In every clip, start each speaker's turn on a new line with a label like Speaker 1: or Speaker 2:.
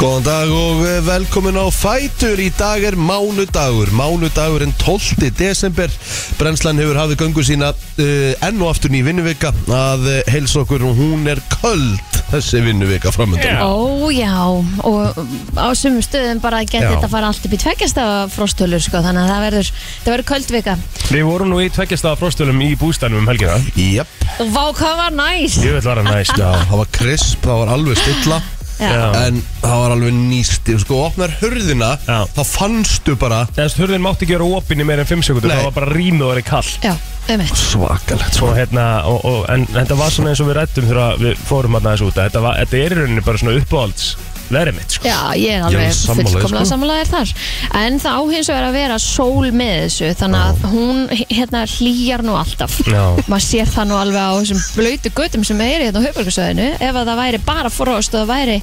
Speaker 1: Góðan dag og eh, velkomin á Fætur. Í dag er mánudagur, mánudagur en 12. desember. Brennslan hefur hafið göngu sína uh, enn og aftur ný vinnuvika að uh, helsa okkur og hún er köld þessi vinnuvika framöndan.
Speaker 2: Ó já, og á sumum stöðum bara geti
Speaker 1: Já.
Speaker 2: þetta að fara allt upp í tveggjastafa frostölur sko, þannig að það verður, það verður köld vika.
Speaker 3: Við vorum nú í tveggjastaða fróstölum í bústænum um helgina
Speaker 1: Jep,
Speaker 2: Og vá, hvað var næs!
Speaker 3: Ég vil vara næst
Speaker 1: já, það var krisp, það var alveg stilla.
Speaker 2: Já.
Speaker 1: En það var alveg nýst, sko, opnar hurðina,
Speaker 3: Já.
Speaker 1: þá fannstu bara
Speaker 3: Þess hurðin mátti ekki vera opinn í meir en 5 sekundur
Speaker 1: Nei.
Speaker 3: Það var bara rýmið og verið kall
Speaker 2: Já, um eitt.
Speaker 1: svakalegt,
Speaker 3: og hérna, og, og, en þetta var svona eins og við rættum þegar við fórum hann aðeins út að þetta, var, þetta er í rauninni bara svona uppáhalds verið mitt sko.
Speaker 2: Já, ég
Speaker 1: Ég
Speaker 2: er alveg
Speaker 1: er sammála þér,
Speaker 2: fullkomlega
Speaker 1: sko.
Speaker 2: sammálaðir þar. En það á hins vegar að vera sól með þessu, þannig að hún hérna hlýjar nú alltaf.
Speaker 3: Já.
Speaker 2: Maður sér það nú alveg á þessum blöytu göttum sem er hérna á höfbörgarsöðinu, ef að það væri bara frost og það væri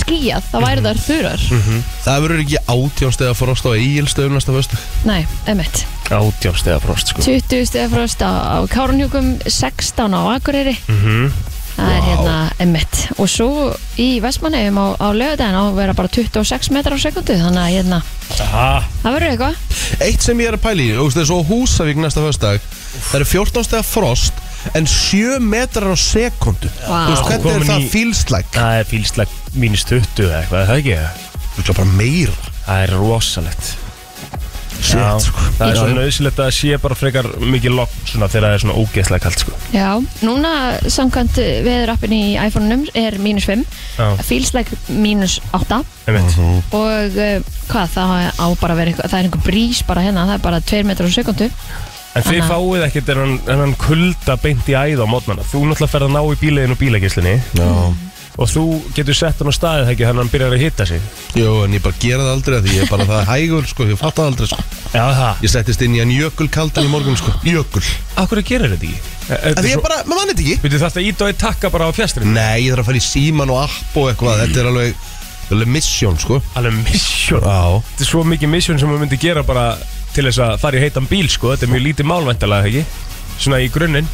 Speaker 2: skíjað, þá væri það þurrar.
Speaker 1: Mhm. Það verður ekki átjónstega frost á eigilstöðum næsta föstu.
Speaker 2: Nei, um eitt.
Speaker 3: Átjámstega frost sko.
Speaker 2: 20 stegar frost á, á Kárunhjúkum 16 á Akureyri það er hérna emitt og svo í Vestmannheim á, á lögudaginn á að vera bara 26 metrar á sekundu þannig að hérna,
Speaker 3: Aha,
Speaker 2: það verður eitthvað
Speaker 1: Eitt sem ég er að pæli, þú veist þessu á Húsavík næsta föstudag, það eru 14 stegar frost en 7 metrar á sekundu.
Speaker 2: Vá.
Speaker 1: Þú veist, hvernig er
Speaker 3: Komin
Speaker 1: það
Speaker 3: í-
Speaker 1: fílslæk?
Speaker 3: það er fílslega mínus 20 eða eitthvað, er það ekki?
Speaker 1: Þú veist, bara meira.
Speaker 3: Það er rosalegt Já,
Speaker 1: Shit, sko.
Speaker 3: það er
Speaker 1: Já,
Speaker 3: svo
Speaker 1: já.
Speaker 3: nöðsilegt að það sé bara frekar mikið lokk svona þegar það er svona ógeðslega kalt sko.
Speaker 2: já, núna samkvæmt veðurappin í iPhone-num er mínus 5
Speaker 3: Já.
Speaker 2: feels like mínus 8
Speaker 3: Einmitt.
Speaker 2: og uh, hvað, það á bara að vera eitthvað það er einhver brís bara hérna, það er bara 2 metrar á sekundu
Speaker 3: En þið
Speaker 2: Þannig að-
Speaker 3: fáið ekkert en hann, en hann kulda beint í æð á mótnana Þú náttúrulega ferð að ná í bílegin og bílagislinni
Speaker 1: Já.
Speaker 3: Og þú getur sett hann á staðið þegar þannig að hann byrjar að hitta sig
Speaker 1: Jó, en ég bara gera það aldrei af því ég er bara það hægur, sko, ég fatt það aldrei, sko.
Speaker 3: Já það
Speaker 1: Ég settist inn í hann jökulkaldan í morgun, sko. Jökul.
Speaker 3: Akkur að gera þetta ekki?
Speaker 1: En
Speaker 3: E- Þetta
Speaker 1: því
Speaker 3: er
Speaker 1: ég
Speaker 3: svo
Speaker 1: bara, maður mann þetta ekki.
Speaker 3: Veitu þetta ít og eitt takka bara á fjastrin
Speaker 1: Nei, ég þarf að fara í síman og app og eitthvað, þetta er alveg, alveg misjón, sko.
Speaker 3: Alveg misjón
Speaker 1: Já.
Speaker 3: Ah. Þetta er svo mikið misjón sem maður myndi gera bara til þess að fara í heitan bíl sko Þetta er mjög lítið málvæntalega ekki Svona í grunninn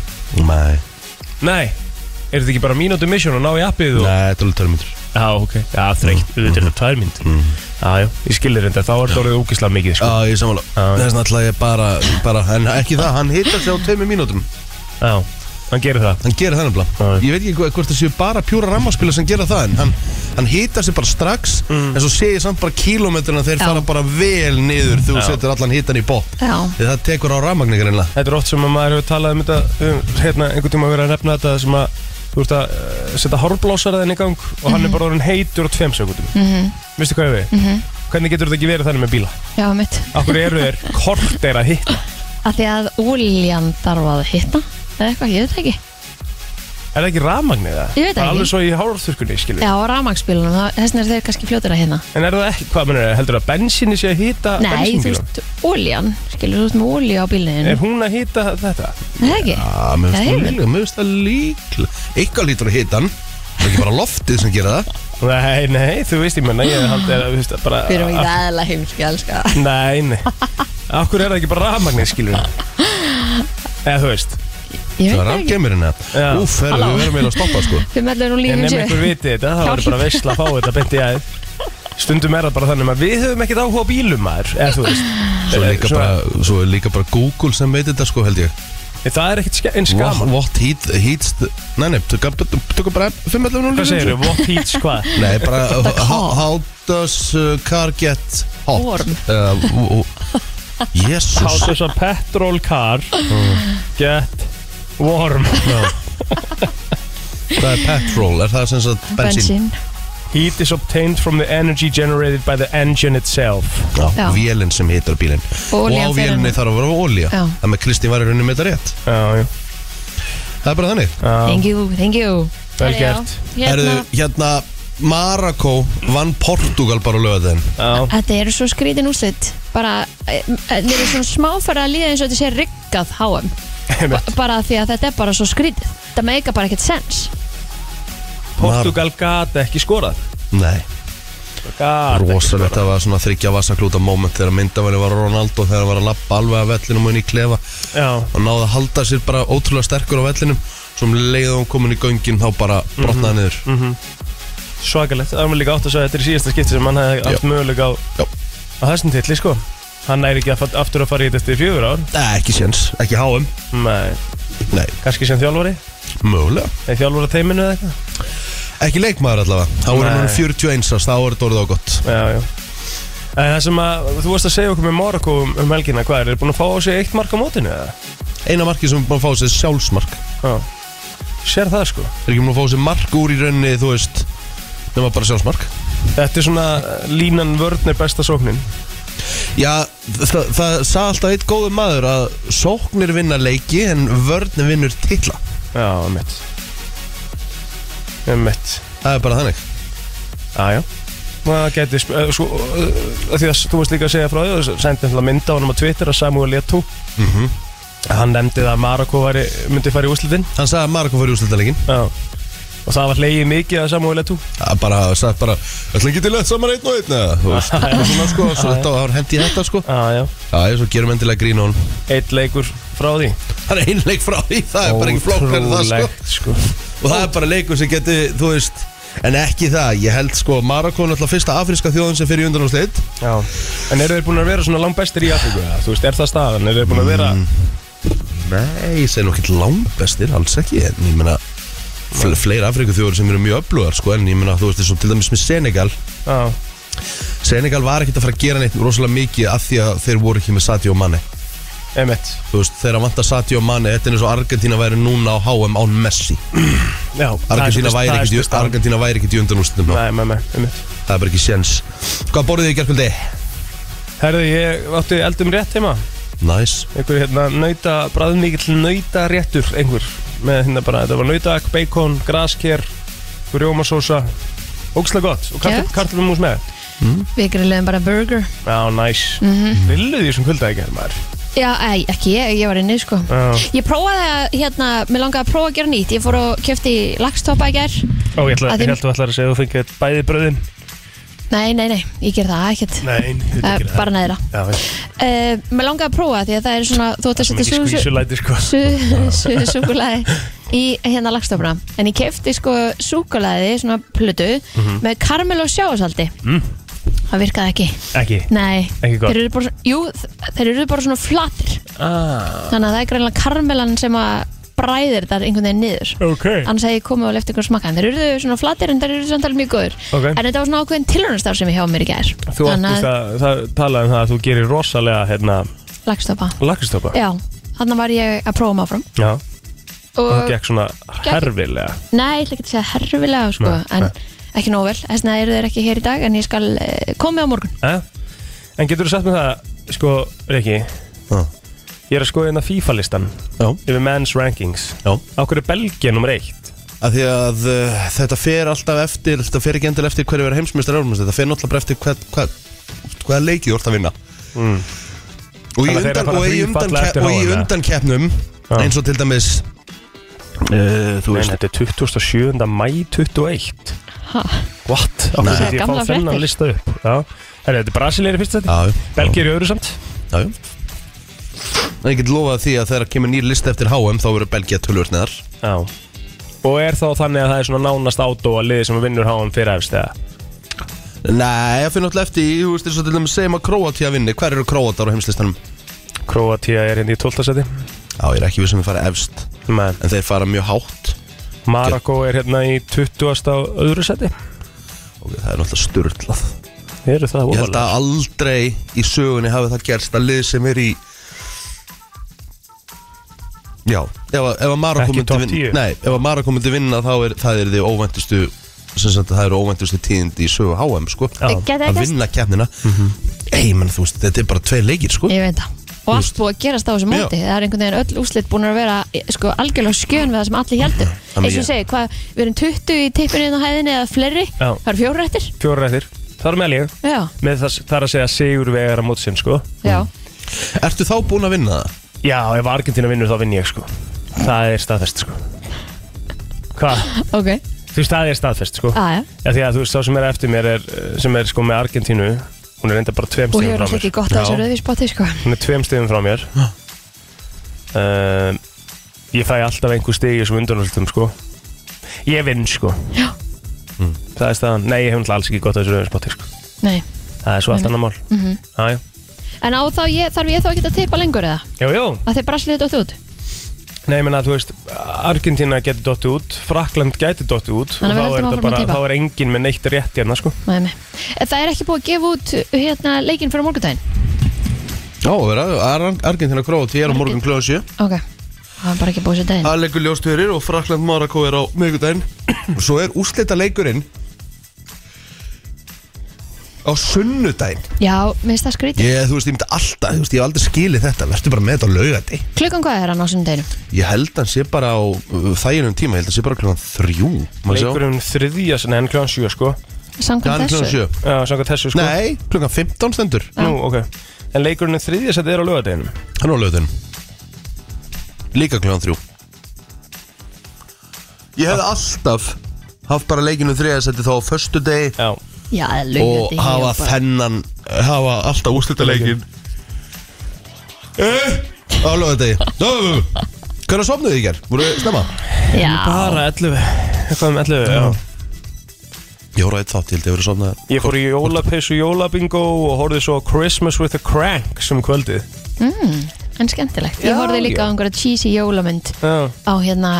Speaker 1: Nei.
Speaker 3: Nei Er þetta ekki bara mínútu misjón og ná í appið og...
Speaker 1: Nei, þetta er alveg törmyndur.
Speaker 3: Já ok Mm, Já þreytt Þetta er þetta tvær mynd Já já Mm. Ég skilir þetta Þá er þetta orðið ógislega mikið sko
Speaker 1: Já, ég er sammála
Speaker 3: Já.
Speaker 1: Þess vegna ætla ég bara, bara En ekki það, hann hittar sig á tveimur mínútum
Speaker 3: Já Hann gerir það
Speaker 1: Hann gerir það nefnilega
Speaker 3: Já.
Speaker 1: Ég veit ekki hva- hvort það séu bara pjúra rammaspila sem gera það En hann, hann hittar sig bara strax
Speaker 3: Mm.
Speaker 1: En svo sé ég samt bara kílómetrina Þeir
Speaker 2: Já.
Speaker 1: fara bara vel niður Þegar þú
Speaker 3: Já.
Speaker 1: setur allan hittan í bótt
Speaker 2: já,
Speaker 1: Þegar það tekur á rammagnir einlega
Speaker 3: Þetta er oft sem að maður hefur talað um þetta um, hérna, einhvern tíma verið að nefna þetta sem að þú ert að uh, setja horfblásaraðin í gang og hann er
Speaker 2: Mhm.
Speaker 3: bara orðin heitur á tveim sekundum mm -hmm. Vistu hvað ég við? Mm -hmm. Hvernig getur þetta ekki verið þannig með bíla?
Speaker 2: já, mitt
Speaker 3: Akkur eru þeir kort er að hitta
Speaker 2: að því að oljan þarf að hitta eða eitthvað, ég veit það ekki
Speaker 3: Er það ekki rafmagnið það?
Speaker 2: Ég veit
Speaker 3: Það er
Speaker 2: ekki.
Speaker 3: alveg svo í hárþurkunni, skilur
Speaker 2: Já, á rafmagnsbílunum, það- þess vegna eru þeir kannski fljótir að hérna
Speaker 3: En er það ekki, hvað mennur það? Heldur það að bensinni sé að hitta
Speaker 2: Nei, þú
Speaker 3: bensinbílum?
Speaker 2: veist, óljan, skilur þú ert með ólju á
Speaker 3: Er
Speaker 2: bílunum
Speaker 3: hún að hitta þetta?
Speaker 2: Það er ekki?
Speaker 1: Já, mér finnst
Speaker 2: Það
Speaker 1: það
Speaker 2: hefur.
Speaker 1: líklega Mér finnst það líklega Eitthvað lítur að hitta hann Það er ekki bara loftið sem gera það
Speaker 3: Nei, nei, þú veist ég menna, ég held að, þú veist, bara
Speaker 2: Við erum ekki aðeins heimski, elska
Speaker 3: Nei, nei Akkur er það ekki bara rafmagnið, skilur Eða þú veist
Speaker 1: Það
Speaker 2: Ég
Speaker 1: er
Speaker 2: veit það ekki
Speaker 1: rafgemirinn
Speaker 3: Já.
Speaker 1: eða Úf, herru,
Speaker 2: Halló.
Speaker 1: við verðum eiginlega að stoppa sko
Speaker 2: Við meðlum nú
Speaker 3: En
Speaker 2: lífum
Speaker 3: ef einhver
Speaker 2: sér
Speaker 3: viti þetta, það
Speaker 2: Hjálp.
Speaker 3: var bara veisla að fá þetta bent í aðeins Stundum er það bara þannig að við höfum ekkert áhuga á bílum maður eða þú veist
Speaker 1: Svo er
Speaker 3: Eh,
Speaker 1: líka,
Speaker 3: svona-
Speaker 1: bara, svo er líka bara Google sem veit þetta sko held ég
Speaker 3: Það er ekkert ske- eins
Speaker 1: What,
Speaker 3: gaman
Speaker 1: what heat, heats the Nei, nei, tökum bara 511
Speaker 3: Hvað segirðu? What heats hvað?
Speaker 1: Nei, bara how,
Speaker 2: car.
Speaker 1: how does uh, car get hot?
Speaker 2: Warm.
Speaker 1: Uh, w- w-
Speaker 3: How
Speaker 1: Jesus
Speaker 3: does a petrol car get warm
Speaker 1: Það er petrol, er það sem sagt bensín?
Speaker 2: Bensín
Speaker 3: Heat is obtained from the energy generated by the engine itself
Speaker 1: Já,
Speaker 2: Já.
Speaker 1: vélinn sem hitar bílinn
Speaker 2: Og
Speaker 1: Og á
Speaker 2: olían fer
Speaker 1: vélinni
Speaker 2: henni.
Speaker 1: þarf að vera olja
Speaker 2: Já.
Speaker 1: Það með Kristín var í rauninu með þetta rétt
Speaker 3: Já, já,
Speaker 1: Það er bara þannig
Speaker 3: já,
Speaker 2: Thank you, thank you
Speaker 3: vel
Speaker 2: Já,
Speaker 3: gert
Speaker 1: Herðu,
Speaker 2: Hérna,
Speaker 1: hérna Marako vann Portugal bara á löðin
Speaker 3: Já,
Speaker 2: þetta eru svo skrítin úrslit Bara, eh, eh, mér er svona smáfæra að líða eins og þetta sé riggað háum
Speaker 3: einmitt.
Speaker 2: Bara því að þetta er bara svo skrítið Þetta meika bara ekkert sens
Speaker 3: Portugal gat ekki skorað
Speaker 1: Nei,
Speaker 3: Gat ekki
Speaker 1: rosalegt
Speaker 3: skorað.
Speaker 1: Það var svona þryggja vassaklúta moment Þegar myndavæli var Ronaldo Þegar hann var að lappa alveg að vellinum og inn í klefa
Speaker 3: Já,
Speaker 1: og náði að halda sér bara Mhm. Mm. ótrúlega sterkur á vellinum svo um leið og hann komin í göngin þá bara brotnaði niður
Speaker 3: svakalegt Það er maður líka átt að segja að þetta er í síðasta skipti sem hann hefði haft möguleika á,
Speaker 1: Já.
Speaker 3: á þessum titli sko Hann er ekki að fa- aftur að fara í þetta eftir fjögur ár
Speaker 1: Nei, ekki séns, ekki háum
Speaker 3: Nei,
Speaker 1: Nei,
Speaker 3: kannski sem þjálfari
Speaker 1: mögulega
Speaker 3: Eða þjálfara teiminu eða eitthvað
Speaker 1: Ekki leikmaður allavega Þá er hann
Speaker 3: Nei.
Speaker 1: orðinn 41 árs, þá er þetta orðið á gott
Speaker 3: Já, já En það sem að, þú varst að segja okkur með Morakó um, um helgina, hvað er, er búin að fá á sig eitt mark á mótinu eða?
Speaker 1: Eina marki sem er búin að fá sér sjálfsmark Er
Speaker 3: Já, sér það sko
Speaker 1: ekki búin að fá sér mark úr í rauninni, þú veist Nefna bara sjálfsmark
Speaker 3: Þetta er svona eh, línan vörn er besta sóknin
Speaker 1: Já, það, það sagði alltaf eitt góðu maður að sóknir vinna leiki en vörnir vinnur titla
Speaker 3: Já, mitt Mitt
Speaker 1: Það er bara þannig
Speaker 3: Já, já Það geti, uh, sko, uh, því að þú varst líka að segja frá því, þú sendi alltaf mynda á hann á Twitter að Samuel Leto Mhm. Hann nefndi það að Marokko væri, myndi fara í úslitin
Speaker 1: Hann sagði að Marko fyrir úrslitaleikin
Speaker 3: Já Og það var hlegið mikið að Samuel Leto
Speaker 1: Það bara, sagði bara, ætla ekki til að saman einn og einn eða, þú veist, það er svona sko, svo þetta var hendi þetta sko
Speaker 3: Já, já,
Speaker 1: Já, ég svo gerum endilega grín á hann
Speaker 3: eitt leikur frá því
Speaker 1: Það er einleik frá því, það er bara ekki flokkar en það sko
Speaker 3: Ótrúlegt, sko
Speaker 1: Og það er bara leikur sem geti, þú veist En ekki það, ég held sko Marokko er náttúrulega fyrsta afríska þjóðin sem fyrir undanúrslit
Speaker 3: Já, en eru þeir búin að vera svona langt bestir í Afríku? eða? Þú veist, er það staðan? Eru þeir búin að vera
Speaker 1: Nei, ég segi nú ekki langbestir, alls ekki En ég meina, fle fleiri afríku þjóður sem eru mjög öflugar sko En ég meina, þú veist, eins og til dæmis með Senegal
Speaker 3: Já,
Speaker 1: Senegal var ekkert að fara að gera neitt rosalega mikið Af því að þeir voru ekki með Sadio Mane
Speaker 3: emitt
Speaker 1: Þú veist, þeirra vantar Sadio Mane Þetta er eins og Argentina væri núna á HM án Messi
Speaker 3: Já, það er
Speaker 1: Argentina
Speaker 3: svolítið-
Speaker 1: væri
Speaker 3: það er
Speaker 1: ekkit,
Speaker 3: svolítið staðan. sko.
Speaker 1: Argentina væri ekkit í undanúrslitum nú.
Speaker 3: Nei, nei, nei, emitt
Speaker 1: Það er bara ekki séns Hvað borðið þið í gerkvöldi?
Speaker 3: Herðu, ég átti eldum rétt heima
Speaker 1: Næs
Speaker 3: einhver hérna nauta, bræðmikið nauta réttur einhver með hérna bara, þetta var nautak, bacon, grasker rjómasósa ógslag gott og
Speaker 2: Geðvegt.
Speaker 3: kartlum mús með
Speaker 2: Við grilluðum bara burger
Speaker 3: já, næs,
Speaker 2: Mhm.
Speaker 3: villu því sem kvölda ekki maður
Speaker 2: Já, ei, ekki ég, ég var inni sko
Speaker 3: Já.
Speaker 2: Ég prófaði að, hérna, mér langaði að prófa að gera nýtt Ég fór og kefti lagstoppa í gær
Speaker 3: og ég, ætla,
Speaker 2: Að
Speaker 3: ég
Speaker 2: þín-
Speaker 3: held að þú ætlar að segja að þú fengið bæði bröðin
Speaker 2: Nei, nei, nei, ég ger það ekkert
Speaker 3: nei, þetta
Speaker 2: uh, Bara neðra
Speaker 3: já,
Speaker 2: uh, Mér langaði að prófa því að það er svona Þú ætti að
Speaker 3: sem
Speaker 2: setja
Speaker 3: ekki
Speaker 2: súsu-
Speaker 3: skvísulæti sko
Speaker 2: suðu súkulæði í hérna lagstofna en ég kefti sko súkulæði svona plötu með karmel og sjáasaldi
Speaker 3: Mhm. Mm.
Speaker 2: það virkaði ekki
Speaker 3: ekki
Speaker 2: nei,
Speaker 3: Ekki gott.
Speaker 2: þeir eru bara, svona- jú, þeir eru bara svona flatir
Speaker 3: ah,
Speaker 2: þannig að það er greinlega karmelan sem að bræðir þar einhvern veginn niður
Speaker 3: ok
Speaker 2: annars að ég komið og lefti ykkur smakka en þeir eru svona flatir en þeir eru samtalið mjög góður
Speaker 3: Ok.
Speaker 2: en þetta var svona ákveðin tilhörnastar sem ég hjá mér í gær
Speaker 3: þú áttist að það talaði um það að þú gerir rosalega hérna
Speaker 2: lagstofa
Speaker 3: lakristoppa
Speaker 2: já, þannig var ég að prófa maður fram
Speaker 3: já,
Speaker 2: og
Speaker 3: það gekk svona
Speaker 2: Gekk-
Speaker 3: herfilega
Speaker 2: Nei, ég ætla ekki að segja herfilega sko,
Speaker 3: Nei,
Speaker 2: en ekki nóg vel, þess vegna eru þeir ekki hér í dag en ég skal uh, komið á morgun
Speaker 3: Eh? En getur þú sagt með það, sko, Riki,
Speaker 1: Já,
Speaker 3: ég er að skoða hérna FIFA-listan
Speaker 1: já,
Speaker 3: yfir men's rankings.
Speaker 1: já.
Speaker 3: Á hverju er Belgia nummer eitt?
Speaker 1: að því að uh, þetta fer alltaf eftir þetta fer ekki endilega eftir hverju verður heimsmeistar Evrópumest þetta fer náttúrulega bara eftir hvað, hvað, hvað leikið þú ert að vinna og í,
Speaker 3: Mm. Þannig að þeir eru
Speaker 1: undan,
Speaker 3: bara
Speaker 1: og, í
Speaker 3: þrír
Speaker 1: undan,
Speaker 3: falla eftir
Speaker 1: og í
Speaker 3: HM, eða?
Speaker 1: undankeppnum
Speaker 3: Já.
Speaker 1: eins og til dæmis uh, þú
Speaker 3: Nei,
Speaker 1: veist
Speaker 3: þetta er 27. mæ 21.
Speaker 2: ha,
Speaker 3: What? Á
Speaker 1: Nei.
Speaker 3: hverju get ég
Speaker 2: Gamla
Speaker 3: fá þennan
Speaker 2: fréttir.
Speaker 3: lista upp? Já. Herri, þetta er Brasileir í fyrsta þetta.
Speaker 1: já,
Speaker 3: Belgia er í öðru samt.
Speaker 1: já, já. En ég get lofað því að þegar kemur nýr list eftir HM þá verður Belgia tölvöld neðar
Speaker 3: Já. Og er þá þannig að það er svona nánast átó að liði sem vinnur háum fyrir efst eða?
Speaker 1: Nei, það fer náttúrulega eftir í, þú veist eins og til dæmis segjum að Kroatia vinni hver eru Kroatar á heimslistanum?
Speaker 3: Kroatia er hérna í 12. seti.
Speaker 1: Já, ég er ekki við sem við fara efst
Speaker 3: Men
Speaker 1: en þeir fara mjög hátt
Speaker 3: Marokko er hérna í 20. á öðru seti.
Speaker 1: og það er náttúrulega styrlað
Speaker 3: Eru það
Speaker 1: Ég held
Speaker 3: ofalega?
Speaker 1: að aldrei í sögunni hafi það gerst að lið sem er í Já, ef að, ef að Marokko
Speaker 3: Ekki
Speaker 1: myndi
Speaker 3: topp
Speaker 1: vinna
Speaker 3: 10?
Speaker 1: Nei, ef að Marokko myndi vinna þá er það er þið óvæntustu sem sagt að það eru óvæntustu tíðindi í sögu HM sko
Speaker 3: Já. Mhm.
Speaker 2: Gæti það
Speaker 1: að
Speaker 2: gerst?
Speaker 1: vinna keppnina mm menn þú veist, þetta er bara tvei leikir sko
Speaker 2: ég veit það og allt búið að gerast á þessu móti það er einhvern veginn öll úslit búin að vera eh, sko, algjörlega skjön við það sem allir
Speaker 3: Mhm,
Speaker 2: heldur
Speaker 1: Þannig
Speaker 2: eins og ég
Speaker 1: ég-
Speaker 2: segi, hvað, við erum 20 í tippinu hérna á hæðinni eða fleiri,
Speaker 3: Já.
Speaker 2: það eru fjóru réttir
Speaker 3: Fjóra eftir. Þar með ég.
Speaker 2: já,
Speaker 3: með það, það er að segja sigur vegar að mótsinn sko
Speaker 2: já,
Speaker 1: Ertu þá búin að vinna það?
Speaker 3: Já, ef Argentina vinnur þá vinn ég sko Það er staðfest sko Hvað?
Speaker 2: ok Ah,
Speaker 3: Þú veist, það er staðfest sko
Speaker 2: aðja,
Speaker 3: Já, Því að þú veist, þá sem er eftir mér er, eh, sem er sko með Argentínu Hún er enda bara tveim
Speaker 2: og
Speaker 3: stegum
Speaker 2: ég er
Speaker 3: frá
Speaker 2: alltaf
Speaker 3: mér
Speaker 2: ekki gott á þessu
Speaker 3: Já,
Speaker 2: rauði spotti sko.
Speaker 3: Hún er tveim stegum frá mér um, Ég fæ alltaf einhver stegi sem undanvöldum sko Ég vinn sko
Speaker 2: Já.
Speaker 3: það er staðan Nei, ég hef náttúrulega alls ekki gott að þessu rauðspoti sko.
Speaker 2: Nei. Mhm.
Speaker 3: Það er svo allt annað mál mm -hmm. Jájá,
Speaker 2: En á þá ég, þarf ég þá ekki að teipa lengur eða?
Speaker 3: jájó
Speaker 2: Að þið braslið þetta út?
Speaker 3: Nei, ég menna, þú veist, Argentina getur dottið út Frakland getur dottið út
Speaker 2: Þannig að við
Speaker 3: og þá er
Speaker 2: höldum
Speaker 3: þetta
Speaker 2: áfram að
Speaker 3: bara,
Speaker 2: tippa.
Speaker 3: þá er enginn með neitt rétt hérna, sko
Speaker 2: Nei, nei. En Það er ekki búið að gefa út hérna leikinn fyrir morgundaginn?
Speaker 1: Já, það er Argentina Króti, ég er á morgun kljóðu 7
Speaker 2: Ok, það var bara ekki búið sér daginn.
Speaker 1: Það leikur ljóst fyrir og Frakland Marako er á miðgudaginn Svo er úslita leikurinn á sunnudaginn
Speaker 2: Já, mér finnst það skrítið.
Speaker 1: Ég, þú veist, ég myndi alltaf, þú veist, ég hef aldrei skilið þetta Vertu bara með þetta á laugandi
Speaker 2: Klukkan hvað er hann á sunnum daginu?
Speaker 1: Ég held hann sé bara á uh, þæginum tíma, ég held hann sé bara klukkan þrjú Má sjá?
Speaker 3: Leikurinn þriðja, sem- nei, hann kljóðan sjö, sko
Speaker 1: Já, hann er
Speaker 2: Samkvæmt
Speaker 1: klukkan
Speaker 2: þessu?
Speaker 1: sjö
Speaker 3: Já, samkvæmt þessu, sko
Speaker 1: Nei, klukkan 15 stendur
Speaker 3: Nú, ok En leikurinn þriðja setið er á lögadeginum
Speaker 1: Hann er á laugandinn Líka klukkan þrjú Ég hef alltaf haft bara leikinu þriða setti þá á föstu degi
Speaker 3: Já,
Speaker 2: Já,
Speaker 1: og
Speaker 2: laugandi.
Speaker 1: hafa þennan hafa alltaf úrslitaleikin eh, á lögadegi hvernig sofnuðu þið í gerð? voru þið snemma?
Speaker 2: Já,
Speaker 3: bara 11 Eitthvað um 11, já
Speaker 1: ég voru eitt þátt, ég held ég verið sofnað
Speaker 3: Ég fór í jólapeysu jólabingo og horfði svo á Christmas with a Crank sem kvöldið
Speaker 2: en skemmtilegt. Ég
Speaker 3: Já,
Speaker 2: horfði líka á
Speaker 3: já.
Speaker 2: einhverja cheesy jólamynd
Speaker 3: Já,
Speaker 2: á hérna,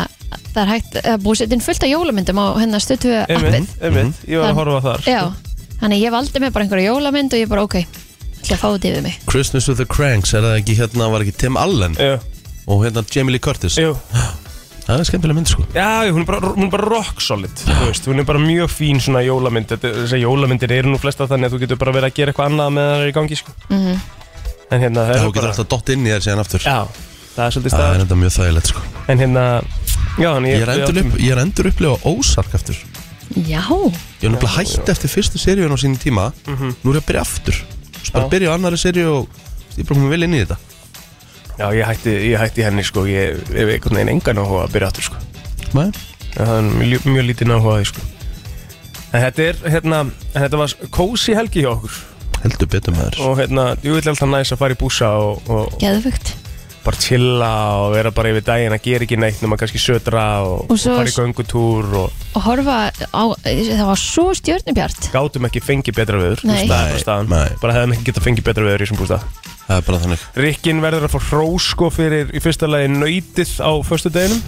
Speaker 2: það er hægt að búið setjum fullt af jólamyndum á hérna stötu appið.
Speaker 3: einmitt, einmitt Ég var að horfa þar sko.
Speaker 2: Já, þannig ég valdi mig bara einhverja jólamynd og ég bara ok, ætla að fá þetta yfir mig.
Speaker 1: Christmas with the Cranks, er það ekki hérna var ekki Tim Allen
Speaker 3: Já,
Speaker 1: og hérna Jamie Lee Curtis
Speaker 3: jú
Speaker 1: það er skemmtileg mynd sko
Speaker 3: Já, hún Eh. er bara, hún er bara rock solid þú veist, Hún er bara mjög fín svona jólamynd Þetta- Þessar jólamyndir eru nú flesta þannig að þú getur bara verið að gera eitthvað annað meðan það er í gangi sko. -hmm. En hérna, það
Speaker 1: þá
Speaker 3: er
Speaker 1: getur
Speaker 3: bara
Speaker 1: alltaf dott inn í þér síðan aftur Ah,
Speaker 3: Já, það er svolítið
Speaker 1: það er
Speaker 3: stað
Speaker 1: þetta mjög þægilegt sko
Speaker 3: En hérna, já, þannig
Speaker 1: ég er endur, upp, ég er endur upplega ósark aftur ég
Speaker 2: Já,
Speaker 1: er nefnilega hætt eftir fyrstu seríun á sínum tíma nú er ég að byrja aftur Svo bara
Speaker 3: Mhm. Já.
Speaker 1: byrja á annari seríu og ég er bara komið vel inn í þetta
Speaker 3: Já, ég hætti, ég hætti henni sko Ég hef einhvern veginn engan áhuga að byrja aftur sko
Speaker 1: Nei.
Speaker 3: En Það er mjög, mjög lítið náhuga því sko En þetta er, hérna, en þetta var kósi helgi hjá okkur
Speaker 1: heldur betur maður
Speaker 3: Og hérna, ég vil alltaf næs að fara í búsa og, og,
Speaker 2: geðvögt.
Speaker 3: bara chilla og vera bara yfir daginn að gera ekki neitt nema kannski södra og,
Speaker 2: Og svo-
Speaker 3: fara í göngutúr og
Speaker 2: Og horfa á, það var svo stjörnubjart.
Speaker 3: gátum ekki fengið betra veður
Speaker 2: Nei.
Speaker 3: Þú veist, það er bara staðan.
Speaker 1: Nei.
Speaker 3: bara hefðum ekki getað fengið betra veður í þessum bústað
Speaker 1: Það er bara þannig
Speaker 3: Rikkin verður að fá hrós sko fyrir í fyrsta lagi nöytið á förstu deginum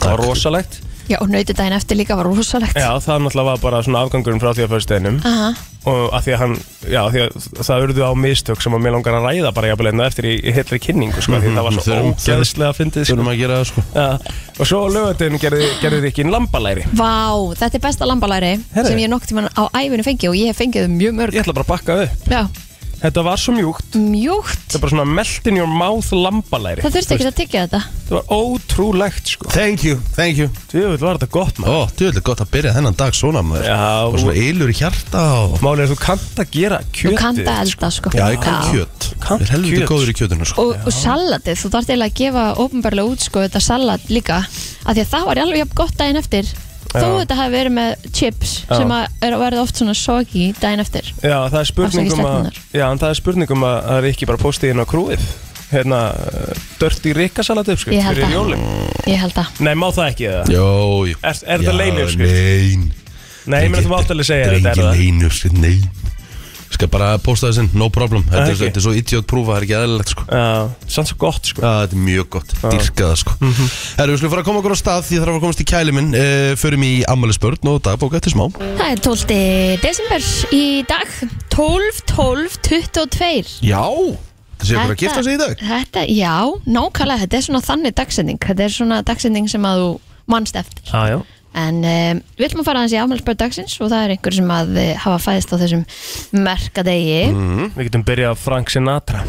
Speaker 3: það var
Speaker 1: Takk.
Speaker 3: rosalegt
Speaker 2: Já, og nautið daginn eftir líka var rosalegt.
Speaker 3: já það náttúrulega var bara svona afgangurinn frá því á förstu deginum
Speaker 2: Aha.
Speaker 3: og að því að hann, já að því að það urðu á mistök sem að mér langar að ræða bara jafnvel enna eftir í, í heilri kynningu sko því það var
Speaker 1: Mhm,
Speaker 3: svo
Speaker 1: Þurfum- þurfum-
Speaker 3: ógeðslega fyndið sko.
Speaker 1: Þurfum að gera það sko
Speaker 3: Já, og svo á lögadeginu gerði, gerði Rikkin lambalæri
Speaker 2: Vá, þetta er besta lambalæri
Speaker 3: Herri.
Speaker 2: sem ég nokk tíma á æfinu fengi og ég hef fengið þau mjög mörg.
Speaker 3: Ég ætla bara að bakka upp
Speaker 2: Já,
Speaker 3: Þetta var svo mjúkt
Speaker 2: mjúkt.
Speaker 3: Þetta er bara svona melt in your mouth lambalæri
Speaker 2: Það þurfti ekki að tyggja þetta.
Speaker 3: Þetta var ótrúlegt sko
Speaker 1: Thank you, thank you
Speaker 3: Tjöfull var þetta gott maður
Speaker 1: Ó, þú gott að byrja þennan dag svona maður
Speaker 3: Já,
Speaker 1: Og svona ylur í hjarta og
Speaker 3: Málið er að þú kannt að gera
Speaker 2: Þú
Speaker 3: kjötið
Speaker 2: kannt að elda, sko.
Speaker 1: Já, ég kann kjöt
Speaker 3: Kann
Speaker 1: Ég er helviti
Speaker 3: kjöt.
Speaker 1: góður í kjötinu sko
Speaker 2: Og, og salatið, þú þarft eiginlega að gefa ofnbarlega út, sko, þetta salat líka. Af því að það var alveg jafn gott daginn eftir. Þó
Speaker 3: Já.
Speaker 2: þetta hafi verið með chips
Speaker 3: Já.
Speaker 2: sem að er að verða oft svona soggy daginn eftir.
Speaker 3: Já, það er
Speaker 2: Afsakið
Speaker 3: spurningum að
Speaker 2: stelpurnar.
Speaker 3: Já, en það er spurningum að það er ekki bara postið inn á krúið Hérna, dörti rikkasalat uppskrift
Speaker 2: Ég held
Speaker 3: fyrir
Speaker 2: að.
Speaker 3: jólin
Speaker 2: Ég held að.
Speaker 3: Nei, má það ekki eða?
Speaker 1: Jó, jú
Speaker 3: Er- er þetta
Speaker 1: Já,
Speaker 3: leyniuppskrift?
Speaker 1: Nein
Speaker 3: Nei, ég meina þú mátt alveg segja þetta
Speaker 1: Þetta er
Speaker 3: er það.
Speaker 1: engin leinurskrift, nein sko, Ég skal bara posta þessinn, no problem Þetta er,
Speaker 3: ekki.
Speaker 1: þetta er svo idiot prúfa, það er ekki aðeinlegt
Speaker 3: Ah.
Speaker 1: sko
Speaker 3: Já, sann svo gott sko
Speaker 1: Já, þetta er mjög gott,
Speaker 3: Ah.
Speaker 1: dýrkaða sko
Speaker 3: Mhm.
Speaker 1: Herru, við skulum fara að koma okkur á stað Því það þarf að komast í kæli minn uh, Förum í ammælisbörn og dagbóka eftir smá
Speaker 2: Það er 12. desember í dag 12, 12, 22
Speaker 1: Já Það sé okkur að gifta sig í dag
Speaker 2: Þetta, já, nákvæmlega, þetta er svona þannig dagsending Þetta er svona dagsending sem að þú mannst eftir
Speaker 3: Já, já
Speaker 2: En um, við ætlum að fara aðeins í afmælspöld dagsins og það er einhver sem að eh, hafa fæðist á þessum merkadegi
Speaker 3: Hm, Við getum byrjað á Frank Sinatra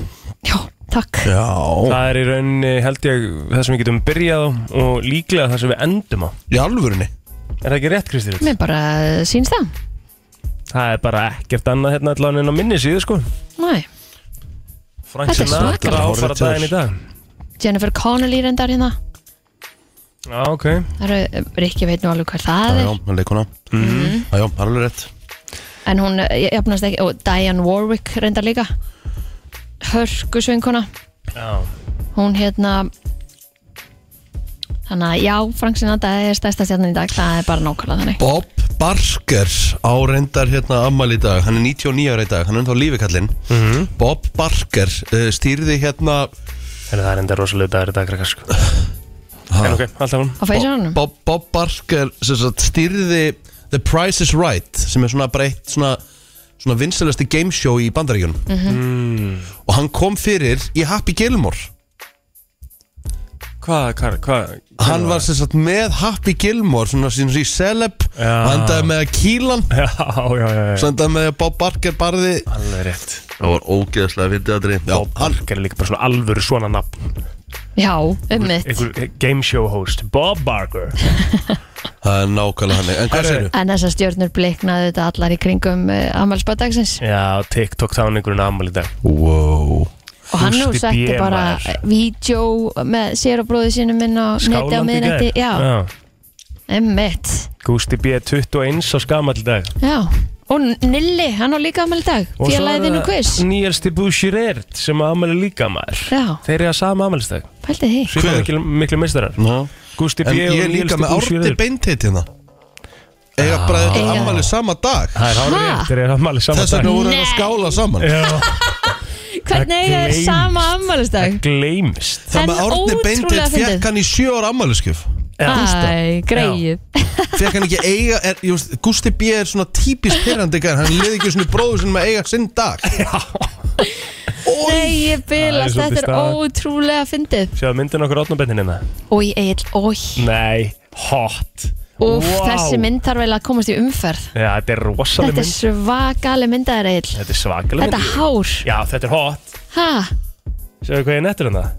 Speaker 2: Já, takk
Speaker 1: Já
Speaker 3: Það er í rauninni held ég það sem við getum byrjað á og líklega það sem við endum á
Speaker 1: Í alvörunni
Speaker 3: Er það ekki rétt, Kristi Rut?
Speaker 2: Mér bara eh, sýnst það
Speaker 3: Það er bara ekkert annað hérna allan en á minni síðu sko
Speaker 2: Næ,
Speaker 3: Frank
Speaker 2: Þetta er
Speaker 3: Sinatra
Speaker 1: svakalegt.
Speaker 3: áfara daginn í dag
Speaker 2: Jennifer Connelly reyndar hérna
Speaker 3: Já, ok
Speaker 2: Það eru, eh, Rikki veit nú alveg hvað það
Speaker 1: Já,
Speaker 2: er Mhm.
Speaker 1: já, hann leikuna Já, já, það er alveg rétt
Speaker 2: En hún eh, jafnast ekki, og Diane Warwick reyndar líka Hörkusvinkuna
Speaker 3: Já,
Speaker 2: hún hérna Þannig að já, Frank Sinanda er stærsta stjarnan í dag, það er bara nákvæmlega þannig.
Speaker 1: Bob Barker á reyndar hérna ammal í dag, hann er 99 ára í dag, hann er ennþá lífikallinn mm Bob Barker uh, stýrði hérna
Speaker 3: En það er enda rosalega dagur í dag, krakkar sko. En ok, alltaf hún
Speaker 2: Á fæsjónunum?
Speaker 1: Bob, Bob Barker sem sagt, stýrði The Price is Right sem er svona breytt svona, svona vinsalasti gameshow í bandaríkjunum
Speaker 2: Mhm.
Speaker 1: og hann kom fyrir í Happy Gilmore
Speaker 3: Hvað, hvað, hvað
Speaker 1: hann var sem sagt með Happy Gilmore svona sín í celeb
Speaker 3: Já.
Speaker 1: og endaði með að kýla hann
Speaker 3: Já, já, já, já
Speaker 1: svo endaði með að Bob Barker barði
Speaker 3: Alveg rétt
Speaker 1: það var ógeðslega fyndið aðri já, hann,
Speaker 3: Barker er líka bara svona alvöru svona nafn
Speaker 2: Já, um mitt.
Speaker 3: Einhver game show host Bob Barker
Speaker 1: það er nákvæmlega hann en hvað
Speaker 3: Herru.
Speaker 1: segir
Speaker 2: En þessar stjörnur bliknaðu þetta allar í kringum uh, afmælsbadagsins.
Speaker 3: Já, TikTok táningurinn ammali dag
Speaker 1: wow
Speaker 2: Og hann nú
Speaker 3: Gústi
Speaker 2: setti
Speaker 3: B,
Speaker 2: bara
Speaker 3: maður.
Speaker 2: vídeo með sér og bróði sínum inn á neti á
Speaker 3: Skálandi
Speaker 2: miðnætti.
Speaker 3: gær
Speaker 2: Já, um mitt.
Speaker 3: Gústi B. 21 á skamall dag
Speaker 2: Já. Og Nilli, hann á líka afmæli í dag.
Speaker 3: Og svo er
Speaker 2: Félagið þinn og quiz.
Speaker 3: það Nýjasti Bouchirert sem ammali líka maður
Speaker 2: Já,
Speaker 3: Þeir eru að sama ammælistag
Speaker 2: pældi því.
Speaker 1: Hver?
Speaker 3: Svipa miklu, miklu meistarar
Speaker 1: Ná.
Speaker 3: Gústi B.
Speaker 1: en
Speaker 3: og
Speaker 1: ég er líka
Speaker 3: nýjasti
Speaker 1: með Árni
Speaker 3: Bouchirert
Speaker 1: Beintit hérna eiga bara þetta
Speaker 2: Eiga-
Speaker 1: ammali sama dag
Speaker 3: Það er hárið rétt, þeir eru ammali sama
Speaker 1: þess
Speaker 3: dag
Speaker 1: vegna voru þeir að
Speaker 2: Nei.
Speaker 1: skála saman
Speaker 3: Já,
Speaker 2: Hvernig eiga þér
Speaker 3: gleymst.
Speaker 2: sama afmælisdag?
Speaker 3: gleymist
Speaker 1: Það
Speaker 2: En
Speaker 1: með Árni
Speaker 2: ótrúlega
Speaker 1: Beintit
Speaker 2: fyndið.
Speaker 1: fekk hann í sjö ára ammæliskef
Speaker 2: Æ, greið.
Speaker 1: Fekk hann ekki eiga er, ég veist, Gusti B. er svona típist pyrrandi Hann liði ekki svona bróður sinum að eiga sinn dag
Speaker 2: Nei, ég
Speaker 3: Það er
Speaker 2: bylast,
Speaker 3: svolítið
Speaker 2: þetta er
Speaker 3: staðan.
Speaker 2: ótrúlega fyndið.
Speaker 3: Sjáðu myndin okkur átnabennin hérna
Speaker 2: Ói, Egil, ói.
Speaker 3: Nei, hot
Speaker 2: Úf,
Speaker 3: Vá.
Speaker 2: þessi mynd þarf eiginlega að komast í umferð.
Speaker 3: Já, þetta er rosaleg
Speaker 2: Þetta er
Speaker 3: mynd
Speaker 2: svakaleg myndaðar, Egil.
Speaker 3: Þetta er svakaleg mynd
Speaker 2: Þetta hár.
Speaker 3: Já, þetta er hot
Speaker 2: Ha?
Speaker 3: Sjáðu hvað ég hérna? er nettur en það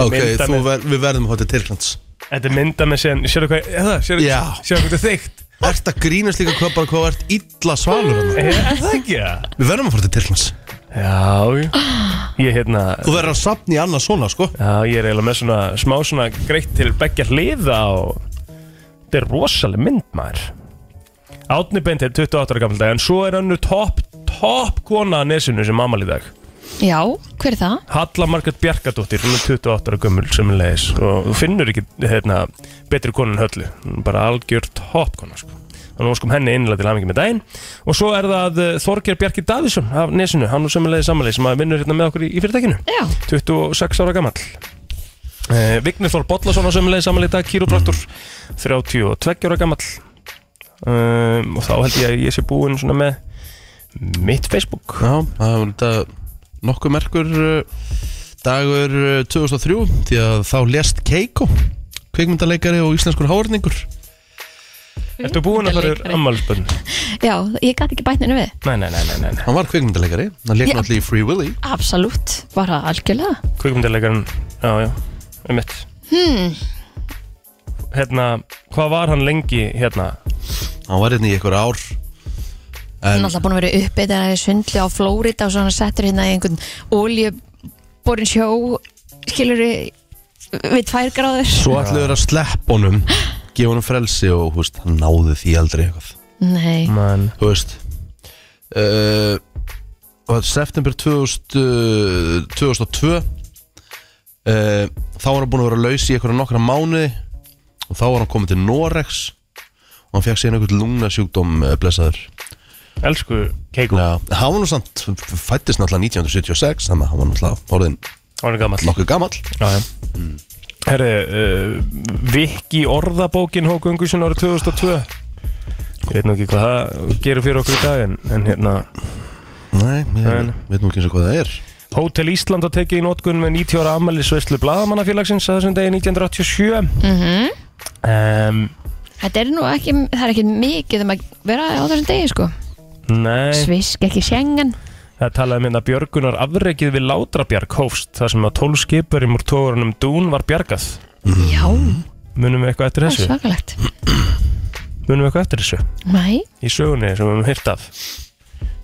Speaker 1: Ok,
Speaker 3: Mynda
Speaker 1: þú
Speaker 3: með-
Speaker 1: ver, við verðum að fá til Tyrklands
Speaker 3: Þetta er mynda með sen Sjáðu hvað ég er Sjáðu
Speaker 1: Já.
Speaker 3: sjáðu hvað þetta er þykkt
Speaker 1: Ert að grínast líka hvað bara hvað þú ert illa svalur hann
Speaker 3: Er það ekki það?
Speaker 1: Við verðum að fá til Tyrklands
Speaker 3: Já, já Ég hérna
Speaker 1: Þú verður að sapna í annað svona sko
Speaker 3: Já, ég er eiginlega með svona smá svona greitt til begja hliða og þetta er rosaleg mynd maður Átni Beint er 28 ára gammal dag en svo er önnu topp, topp kona að nesinu sem mammal í dag
Speaker 2: Já, hver er það?
Speaker 3: Halla Margrét Bjarkadóttir, hún er 28 ára gömul sem leðis og þú finnur ekki hérna, betri konu en höllu Hún er bara algjör topp kona sko. þannig óskum henni innlega til hafingi með daginn og svo er það eh, Þorgeir Bjarki Davísson af nesinu, hann er sem leðis samanlega sem að vinnur hérna með okkur í, í fyrirtækinu
Speaker 2: Já,
Speaker 3: 26 ára gammal eh, Vignir Þór Bollason á sömulegði samanlega í dag kýróbraktur 32 ára gammal um, og þá held ég að ég sé búinn svona með mitt Facebook
Speaker 1: Já, það var þetta nokkuð merkur uh, dagur uh, 2003 því að þá lést Keiko kveikmyndaleikari og íslenskur háarningur
Speaker 3: Ertu búinn að fara þér ammálspönn?
Speaker 2: já, ég gæti ekki bætninu við.
Speaker 3: Nei, nei, nei, nei, nei, nei.
Speaker 1: Hann var kveikmyndaleikari, hann leik
Speaker 2: Já.
Speaker 1: náttúrulega í Free Willy
Speaker 2: Absolutt, bara algjörlega.
Speaker 3: Kvikmyndarleikarinn, já, já, um mitt hmm. Hérna, hvað var hann lengi hérna?
Speaker 1: Hann var hérna í einhver ár
Speaker 2: Hann
Speaker 1: En
Speaker 2: er alltaf búin að vera uppið þegar það er svindli á Flórida og svona settur hérna í einhvern oljuborin sjó, skilur við tvær gráður.
Speaker 1: Svo ætluðu þeir að sleppa honum Gefa honum frelsi og hú veist Hann náði því aldrei eitthvað
Speaker 2: Nei,
Speaker 3: Man,
Speaker 1: Þú veist uh, og September 2000, uh, 2002 uh, eh, Þá var hann búin að vera laus í einhverja nokkra mánuði Og þá var hann komið til Norex Og hann fekk síðan einhvern lungnasjúkdóm uh, blessaður
Speaker 3: elsku Keiko,
Speaker 1: Já, hann var nú samt Fættist náttúrulega 1976 Þannig að hann var náttúrulega orðin
Speaker 3: hann er gamall
Speaker 1: nokkuð gamall
Speaker 3: Já, já Mm. Herri, uh, Viki orðabókin H. Gungursson árið 2002 Ég veit nú ekki hvað það gerir fyrir okkur í dag en, en hérna
Speaker 1: Nei, ég
Speaker 3: Nei.
Speaker 1: veit nú ekki eins og hvað það er
Speaker 3: Hótel Ísland að tekið í notkun með 90 ára afmælisveislu Blaðamannafélagsins að þessum degi 1987 mm -hmm.
Speaker 2: þetta er nú ekki, það er ekki mikið um að vera á þessum degi, sko.
Speaker 3: Nei
Speaker 2: Svisk, ekki sjengan.
Speaker 3: Það talaði minna hérna Björgunar afrekið við Látrabjarg hófst þar sem að tólskipurinn úr tóðurunum Dún var bjargað.
Speaker 2: Já,
Speaker 3: Munum við eitthvað
Speaker 2: það
Speaker 3: eftir
Speaker 2: er
Speaker 3: Mm. þessu?
Speaker 2: svakalegt.
Speaker 3: Munum við eitthvað eftir þessu?
Speaker 2: Nei,
Speaker 3: Í sögunni sem við höfum hýrt af.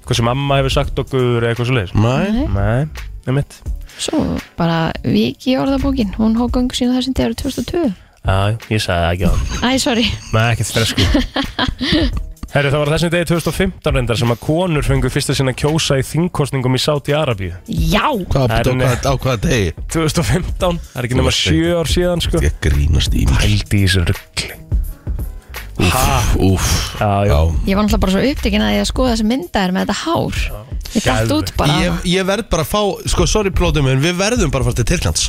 Speaker 3: Eitthvað sem amma hefur sagt okkur eða eitthvað svo leiðis.
Speaker 1: Nei
Speaker 2: nei.
Speaker 3: Nei, nefnitt.
Speaker 2: Svo bara viki í orðabókin Hún hók gangu sína þessum dagur 2002
Speaker 3: Já, ég sagði það ekki á hann.
Speaker 2: Æ, sorry
Speaker 3: Nei, ekkert stress sko. Herri, það var þessin degi 2015 reyndar sem að konur fengu fyrsta sinna kjósa í þingkostningum í Sáti-Arabíu.
Speaker 2: Já,
Speaker 1: Hvað,
Speaker 3: Það er
Speaker 1: á
Speaker 3: nei.
Speaker 1: hvað, á hvað degi?
Speaker 3: 2015, það er ekki nema
Speaker 1: varst
Speaker 3: 7 ár síðan sko.
Speaker 1: Ég grínast í mér
Speaker 3: Hældi í þessu ruggli.
Speaker 1: Úf, úf
Speaker 3: Já, já.
Speaker 1: Já.
Speaker 2: ég var náttúrulega bara svo upptekin að ég að skoða þessi myndaðir með þetta hár Ég dætt út
Speaker 3: Geðveikt.
Speaker 2: bara
Speaker 1: Ég, ég verð bara að fá, sko, sorry plóðum en við verðum bara að fara til Tyrklands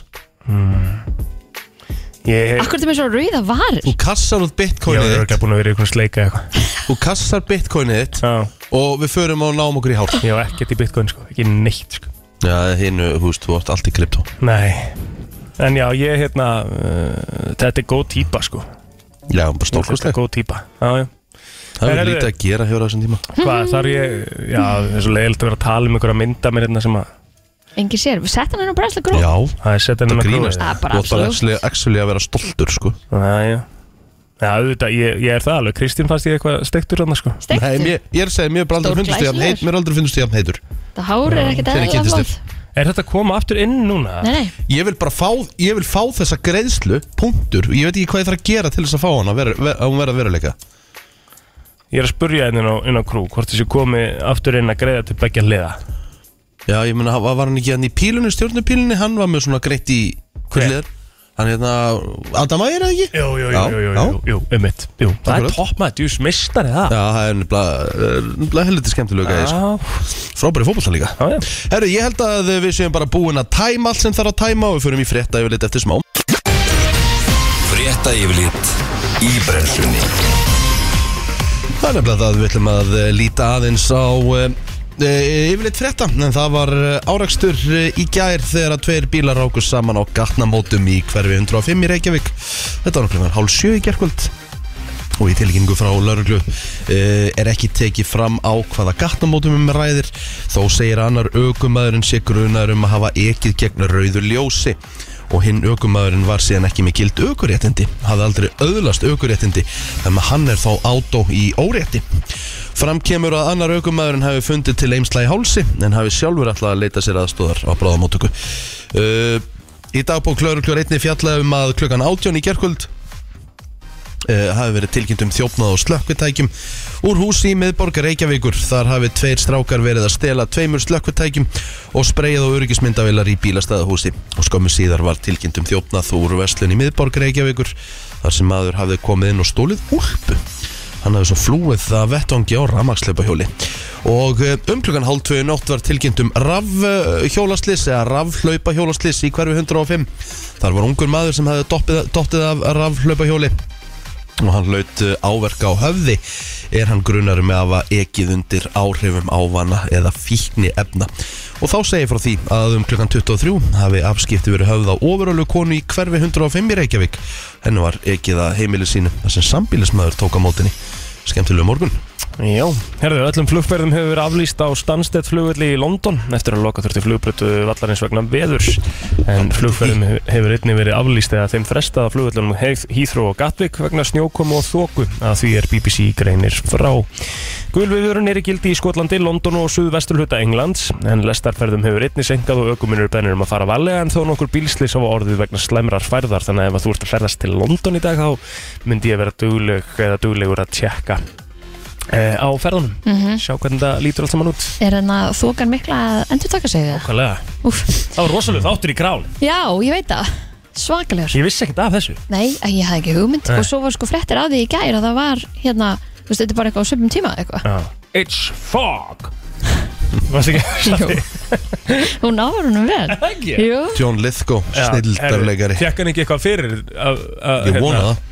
Speaker 3: Ég,
Speaker 2: Akkur til mér svo rauða varir
Speaker 1: Þú kassar út
Speaker 3: ég
Speaker 1: bitcoinið
Speaker 3: var
Speaker 1: þitt
Speaker 3: örglega búin að vera í einhvern sleika eða eitthvað.
Speaker 1: Þú kassar bitcoinið þitt
Speaker 3: Já,
Speaker 1: og við förum og náum okkur í hár
Speaker 3: ég var ekkert í bitcoin sko, ekki neitt sko.
Speaker 1: Já, hinnu, þú veist, þú ert allt í krypto
Speaker 3: Nei. En já, ég hérna, uh, þetta er góð típa sko.
Speaker 1: Já, bara
Speaker 3: Þetta er
Speaker 1: stórkostleg
Speaker 3: góð típa. Já, já.
Speaker 1: Það er
Speaker 3: Herðu.
Speaker 1: lítið að gera hjá þessum tíma
Speaker 3: Hvað þarf ég, já, það er svo leiðilegt að vera að tala um einhverja mynda mér hérna sem að,
Speaker 2: Engi sér, sett hann inn á bræsla gró
Speaker 1: Já,
Speaker 3: það er setja
Speaker 1: það
Speaker 3: hennar
Speaker 1: grínast
Speaker 2: Það er bara
Speaker 1: Þú ert bara
Speaker 2: absolutt.
Speaker 1: actually- actually að vera stoltur, sko
Speaker 3: Já, já. Já, auðvitað, ég, ég er það alveg. Kristín fannst ég eitthvað steiktur hann, sko.
Speaker 1: Nei,
Speaker 2: Stektur,
Speaker 1: mér, ég er að segja, mér er bara aldrei finnst ég jafn heit- mér er aldrei finnst ég jafn heitur
Speaker 2: þetta hár er ekkert
Speaker 1: Þegar ég
Speaker 2: eðlilega
Speaker 1: kynntist
Speaker 2: flott
Speaker 3: Er þetta að koma aftur inn núna?
Speaker 2: Nei, nei,
Speaker 1: Ég vil bara fá, ég vil fá þessa greiðslu, punktur Ég veit ekki hvað ég þarf að gera til þess að fá hana vera, ver, að hún verða að veruleika
Speaker 3: Ég er að spurja henni inn á, inn á krú hvort þessi komi aftur inn að greiða til begja hliða.
Speaker 1: Já, ég meina, var var hann ekki hann í pílunni, stjórnupílunni Hann var með svona greitt í
Speaker 3: Hver?
Speaker 1: hver? Hann hérna, Adam Ægir eða ekki?
Speaker 3: Jú, jú, jú,
Speaker 1: Já,
Speaker 3: jú, jú,
Speaker 1: já.
Speaker 3: jú, jú, einmitt. Jú, það
Speaker 1: Akkurat.
Speaker 3: er toppmætt, jú, smistari það.
Speaker 1: Já, það er nefnilega eh, nefnilega helviti skemmtilega gæði,
Speaker 3: Ah.
Speaker 1: sko. Frábæri fótbolta líka
Speaker 3: já, já.
Speaker 1: Herru, ég held að við séum bara búin að tæma allt sem þarf að tæma og við förum í frétta yfir eftir smá
Speaker 4: Frétta yfirlit í brenslunni
Speaker 1: Það er nefnilega það að við ætlum að eh, líta aðeins á eh, eh, yfirleitt frétta en það var eh, árekstur eh, í gær þegar að tveir bílar rákust saman á gatnamótum í hverfi 105 í Reykjavík Þetta var nefnilega hálf sjö í gærkvöld og í tilkynningu frá lauruglu eh, er ekki tekið fram á hvaða gatnamótum um ræðir þó segir annar aukumæðurinn sé grunar um að hafa ekið gegn rauðu ljósi og hinn aukumæðurinn var síðan ekki með gild aukuréttindi hafði aldrei öðlast aukuréttindi þannig að hann er þá átó í órétti Fram kemur að annar aukumæðurinn hafi fundið til eimsla í hálsi en hafi sjálfur alltaf að leita sér aðstóðar á bráðamótöku uh, Í dagbók lauruglu er einni fjallaði um að klukkan 18 í gerkvöld uh, hafi verið tilkynnt um þjófnað og slökkvitækjum úr húsi í miðborgar Reykjavíkur. Þar hafi tveir strákar verið að stela tveimur slökkvitækjum og spreyjað á öryggismyndavilar í bílastæðahúsi og skömmu síðar var tilkynnt um þjófnað úr veslun í miðborgar Reykjavíkur þar sem maður hafði komið inn og stólið úlpu. Hann hafði svo flúið það vettvangi á rammaksleipahjóli og eh, um klukkan hálf 2 nótt var tilkynnt um rafhjólaslis eða rafhlaupahjólaslis í hverfi 105 þar var ungur maður sem hafði doppið, dottið af rafhlaupahjóli og hann laut uh, áverka á höfði er hann grunar með að hafa ekið undir áhrifum ávana eða fíkni efna og þá segir frá því að um klukkan 23 hafi afskipti verið höfð á ofurölu konu í hverfi 105 í Reykjavík henni var ekið að heimili sínu þar sem sambílismæður tók á mótinni skemmtilegu morgun
Speaker 3: Já, herðu, öllum flugferðum hefur verið aflýst á Stansted flugvelli í London eftir að loka þurfti flugbrötu vallarins vegna veðurs en flugferðum he- hefur einnig verið aflýst eða þeim frestað á flugvellunum Heathrow og Gatwick vegna snjókomu og þóku að því er BBC greinir frá Gulviðurinn er í gildi í Skotlandi, London og suðvesturhluta Englands en lestarferðum hefur einnig senkað og ökumunir bennir um að fara valega en þó nokkur bílslis á orðið vegna slæmrar færðar þannig að ef að þú ert að ferðast til London í dag þá myndi ég vera dugleg eða duglegur að tjekka eh, á ferðunum
Speaker 2: Mhm.
Speaker 3: sjá hvernig það lítur allt saman út
Speaker 2: er hann að þókan mikla að endur taka sig við
Speaker 3: Hvaðlega?
Speaker 2: það Úf.
Speaker 3: Það var rosalega þáttur í krán
Speaker 2: Já, ég veit það, svakalegur
Speaker 3: Ég vissi ekkert af þessu
Speaker 2: Nei, ég hafði ekki hugmynd
Speaker 3: Nei.
Speaker 2: og svo var sko fréttir að því í gær að það var hérna, þú veist, þetta er bara eitthvað á sömum tíma eða eitthvað.
Speaker 3: It's fog Varst ekki
Speaker 2: Jú. Hún náður húnum vel.
Speaker 3: Ekki?
Speaker 2: Jú,
Speaker 1: John Lithgow, snildafleikari
Speaker 3: Tjekk hann ekki eitthvað fyrir að, að,
Speaker 1: ég vona það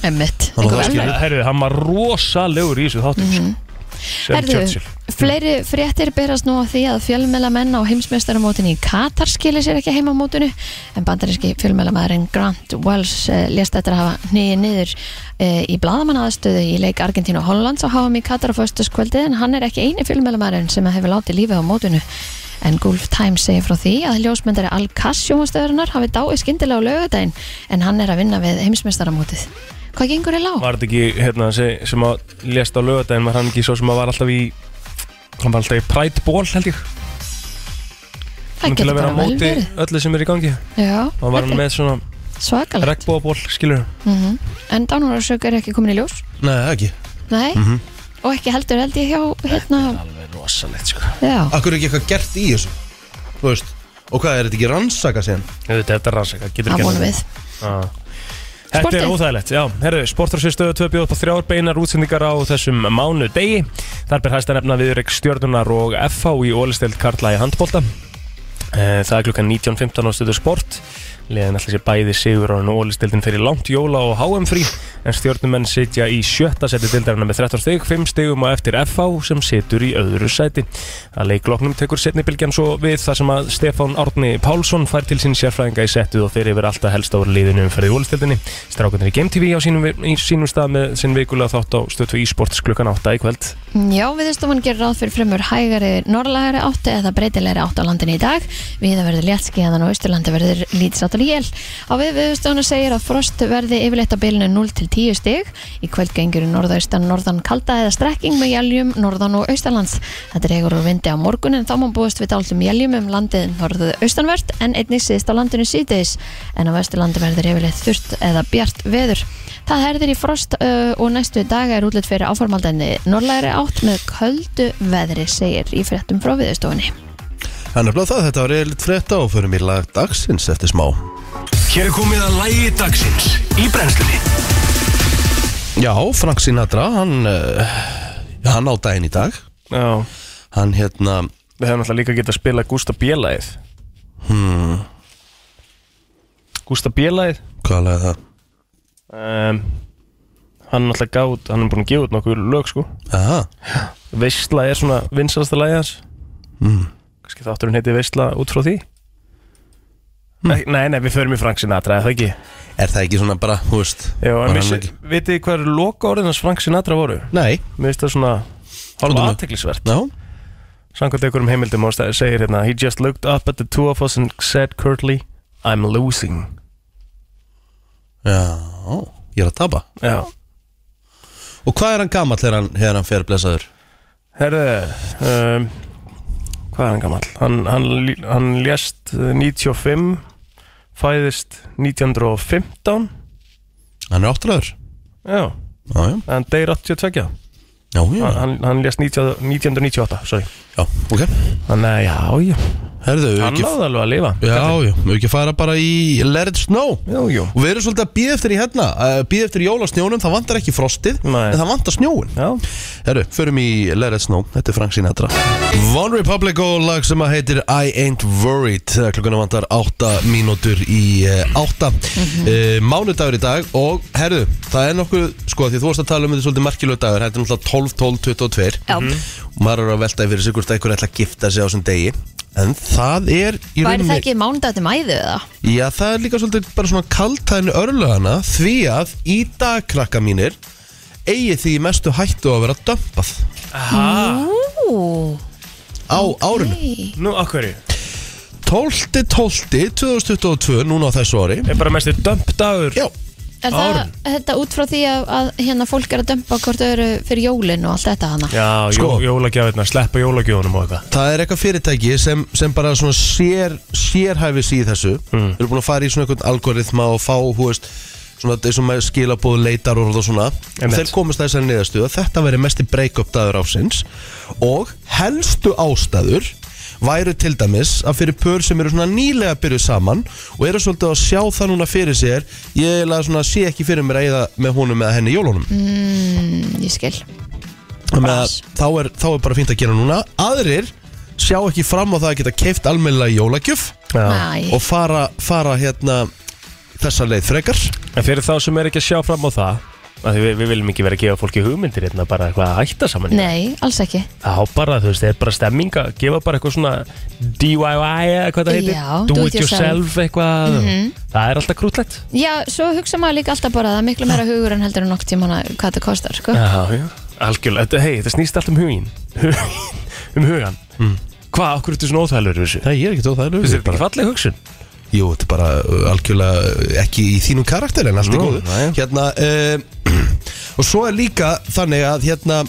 Speaker 2: emmitt,
Speaker 1: Hann
Speaker 2: einhver
Speaker 1: var
Speaker 2: verðlaun.
Speaker 1: skilur.
Speaker 3: Herðu, hann var rosalegur í þessu þáttum mm Sem
Speaker 2: Mhm. Herðu,
Speaker 3: Churchill
Speaker 2: fleiri fréttir berast nú á því að fjölmælamenn á heimsmeistaramótinu í Katar skilir sér ekki heimamótinu en bandaríski fjölmælamæðurinn Grant Wells uh, lést eftir að hafa nýið niður uh, í blaðamannaðastöðu í leik Argentínu og Hollands á HM í Katar á föstuskvöldi en hann er ekki eini fjölmælamæðurinn sem hefur látið lífið á mótinu En Gulf Times segir frá því að ljósmyndari Al-Kass sjónvastöðurinnar hafi dáið skyndilega á lögadaginn en hann er að vinna við heimsmeistaramótið. Hvað gengur er lág?
Speaker 3: Var þetta ekki, hérna, sem, sem að lést á lögadaginn var hann ekki svo sem að var alltaf í hann var alltaf í Pride Ball, held ég
Speaker 2: Það
Speaker 3: til að
Speaker 2: getur
Speaker 3: vera
Speaker 2: bara
Speaker 3: á
Speaker 2: vel
Speaker 3: móti
Speaker 2: verið.
Speaker 3: öllu sem er í gangi
Speaker 2: Já,
Speaker 3: og var hann með svona
Speaker 2: svakalegt.
Speaker 3: regnbóðaból, skilur
Speaker 2: mm En dánarársök er ekki komin í ljós
Speaker 1: Nei, ekki
Speaker 2: Nei, og ekki heldur held ég hjá hérna,
Speaker 3: Alveg rosalegt sko
Speaker 2: já,
Speaker 1: Akkur er ekki eitthvað gert í þessu Þú veist Og hvað er þetta ekki rannsaka síðan?
Speaker 3: Þetta er rannsaka, getur
Speaker 2: það
Speaker 3: ekki
Speaker 2: vonum við
Speaker 3: Já. Þetta
Speaker 2: Sportið.
Speaker 3: er óþægilegt, já, herru, sportrásistöðu 2 bjóð upp á þrjár beinar útsendingar á þessum mánu degi Þar ber hæsta nefna viðreik stjörnunar og FH í ólisteild Karla í handbólta Eh, Það er klukkan 19.15 á stöðu sport Leðan alltaf sér bæði sigur og ólisteildin fyrir langt jóla og HM frí En stjórnumenn sitja í sjötta seti dildarinnar með 13 stig 5 stigum og eftir FH sem situr í öðru seti Að leikloknum tekur setni bylgjan svo við þar sem að Stefán Árni Pálsson fær til sín sérfræðinga í setu og fyrir yfir alltaf helst á liðinu umferði ólistildinni Strákunir í Game TV á sínum, í sínum stað með sinn vikulega þátt á stöð 2 e-sports klukkan 8 í kvöld
Speaker 2: Já, viðstofan gerir ráð fyrir fremur hægari norðlægari átti eða breytilegri átt á landinu í dag. Viða verður léttskíðan og austurlandi verður lítsátt og jél. Á við viðstofana segir að frost verði yfirleitt á bylunu 0 til 10 stig. Í kvöld gengur í norðaustan, norðan kalda eða strekking með jæljum, norðan og austurlands. Þetta er eigur úr vindi á morgun en þá má búist við dálum jæljum um landið norðu austanvert en einnig síðist á landinu síðdeis en á vesturlandi verður yfirleitt þurft eða bjart veður. Það herðir í frost uh, og næstu daga er útlitt fyrir áformaldenni norrlæri átt með köldu veðri segir í fréttum frá viðustofunni.
Speaker 1: Það er nefnilega það, þetta var reyðilegt frétta og förum í lag dagsins eftir smá
Speaker 4: Hér er komið að lægi dagsins í brennslunni
Speaker 1: Já, Frank Sinatra, hann, uh, hann á daginn í dag
Speaker 3: Já,
Speaker 1: Hann hérna,
Speaker 3: við hefum alltaf líka getað að spila Gústa Bélagið hmm. Gústa Bélagið
Speaker 1: hvað lag er það?
Speaker 3: um, Hann er alltaf gátt, hann er búin að gefa út nokkuð lög sko
Speaker 1: Aha,
Speaker 3: Veistla er svona vinsalasta lagið hans mm.
Speaker 1: Hmm.
Speaker 3: Kannski þátturinn heiti Veistla út frá því
Speaker 1: Hmm.
Speaker 3: Nei, Nei, nei, við förum í Frank Sinatra, er það ekki?
Speaker 1: er það ekki svona bara, þú veist
Speaker 3: Jó,
Speaker 1: var
Speaker 3: en
Speaker 1: hann
Speaker 3: vissi,
Speaker 1: ekki-
Speaker 3: vitið þið hvað eru loka hans Frank Sinatra voru?
Speaker 1: Nei,
Speaker 3: Mér finnst það svona
Speaker 1: Komdu
Speaker 3: hálfa
Speaker 1: með.
Speaker 3: aðteklisvert
Speaker 1: já,
Speaker 3: Samkvæmt einhverjum heimildum og stæ- segir hérna He just looked up at the two of us and said curtly I'm losing
Speaker 1: já, ég er að tapa
Speaker 3: Já
Speaker 1: Og hvað er hann gamall þegar hann, þegar hann fer blessaður?
Speaker 3: Herðu um, Hvað er hann gamall? Hann, hann, lí- hann lést eh, 95 Fæðist 1915
Speaker 1: Hann er áttræður
Speaker 3: Já
Speaker 1: Já, já,
Speaker 3: En deyr 82
Speaker 1: já, já,
Speaker 3: Hann, hann, hann lést 90, 1998 Sorry
Speaker 1: já, ok
Speaker 3: Þannig að já, já
Speaker 1: Herðu, við
Speaker 3: Hann
Speaker 1: ekki,
Speaker 3: náði alveg að lifa
Speaker 1: já, já, við ekki fara bara í Let it snow
Speaker 3: Já, já
Speaker 1: Og við erum svolítið að býða eftir í hérna uh, Býða eftir jólasnjónum, það vantar ekki frostið
Speaker 3: Nei.
Speaker 1: En það vantar snjóin
Speaker 3: Já
Speaker 1: Herru, förum í Let it snow, þetta er Frank Sinatra Von Republic og lag sem að heitir I ain't worried Eh, Klukkuna vantar 8 mínútur í 8
Speaker 2: Mhm.
Speaker 1: uh, Mánudagur í dag Og herru, það er nokkuð Sko, því þú varst að tala um þetta svolítið merkilög dagur Þetta er náttúrulega 12, 12, 22
Speaker 2: Já,
Speaker 1: Og maður er að velta fyrir sig hvort eitthvað ætla að gifta sig á þessum degi En það er í
Speaker 2: væri það ekki mánudatum æðu eða?
Speaker 1: Já, það er líka svolítið bara svona kaltæðinu örlögana því að í dag krakka mínir eigi því í mestu hættu að vera dömpað
Speaker 2: Ú,
Speaker 1: á árinu.
Speaker 2: nei.
Speaker 3: Nú, akkur
Speaker 1: 12.12.2022, núna á þessu ári.
Speaker 3: Er bara mestu dömp dagur
Speaker 1: Já,
Speaker 2: Er það
Speaker 3: Árn.
Speaker 2: þetta út frá því að, að hérna fólk er að dömpa hvort öðru fyrir jólin og allt þetta hana?
Speaker 3: Já,
Speaker 1: Sko.
Speaker 3: sko. jólagjafinna, sleppa jólagjafinum og eitthvað
Speaker 1: það er eitthvað fyrirtæki sem, sem bara svona sér, sérhæfi sig í þessu. Mm. Eru búin að fara í svona einhvern algoritma og fá, hú veist, svona þessum með skilabóð leitar og svona.
Speaker 3: Einmitt.
Speaker 1: Þeir komast að þessari niðarstöðu að þetta veri mesti break-up dagur áfsins og helstu ástæður væru til dæmis að fyrir pör sem eru svona nýlega byrjuð saman og eru svolítið að sjá það núna fyrir sér ég eiginlega svona sé ekki fyrir mér að eða með honum eða henni í jólunum
Speaker 2: Mm, ég skil.
Speaker 1: Þannig að þá er, þá er bara fínt að gera núna aðrir sjá ekki fram á það að geta keift almennilega í jólagjöf
Speaker 2: Næ,
Speaker 1: og fara, fara hérna þessa leið frekar
Speaker 3: En fyrir þá sem er ekki að sjá fram á það að við, við viljum ekki vera að gefa fólki hugmyndir hérna bara eitthvað að hætta saman í.
Speaker 2: nei, alls ekki.
Speaker 3: þá bara, þú veist, það er bara stemming að gefa bara eitthvað svona DIY eða hvað það heitir,
Speaker 2: Já, do
Speaker 3: do,
Speaker 2: it Mhm.
Speaker 3: it yourself eitthvað, það er alltaf krútlegt
Speaker 2: Já, svo hugsa maður líka alltaf bara að það er miklu meira hugur en heldur en nokk tíma hana hvað þetta kostar, sko.
Speaker 3: Já, já, algjörlega, þetta, hei, þetta snýst allt um hugin um hugan Hvað, okkur ertu svona óþælur við þessu?
Speaker 1: Nei, ég er ekki tóð það
Speaker 3: Þú veist, þetta er ekki falleg hugsun
Speaker 1: Jú, þetta er bara uh, algjörlega uh, ekki í þínum karakter en allt í
Speaker 3: Nú,
Speaker 1: góðu
Speaker 3: nei.
Speaker 1: Hérna, uh, og svo er líka þannig að hérna,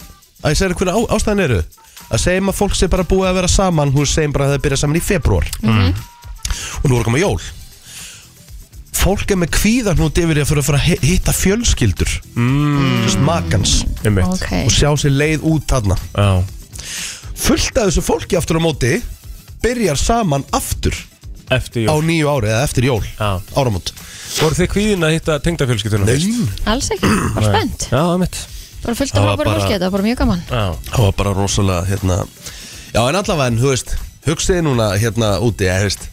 Speaker 1: að ég segir hvernig á, ástæðan eru að segjum að fólk sé bara búið að vera
Speaker 2: Mhm.
Speaker 3: Mm,
Speaker 1: saman hún segjum bara að það byrja saman í februar og nú er að koma jól fólk er með kvíðarnúti yfir því að fyrir að fara að hi- hitta fjölskyldur mm. makans
Speaker 3: einmitt
Speaker 2: ok,
Speaker 1: og sjá sér leið út þarna
Speaker 3: Já,
Speaker 1: fullt af þessu fólki aftur á móti byrjar saman aftur
Speaker 3: eftir
Speaker 1: á
Speaker 3: jól
Speaker 1: nýju ári eða eftir jól
Speaker 3: Já.
Speaker 1: áramót
Speaker 3: Voru þið kvíðin að hitta tengdafjölskylduna?
Speaker 2: alls ekki, bara spennt
Speaker 3: Já, einmitt
Speaker 2: bara fullt
Speaker 1: Það
Speaker 2: af
Speaker 1: var
Speaker 2: hópar
Speaker 1: bara-
Speaker 2: fólki, þetta var bara mjög gaman
Speaker 3: Já,
Speaker 1: það var bara rosalega hérna já en allavega en þú veist hugsiði núna hérna úti eða þú veist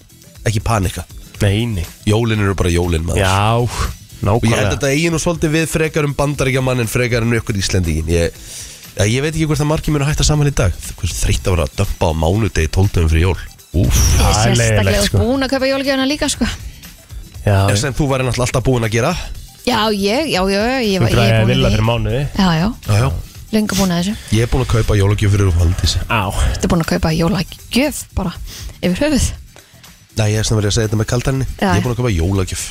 Speaker 1: ekki panika
Speaker 3: neini
Speaker 1: jólin eru bara jólin maður
Speaker 3: Já,
Speaker 1: og ég held að
Speaker 3: nákvæmlega
Speaker 1: þetta eigi nú svolítið við frekar um bandaríkjaman en frekar en ykkur Íslendingin ég, ja, ég veit ekki hvort það margir mér að hætta saman í dag hversu þreytt að vera að dömpa á mánudegi 12 fyrir jól Úf,
Speaker 3: Það er leiðilegt,
Speaker 2: sérstaklega
Speaker 3: sko.
Speaker 2: sko. búin að kaupa jólgjöfuna líka sko.
Speaker 3: Já,
Speaker 1: sem þú væri náttúrulega alltaf búin að gera
Speaker 2: já, ég, já, já, já ég,
Speaker 3: þú
Speaker 2: var- ég
Speaker 3: græði
Speaker 2: er
Speaker 3: að
Speaker 2: búin
Speaker 3: vilja fyrir
Speaker 2: að
Speaker 3: mánuði
Speaker 2: já, já,
Speaker 1: já, já.
Speaker 2: lengur búin að þessu
Speaker 1: ég er búin að kaupa jólagjöf fyrir Valdísi
Speaker 3: Á,
Speaker 2: Þetta er búin að kaupa jólagjöf bara yfir höfuð
Speaker 1: nei, ég er sem verið að segja þetta með kaldarinni
Speaker 2: Já.
Speaker 1: ég er búin að kaupa jólagjöf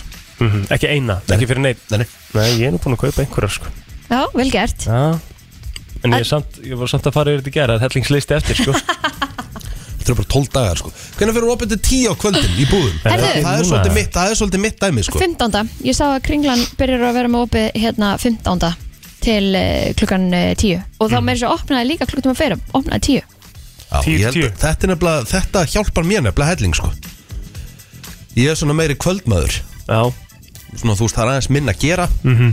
Speaker 3: mhm, ekki eina, ekki fyrir neitt
Speaker 1: nei, nei.
Speaker 3: Nei, ég er nú búin að kaupa einhverjar sko
Speaker 2: Já, vel gert
Speaker 3: Já En ég,
Speaker 2: En-
Speaker 3: er samt, ég var samt að fara yfir þetta í gera Það er hellingslisti eftir sko
Speaker 1: þetta eru bara 12 dagar sko hvernig fyrir opið til 10 á kvöldin í búðum
Speaker 2: Herðu.
Speaker 1: það, það, er svolítið mitt, það er svolítið mitt dæmi sko
Speaker 2: 15. Ég sá að Kringlan byrjar að vera með opið hérna 15. til uh, klukkan uh, 10 og
Speaker 3: Mm.
Speaker 2: þá meira svo opnaði líka klukkan að fyrir opnaði 10
Speaker 1: Já,
Speaker 3: 10,
Speaker 1: ég held að
Speaker 3: 10.
Speaker 1: þetta, er nefnilega- þetta hjálpar mér nefnilega helling sko ég er svona meiri kvöldmaður
Speaker 3: Já,
Speaker 1: svona þú veist það er aðeins minna að gera
Speaker 3: Mhm.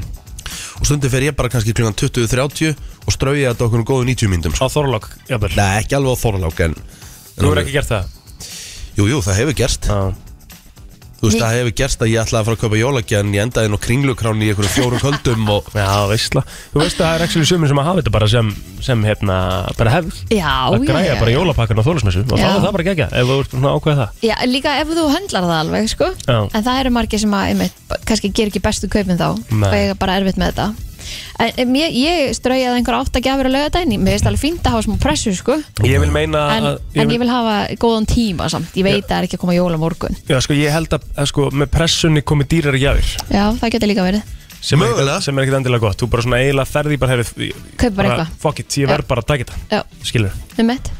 Speaker 1: og stundum fer ég bara kannski klukkan 20.30 og strauja þetta okkur um góðu 90 myndum
Speaker 3: á
Speaker 1: sko.
Speaker 3: Þorlokk, jafnvel
Speaker 1: Nei, ekki alveg á Þorlák en, en
Speaker 3: Þú hefur ekki gert það
Speaker 1: Jú, jú, það hefur gerst
Speaker 3: Já,
Speaker 1: Þú veist, það hefur gerst að ég ætlaði að fara að kaupa jólagja en ég endaði nú kringlukrán í einhverjum fjórum kvöldum og
Speaker 3: Já veistla Þú veist að það er ekki sumin sem að hafa þetta bara sem, sem hérna, bara hefð
Speaker 2: Já,
Speaker 3: Að
Speaker 2: já,
Speaker 3: græja
Speaker 2: já,
Speaker 3: bara
Speaker 2: já.
Speaker 3: jólapakkan á Þorlóksmessu Og þá
Speaker 2: Já.
Speaker 3: er það bara gegja, ef þú ert svona ákveða það
Speaker 2: Já, líka ef þú höndlar það alveg sko.
Speaker 3: Já.
Speaker 2: en það eru margir sem að einmitt, b- kannski ger ekki bestu kaupin þá
Speaker 3: Nei.
Speaker 2: og ég er bara erfitt með þetta en, en ég, ég straujaði einhver átt að gefur að löga dæni mér veist alveg fínt að hafa smá pressu sko.
Speaker 3: Ég vil meina
Speaker 2: en,
Speaker 3: að
Speaker 2: en ég vil hafa góðan tíma samt ég veit að það er ekki að koma jóla morgun
Speaker 3: Já, sko, ég held að, að sko, með pressunni komi dýrar gjafir
Speaker 2: Já, það getur líka verið
Speaker 3: sem er,
Speaker 1: Mögulega.
Speaker 3: ekkert, sem er ekkert endilega gott Þú bara svona eiginlega ferði bara herrið
Speaker 2: Kaup bara eitthvað.
Speaker 3: Fuck it, ég verð bara að taka
Speaker 2: Já,
Speaker 3: þetta Skilur
Speaker 2: um mitt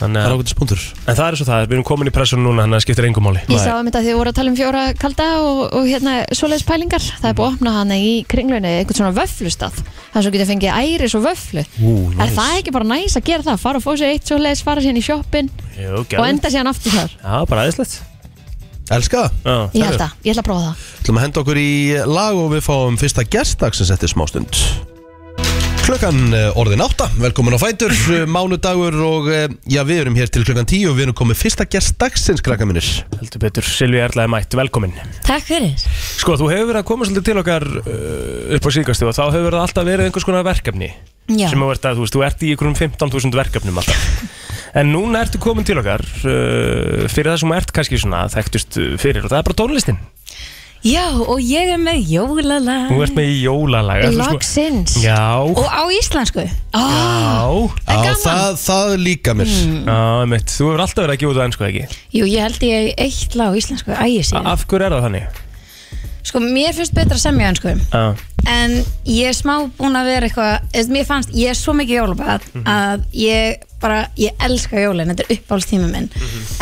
Speaker 3: Þannig
Speaker 1: það er
Speaker 3: að
Speaker 1: ákveðtis punktur
Speaker 3: En það er svo það, við erum komin í pressun núna Þannig að það skiptir engum máli
Speaker 2: Ég sá að mynda að þið voru að tala um fjóra kalda og, og hérna svoleiðis pælingar Það er búið að opna hana í kringlunni einhvern svona vöflustað Þannig svo getur að fengið æris og vöflu
Speaker 1: Ú,
Speaker 2: Er það ekki bara næs að gera það? Fara og fá sér eitt svoleiðis, fara sér í shoppin
Speaker 3: Jú,
Speaker 2: og
Speaker 3: gæði
Speaker 2: enda síðan aftur þar
Speaker 3: Já, bara aðeinslegt
Speaker 1: Elska það
Speaker 2: Ég held að, ég ætla að prófa það
Speaker 1: ætlum að henda okkur í lag og við fáum fyrsta gestdagsins eftir smástund Klukkan eh, orðin átta, velkomin á Fætur, eh, mánudagur og eh, já við erum hér til klukkan tíu og við erum komið fyrsta gestdagsins krakka minnir
Speaker 3: Heldur betur, Silvi Erla er mætt, velkomin
Speaker 5: Takk fyrir.
Speaker 3: Sko, þú hefur verið að koma svolítið til okkar uh, upp á síðkastu og þá hefur það alltaf verið einhvers konar verkefni
Speaker 5: Já.
Speaker 3: sem þú ert að, þú veist, þú ert í einhverjum 15.000 verkefnum alltaf En núna ertu komin til okkar uh, fyrir það sem þú ert kannski svona þekktust uh, fyrir og það er bara tónlistin
Speaker 5: Já, og ég er með jólalag.
Speaker 3: Þú ert með í jólalag ertu sko-
Speaker 2: Loksins
Speaker 3: Já,
Speaker 5: Og á íslensku.
Speaker 2: ah,
Speaker 3: já,
Speaker 2: En
Speaker 1: Á,
Speaker 2: gaman.
Speaker 1: það, það líka mér
Speaker 3: Mm. já, mitt, þú hefur alltaf verið að gefa út á ennsku ekki
Speaker 5: Jú, ég held ég eitt lag á íslensku, ægir síðan.
Speaker 3: Af hverju er það þannig?
Speaker 5: Sko, mér finnst betra að semja ennsku.
Speaker 3: Uh,
Speaker 5: En ég er smá búin að vera eitthvað, eða, mér fannst, ég er svo mikið jólabæð
Speaker 1: Mhm.
Speaker 5: að ég bara, ég elska jólin, þetta er uppáhaldstími minn.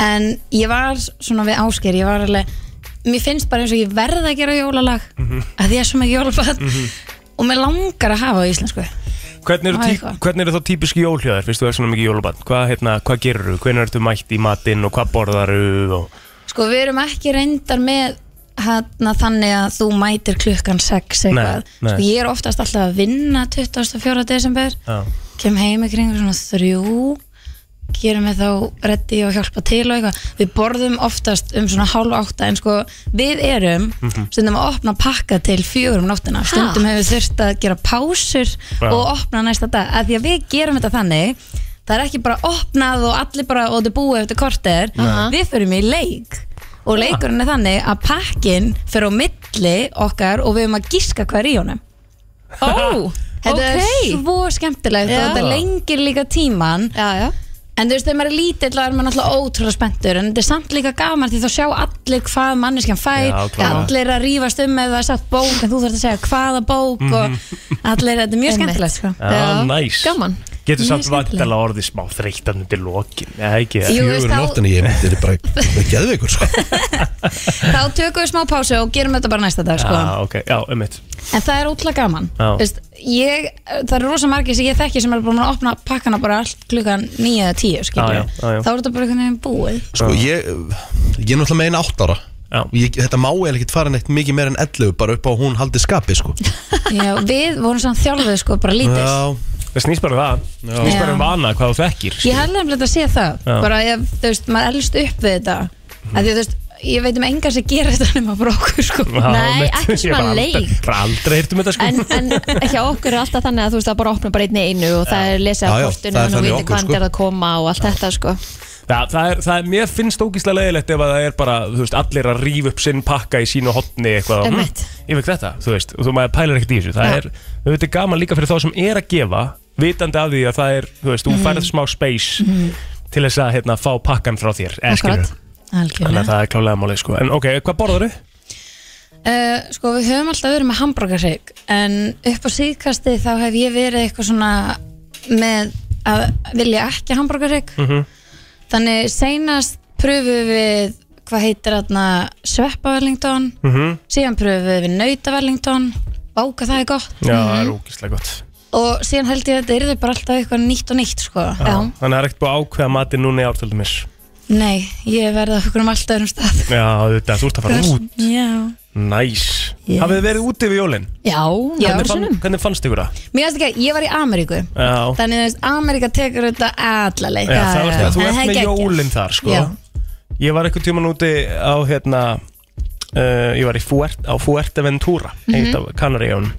Speaker 5: En ég var svona við ásker, ég var alveg, mér finnst bara eins og ég verð að gera jólalag,
Speaker 3: Mhm.
Speaker 5: að því ég er svo mikið jólabæð og mér langar að hafa á íslensku.
Speaker 3: Hvernig eru,
Speaker 5: Á,
Speaker 3: tí,
Speaker 5: eitthvað.
Speaker 3: hvernig eru þá típiski jólhjóðar, fyrst þú er svona mikið jólabann? Hvað, hérna, hvað gerur þú? Hvernig ertu mætt í matinn og hvað borðar þú? Og...
Speaker 5: Sko við erum ekki reyndar með hana, þannig að þú mætir klukkan 6 eitthvað.
Speaker 3: Nei, nei.
Speaker 5: Sko ég er oftast alltaf að vinna 24. desember,
Speaker 3: Já.
Speaker 5: kem heim í kring svona þrjú, gerum við þá reddi og hjálpa til og eitthvað. Við borðum oftast um svona hálf átta en sko við erum stundum að opna pakka til fjögur um nóttina. Stundum hefur við þurft að gera pásur
Speaker 3: Já.
Speaker 5: og opna næsta dag. Að því að við gerum þetta þannig, það er ekki bara opnað og allir bara og þetta er búið eftir korter.
Speaker 2: Nei.
Speaker 5: Við förum í leik og leikurinn er þannig að pakkin fer á milli okkar og við höfum að gíska hvað er í honum.
Speaker 2: Ó,
Speaker 5: Þetta er
Speaker 2: ok
Speaker 5: svo skemmtilegt
Speaker 2: Já.
Speaker 5: og þetta lengir líka tíman
Speaker 2: Já, já
Speaker 5: En þú veist, þegar maður er lítill þá er maður náttúrulega ótrúlega spenntur en þetta er samt líka gaman því þá sjá allir hvað manneskjan fær
Speaker 3: Já, klárlega.
Speaker 5: allir að rífast um ef það er sagt
Speaker 3: Mhm.
Speaker 5: bók en þú þarf að segja hvaða bók og allir, þetta er mjög
Speaker 2: Einmitt.
Speaker 5: skemmtilegt sko.
Speaker 3: Já,
Speaker 2: Já,
Speaker 3: næs.
Speaker 2: Gaman
Speaker 3: Getur
Speaker 5: Mjög
Speaker 3: samt
Speaker 5: skemmtileg.
Speaker 3: vantala orðið smá þreytan undir lokin Eða ekki
Speaker 5: Jú, veist,
Speaker 1: Fjögur
Speaker 5: þá-
Speaker 1: nóttin ég myndi þetta er bara geðveikur sko.
Speaker 5: Þá tökum við smá pásu og gerum þetta bara næsta dag sko.
Speaker 3: Já, ok, já, um mitt
Speaker 5: En það er útla gaman
Speaker 3: Já.
Speaker 5: Veist, ég, Það eru rosa margir sem ég þekki sem er búin að opna pakkana bara allt klukkan 9 eða 10 skilur
Speaker 3: Já, já,
Speaker 5: við.
Speaker 3: já, já.
Speaker 5: Þá er þetta bara einhvern veginn búið
Speaker 1: sko ég ég er náttúrulega meina 8 ára
Speaker 3: Já.
Speaker 1: ég, þetta má eða ekkert fara neitt mikið meira en 11 bara upp á að hún haldi skapi sko
Speaker 5: já, Við vorum samt þjálfuð sko bara lítið
Speaker 1: já,
Speaker 3: Það snýst bara um það, snýst bara um
Speaker 5: Já.
Speaker 3: vana hvað þú þekkir
Speaker 5: Ég hef nefnilega að sé það
Speaker 3: Já.
Speaker 5: bara ef, þú veist, maður elst upp við þetta mm. því, þú veist, ég veit um enga sem gerir þetta nema frá okkur sko
Speaker 2: Nei, ekki svona leik.
Speaker 3: Bara aldrei hirtum þetta sko
Speaker 2: En, en hjá okkur er alltaf þannig að þú veist að bara opna bara einni einu og það er lesið á
Speaker 1: Já, já,
Speaker 2: kortinu
Speaker 1: það er
Speaker 2: og
Speaker 1: þannig
Speaker 2: viti
Speaker 1: okkur,
Speaker 2: hvað hann
Speaker 1: sko.
Speaker 2: er að koma og allt þetta sko
Speaker 3: Já, það er, það er, mér finnst ógíslega leiðilegt ef að það er bara, þú veist, allir að rífa upp sinn pakka í sínu hotni eitthvað og,
Speaker 2: Einmitt.
Speaker 3: Ég veit þetta, þú veist, og þú maður pælar ekkert í þessu Það
Speaker 2: Já.
Speaker 3: er, þú veit, gaman líka fyrir þá sem er að gefa vitandi af því að það er, þú
Speaker 2: Mm.
Speaker 3: veist, þú færð smá space til þess að, hérna, fá pakkan frá þér eða skilurðu.
Speaker 5: Akkurat,
Speaker 3: Þannig
Speaker 5: algjörlega
Speaker 3: að það er klálega málið, sko En ok, hvað borður þau?
Speaker 5: Uh, sko við höfum alltaf verið með hambúrgarseik en upp á síðkasti þá hef ég verið eitthvað svona með að vilja ekki hambúrgarseik
Speaker 3: Mhm.
Speaker 5: þannig seinast pröfuðum við hvað heitir þarna sveppa Wellington
Speaker 3: Mhm.
Speaker 5: síðan pröfuðum við nauta Wellington báka það er gott
Speaker 3: Já, það
Speaker 2: Mhm.
Speaker 3: er ógíslega gott
Speaker 5: og síðan held ég að þetta yrði bara alltaf eitthvað nýtt og nýtt sko Já.
Speaker 3: Þannig að það er ekkert búið að ákveða matinn núna í ártöldumir
Speaker 5: Nei, ég verði okkur um alltaf öðrum stað
Speaker 3: Já, þetta, þú ert að fara út
Speaker 5: Já
Speaker 3: Næs
Speaker 5: Yes.
Speaker 3: Hafið þið verið úti við jólinn?
Speaker 2: Já,
Speaker 5: Já.
Speaker 2: já.
Speaker 3: Hvernig, fann,
Speaker 2: sinnum.
Speaker 3: hvernig fannst ykkur það?
Speaker 5: Mér finnst ekki að ég var í Ameríku
Speaker 3: Já,
Speaker 5: Þannig að Amerika tekur þetta alla leið
Speaker 3: Já, það varst, þú
Speaker 5: En
Speaker 3: ert
Speaker 5: það er
Speaker 3: með
Speaker 5: geggjað.
Speaker 3: jólinn þar sko.
Speaker 5: Já.
Speaker 3: Ég var einhvern tíman úti á hérna uh, Ég var í Fuert, á Fuerteventura
Speaker 5: Mhm.
Speaker 3: Eitt af Kanaríjónum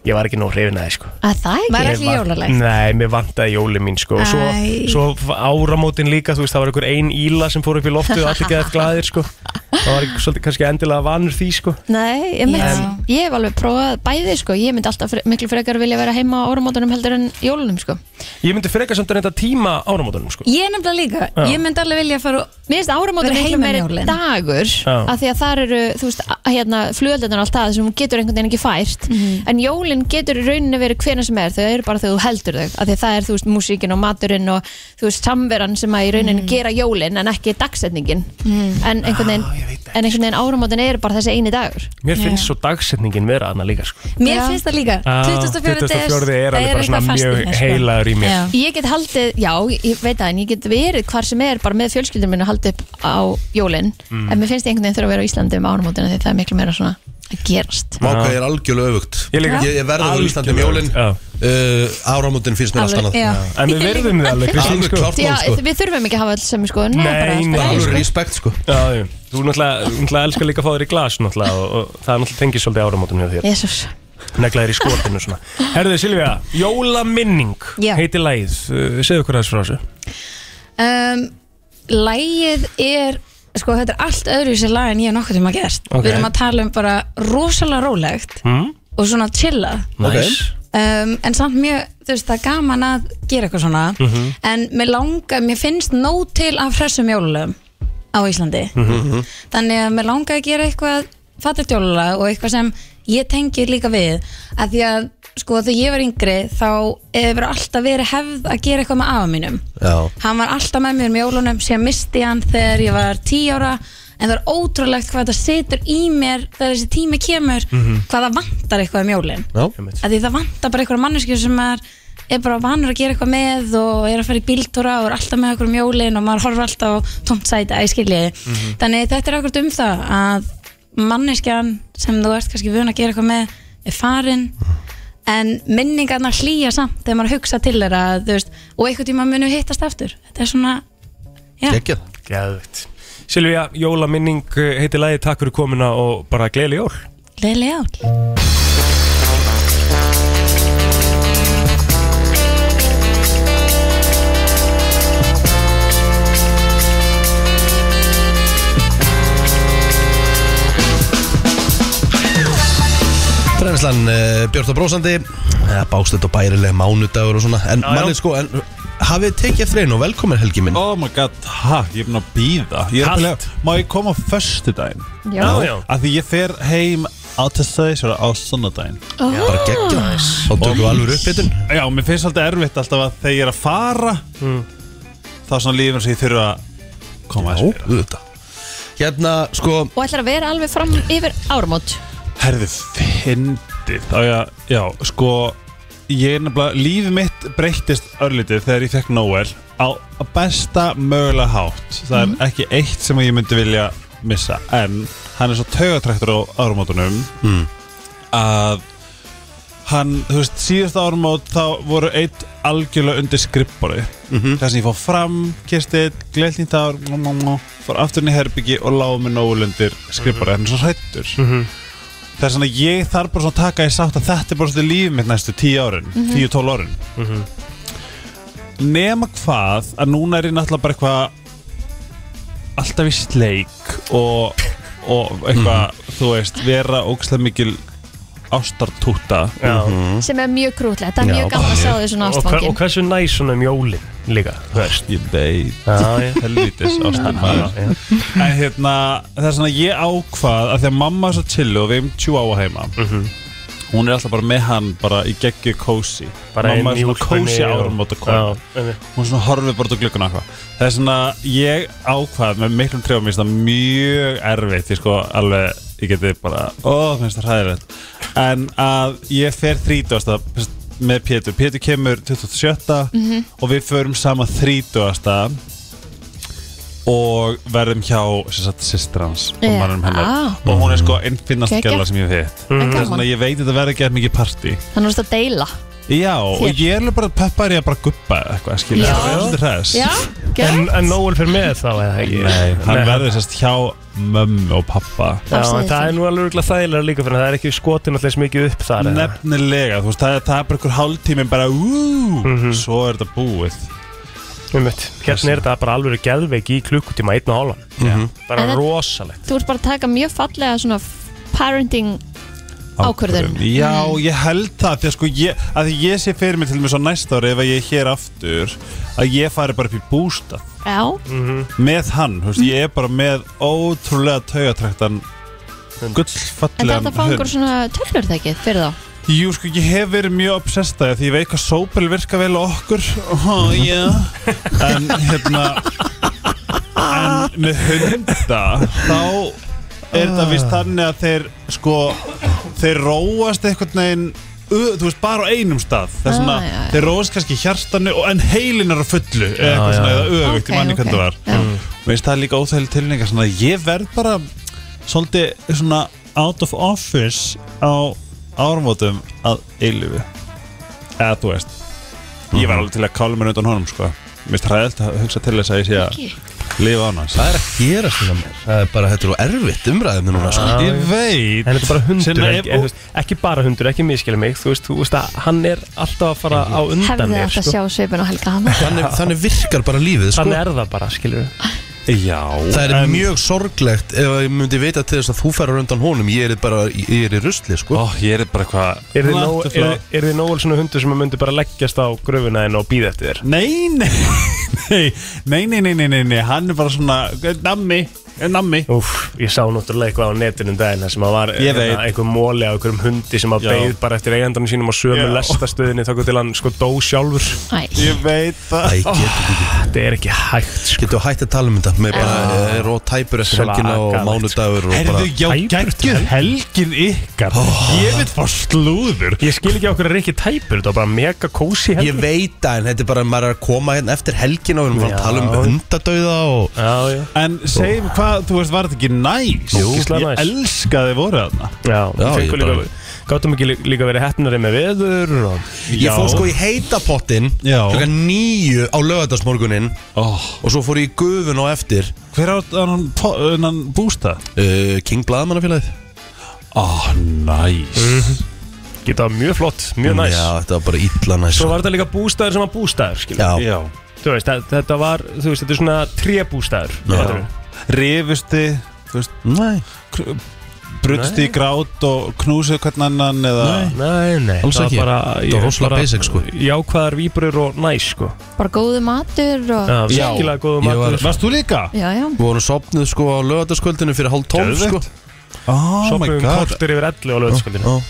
Speaker 3: Ég var ekki nóg hrifin að það sko
Speaker 2: Að það ekki
Speaker 5: Var
Speaker 3: Ég
Speaker 5: ekki
Speaker 3: var-
Speaker 5: jólalegt?
Speaker 3: Nei, mér vantaði jólin mín sko Og svo,
Speaker 5: Æ.
Speaker 3: svo áramótin líka, þú veist, það var einhver ein íla sem fór upp í loftið og allir geðað glaðir sko Það var ekki svolítið kannski endilega vanur því sko
Speaker 2: Nei, ég,
Speaker 5: Já.
Speaker 2: ég hef alveg prófað bæði sko Ég myndi alltaf fre miklu frekar vilja vera heima á áramótunum heldur en jólunum sko
Speaker 3: Ég myndi frekar samt að reynda tíma áramótunum sko
Speaker 5: Ég er nefnilega líka,
Speaker 3: Já.
Speaker 5: ég myndi alveg vilja að fara
Speaker 2: Mér finnst áramótur
Speaker 5: Vera
Speaker 2: miklu
Speaker 5: heima um
Speaker 2: meiri
Speaker 5: jólin.
Speaker 2: dagur
Speaker 3: Já.
Speaker 2: af því að þar eru, þú veist, að- hérna flugöldunar og allt það sem hún getur einhvern veginn ekki fært en jólin getur í rauninni verið hvena sem er þau eru bara þegar þú heldur þau af því að það er, þú veist, músíkin og maturinn og þú veist, samveran sem að í rauninni gera jólin en ekki dagsetningin en einhvern veginn,
Speaker 3: ég veit ekki, sko.
Speaker 2: en einhvern veginn áramótin eru bara þessi eini dagur
Speaker 3: Mér finnst svo dagsetningin vera aðna líka sko
Speaker 2: Já.
Speaker 5: Mér finnst það líka,
Speaker 3: Ah,
Speaker 5: 24. des,
Speaker 3: 24. er alveg
Speaker 5: það
Speaker 3: bara svona
Speaker 5: eitthvað fast í
Speaker 3: mjög
Speaker 5: mér, sko.
Speaker 3: heilagur í mér.
Speaker 5: Já.
Speaker 2: Ég get haldið, já, ég veit það en ég get verið hvar sem er bara með fjölskyldur minn og haldið upp á jólin
Speaker 3: Mm.
Speaker 2: en mér finnst ég einhvern veginn þurfa að vera á Íslandi um áramótina því það er miklu meira svona að gerast
Speaker 1: Má hvað ég er algjörlega öfugt
Speaker 3: Ég líka.
Speaker 1: Ég, ég verði á Íslandi um
Speaker 3: Algjörlega
Speaker 1: jólin
Speaker 3: öfugt,
Speaker 1: uh, Áramótin finnst mér allt
Speaker 5: Alveg,
Speaker 1: annað
Speaker 5: já.
Speaker 3: En við verðum þið alveg, Kristín
Speaker 1: Alveg
Speaker 3: sko
Speaker 1: klart
Speaker 2: Já,
Speaker 1: mál sko
Speaker 2: við þurfum ekki að hafa alls sem sko
Speaker 3: Nei, nei.
Speaker 1: Bara
Speaker 2: bara,
Speaker 1: alveg respekt sko
Speaker 3: Já, já. þú náttúrulega, þú náttúrulega elskar líka að fá þér í glas náttúrulega og, og það er náttúrulega tengið svolítið áramótum hjá þér
Speaker 2: Jesus
Speaker 3: negla þér í skortinu svona Herðu Silvija, Jólaminning
Speaker 5: Já.
Speaker 3: heiti lægið, uh, segðu okkur aðeins frá þessu
Speaker 5: um, Lægið er, sko þetta er allt öðru sér lag en ég er nokkuð tíma gert
Speaker 3: Ok.
Speaker 5: Við erum að tala um bara rosalega rólegt
Speaker 3: mm?
Speaker 5: og svona chilla
Speaker 1: Ok.
Speaker 5: um, En samt mjög, þú veist, það er gaman að gera eitthvað svona En mér langar, mér finnst nóg til af hressum jólulegum á Íslandi þannig að mér langaði að gera eitthvað fattigt jólulag og eitthvað sem ég tengi líka við að því að sko þegar ég var yngri þá hefur alltaf verið hefð að gera eitthvað með afa mínum
Speaker 1: Já
Speaker 5: hann var alltaf með mér um jólunum síðan misti ég hann þegar ég var 10 ára en það er ótrúlegt hvað þetta situr í mér þegar þessi tími kemur hvað það vantar eitthvað um jólin
Speaker 1: Já,
Speaker 3: Einmitt.
Speaker 5: að því það vantar bara eitthvað manneski sem er, er bara vanur að gera eitthvað með og er að fara í bíltúra og er alltaf með okkur um jólin og maður horfir alltaf á tómt sæti að ég skilji þannig þetta er akkurat um það að manneskjan sem þú ert kannski vun að gera eitthvað með er farin en minningarna hlýja samt þegar maður hugsa til þeirra þú veist, og einhvern tíma munu hittast aftur þetta er svona já,
Speaker 1: geggjað
Speaker 3: Geðvitt Silvija, Jólaminning uh, heiti lægið, takk fyrir komuna og bara gleyli jól
Speaker 5: leiðilega ál
Speaker 1: Brennslan uh, Björn og Brósandi uh, Bástætt og bærileg mánudagur og svona En
Speaker 3: Já, já.
Speaker 1: mannið sko en, Hafið tekið eftir einu og velkomin Helgi minn
Speaker 6: Oh my god, ha, ég er búin að býða Ég er að
Speaker 3: Kalt.
Speaker 6: pæla, Má ég koma á föstudaginn?
Speaker 2: Já,
Speaker 3: já.
Speaker 6: Af því ég fer heim aðtesta þess á sunnudaginn
Speaker 1: bara geggja þá tökum við alveg uppbytun
Speaker 6: Já, mér finnst alltaf erfitt alltaf að þegar ég er að fara
Speaker 2: Mm.
Speaker 6: þá er svona lífum sem ég þurfa að koma að spila
Speaker 1: þetta hérna sko
Speaker 2: Og ætlar að vera alveg fram yfir ármót
Speaker 6: Herðu, fyndið Þá já, já, sko ég er nefnilega, lífið mitt breyttist örlítið þegar ég fekk Noel á á besta mögulega hátt það er ekki eitt sem ég myndi vilja missa, en hann er svo taugatræktur á árumótunum að hann, þú veist, síðast árumót þá voru eitt algjörlega undir skrippari þar sem ég fór fram, kistið, gleðlínt ár mó, mó, mó, fór afturinn í herbyggi og lág með Noel undir skrippari hann er svo hrættur Það er svona að ég þarf bara svona að taka í sátt að þetta er bara svona lífið mitt næstu 10 árin,
Speaker 3: Mhm.
Speaker 6: 10-12 árin. Nema hvað að núna er ég náttúrulega bara eitthvað alltaf í sleik og, og eitthvað,
Speaker 3: Mhm.
Speaker 6: þú veist, vera ógstlega mikil ástartúta.
Speaker 3: Já.
Speaker 2: sem er mjög krútlega, þetta er mjög gaman að sjá þau svona
Speaker 3: og, hver, og
Speaker 2: ástfangin
Speaker 3: hversu næs svona um jólin líka þú veist.
Speaker 6: Ég veit,
Speaker 3: Já, já.
Speaker 6: helvitis ástartúta.
Speaker 3: Já, já.
Speaker 6: En hérna, það er svona ég ákvað að því að mamma er svo chillu og við erum tjú áa heima
Speaker 3: Mhm.
Speaker 6: Hún er alltaf bara með hann bara í geggju kósi
Speaker 3: bara
Speaker 6: Mamma
Speaker 3: inn í
Speaker 6: er svona
Speaker 3: úlpunni
Speaker 6: kósi
Speaker 3: og-
Speaker 6: árum átt að
Speaker 3: Já,
Speaker 6: koma
Speaker 3: einmitt.
Speaker 6: Hún svona horfið bara út á glukkuna eitthvað Það er svona, ég ákvað með miklum trefum Mér finnst það mjög erfitt Ég sko alveg, ég geti bara Ó, mér finnst það hræðilegt En að ég fer 30. með Pétur Pétur kemur 27.
Speaker 2: Mhm.
Speaker 6: Og við förum saman 30 og verðum hjá sem sagt, systir hans og
Speaker 2: Já.
Speaker 6: mannum hennar
Speaker 2: Ah.
Speaker 6: og hún er sko
Speaker 3: Mhm.
Speaker 6: einn finnast
Speaker 2: Geggjað.
Speaker 6: gæla sem ég hef hitt
Speaker 2: En
Speaker 6: Það er svona,
Speaker 2: gaman.
Speaker 6: ég veit að þetta verður ekki mikið partí
Speaker 2: þannig að þú ert að deila
Speaker 6: Já, og
Speaker 2: Þér.
Speaker 6: ég er alveg bara peppar í að bara guppa eða eitthvað, skilja,
Speaker 2: Já.
Speaker 6: það er svolítið hress
Speaker 2: já,
Speaker 3: en,
Speaker 2: gerð,
Speaker 3: en Nóel fyrir með þá eða ekki
Speaker 6: Nei, hann
Speaker 3: Nei,
Speaker 6: verður sérst hjá mömmu og pappa
Speaker 3: Já,
Speaker 2: Afsniðið
Speaker 3: en það er nú alveg örugglega þægilega líka fyrir það er ekki skotin alltaf mikið upp þar eða?
Speaker 6: Nefnilega, þú veist, það er, það er bara einhver hálftími bara, úúú,
Speaker 3: Mhm.
Speaker 6: svo er þetta búið
Speaker 3: Einmitt. Hérna er þetta bara alveg geðveik í klukkutíma einn og hálfan
Speaker 6: Já.
Speaker 3: bara
Speaker 2: En það-
Speaker 3: rosalegt
Speaker 2: þú ert bara að taka mjög fallega svona parenting Ákvörðun. Mm.
Speaker 6: Já, ég held það, því að sko ég, að því ég sé fyrir mig til mig svo næsta ári ef að ég er hér aftur að ég fari bara upp í bústað
Speaker 2: já,
Speaker 6: með hann, þú
Speaker 2: Mm.
Speaker 6: veist, ég er bara með ótrúlega taugatræktan
Speaker 2: en
Speaker 6: gullfallegan
Speaker 2: þetta fá einhver svona töflur það ekki fyrir þá
Speaker 6: Jú, sko, ég hef verið mjög obsessed að því ég veit hvað sópil virka vel á okkur oh, yeah. en hérna en með hunda þá er þetta
Speaker 2: Ah.
Speaker 6: vist þannig að þeir sko, þeir róast einhvern veginn ö- þú veist, bara á einum stað það er svona,
Speaker 2: Ah, já, já.
Speaker 6: þeir róast kannski í hjartanu og, en heilin er á fullu eða
Speaker 3: Já,
Speaker 6: eitthvað svona,
Speaker 3: já.
Speaker 6: eða öfugt,
Speaker 2: Ok,
Speaker 6: ég manni
Speaker 2: ok.
Speaker 6: hvernig það var Mm.
Speaker 2: Já.
Speaker 6: Mér finnst það líka óþægileg tilninga svona ég verð bara svolítið svona out of office á árumótum að eilifu eða þú veist
Speaker 3: Mhm.
Speaker 6: ég var alveg til að kála mér undan honum sko mér finnst hræðilt að hugsa til þess að ég sé að
Speaker 2: Ekki.
Speaker 6: lifa án hans
Speaker 1: það er að gera svona mér það er bara þetta er svo erfitt umræðum núna
Speaker 3: Ah.
Speaker 1: sko.
Speaker 6: ég veit
Speaker 3: en þetta er bara hundur
Speaker 6: Sinna,
Speaker 3: ekki,
Speaker 6: ef-
Speaker 3: en, þú veist, ekki bara hundur, ekki miskili mig þú veist, þú veist að hann er alltaf að fara á undan
Speaker 2: hefði
Speaker 3: mér
Speaker 2: þetta
Speaker 3: sko.
Speaker 2: sjá svipin og helga hana
Speaker 1: þannig, þannig virkar bara lífið sko.
Speaker 3: þannig er það bara, skilur
Speaker 6: já
Speaker 1: það er mjög sorglegt ef ég myndi vita til þess að þú færar undan honum ég er bara ég er í rusli sko.
Speaker 6: ó
Speaker 3: Oh,
Speaker 6: ég er bara eitthvað
Speaker 3: er þið nóg-
Speaker 6: What the
Speaker 3: er-
Speaker 6: fuck?
Speaker 3: er þið nóg svona hundur sem að myndi bara leggjast á gröfuna en og býða eftir þér
Speaker 6: Nei, nei, nei, nei, nei, nei, nei, nei, nei, hann er bara svona, nammi, nammi.
Speaker 3: Úf, ég sá náttúrulega eitthvað á netinu um daginn þar sem að var
Speaker 6: Ég veit.
Speaker 3: hérna, einhver móli á einhverjum hundi sem að
Speaker 6: Já.
Speaker 3: beigð bara eftir eigandanum sínum á sömu
Speaker 6: Já.
Speaker 3: lestastöðinni þókkur til hann sko dó sjálfur
Speaker 2: Æ.
Speaker 6: Ég veit það.
Speaker 3: oh.
Speaker 1: Æ, getur
Speaker 3: þetta er ekki hægt sko.
Speaker 1: getu hægt að tala um þetta með bara
Speaker 3: Ah.
Speaker 1: er rótæpur eftir helgina og
Speaker 3: Svakalegt, sko.
Speaker 1: mánudagur og bara
Speaker 6: Herðu, já,
Speaker 3: Tæpur til
Speaker 6: geggjuð helgin ykkar Ég vil fá slúður
Speaker 3: ég skil ekki okkur að Rikki tæpur þetta var bara mega kósi
Speaker 1: Ég veit það, en þetta er bara að maður er að koma hérna eftir helgin og við erum bara að
Speaker 3: Já.
Speaker 1: tala um hundadauða og
Speaker 3: já, já,
Speaker 6: En segjum hvað, þú veist, var þetta ekki næs?
Speaker 3: Jú, ógeðslega
Speaker 6: ég
Speaker 3: næs.
Speaker 6: elska þið voru þarna
Speaker 3: já,
Speaker 1: Já,
Speaker 3: já
Speaker 1: ég bara-
Speaker 3: líka, gáttum ekki lí- líka verið hettnari með veður og...
Speaker 1: Ég fór sko í heitapottin
Speaker 6: Já.
Speaker 1: klokkan níu á lögadagsmorgunin
Speaker 6: oh,
Speaker 1: og svo fór ég í gufun og eftir
Speaker 6: Hver átt hann, hann bústa?
Speaker 1: uh, King Blaðmannafélagið
Speaker 6: Ó, oh, næs
Speaker 3: geta það mjög flott, mjög næs
Speaker 1: Já, þetta var bara illa næs
Speaker 3: svo var þetta líka bústæður sem var bústæður skilur.
Speaker 1: Já,
Speaker 6: Já
Speaker 3: þú veist, þa- þetta var, þú veist, þetta er svona trébústæður fattarðu?
Speaker 6: Rifusti, þú veist,
Speaker 1: næ,
Speaker 6: brutsti í grát og knúsið hvern annan eða
Speaker 3: Nei, nei,
Speaker 1: Alls
Speaker 3: það
Speaker 1: ekki.
Speaker 3: var bara
Speaker 1: Þetta var rosalega basic, sko.
Speaker 3: Jákvæðar víbrur og næs sko
Speaker 2: bara góðu matur og
Speaker 3: Já,
Speaker 6: Já.
Speaker 3: virkilega góðu
Speaker 1: Ég var-
Speaker 3: matur
Speaker 6: Varst þú líka?
Speaker 2: já, já,
Speaker 1: við vorum sopnuð sko á lögadagskvöldinu fyrir hálf tólf sko
Speaker 6: Geðveikt. Oh my
Speaker 3: Sopum við
Speaker 6: god
Speaker 3: kortir yfir 11 á lögðskvöldinu
Speaker 6: oh.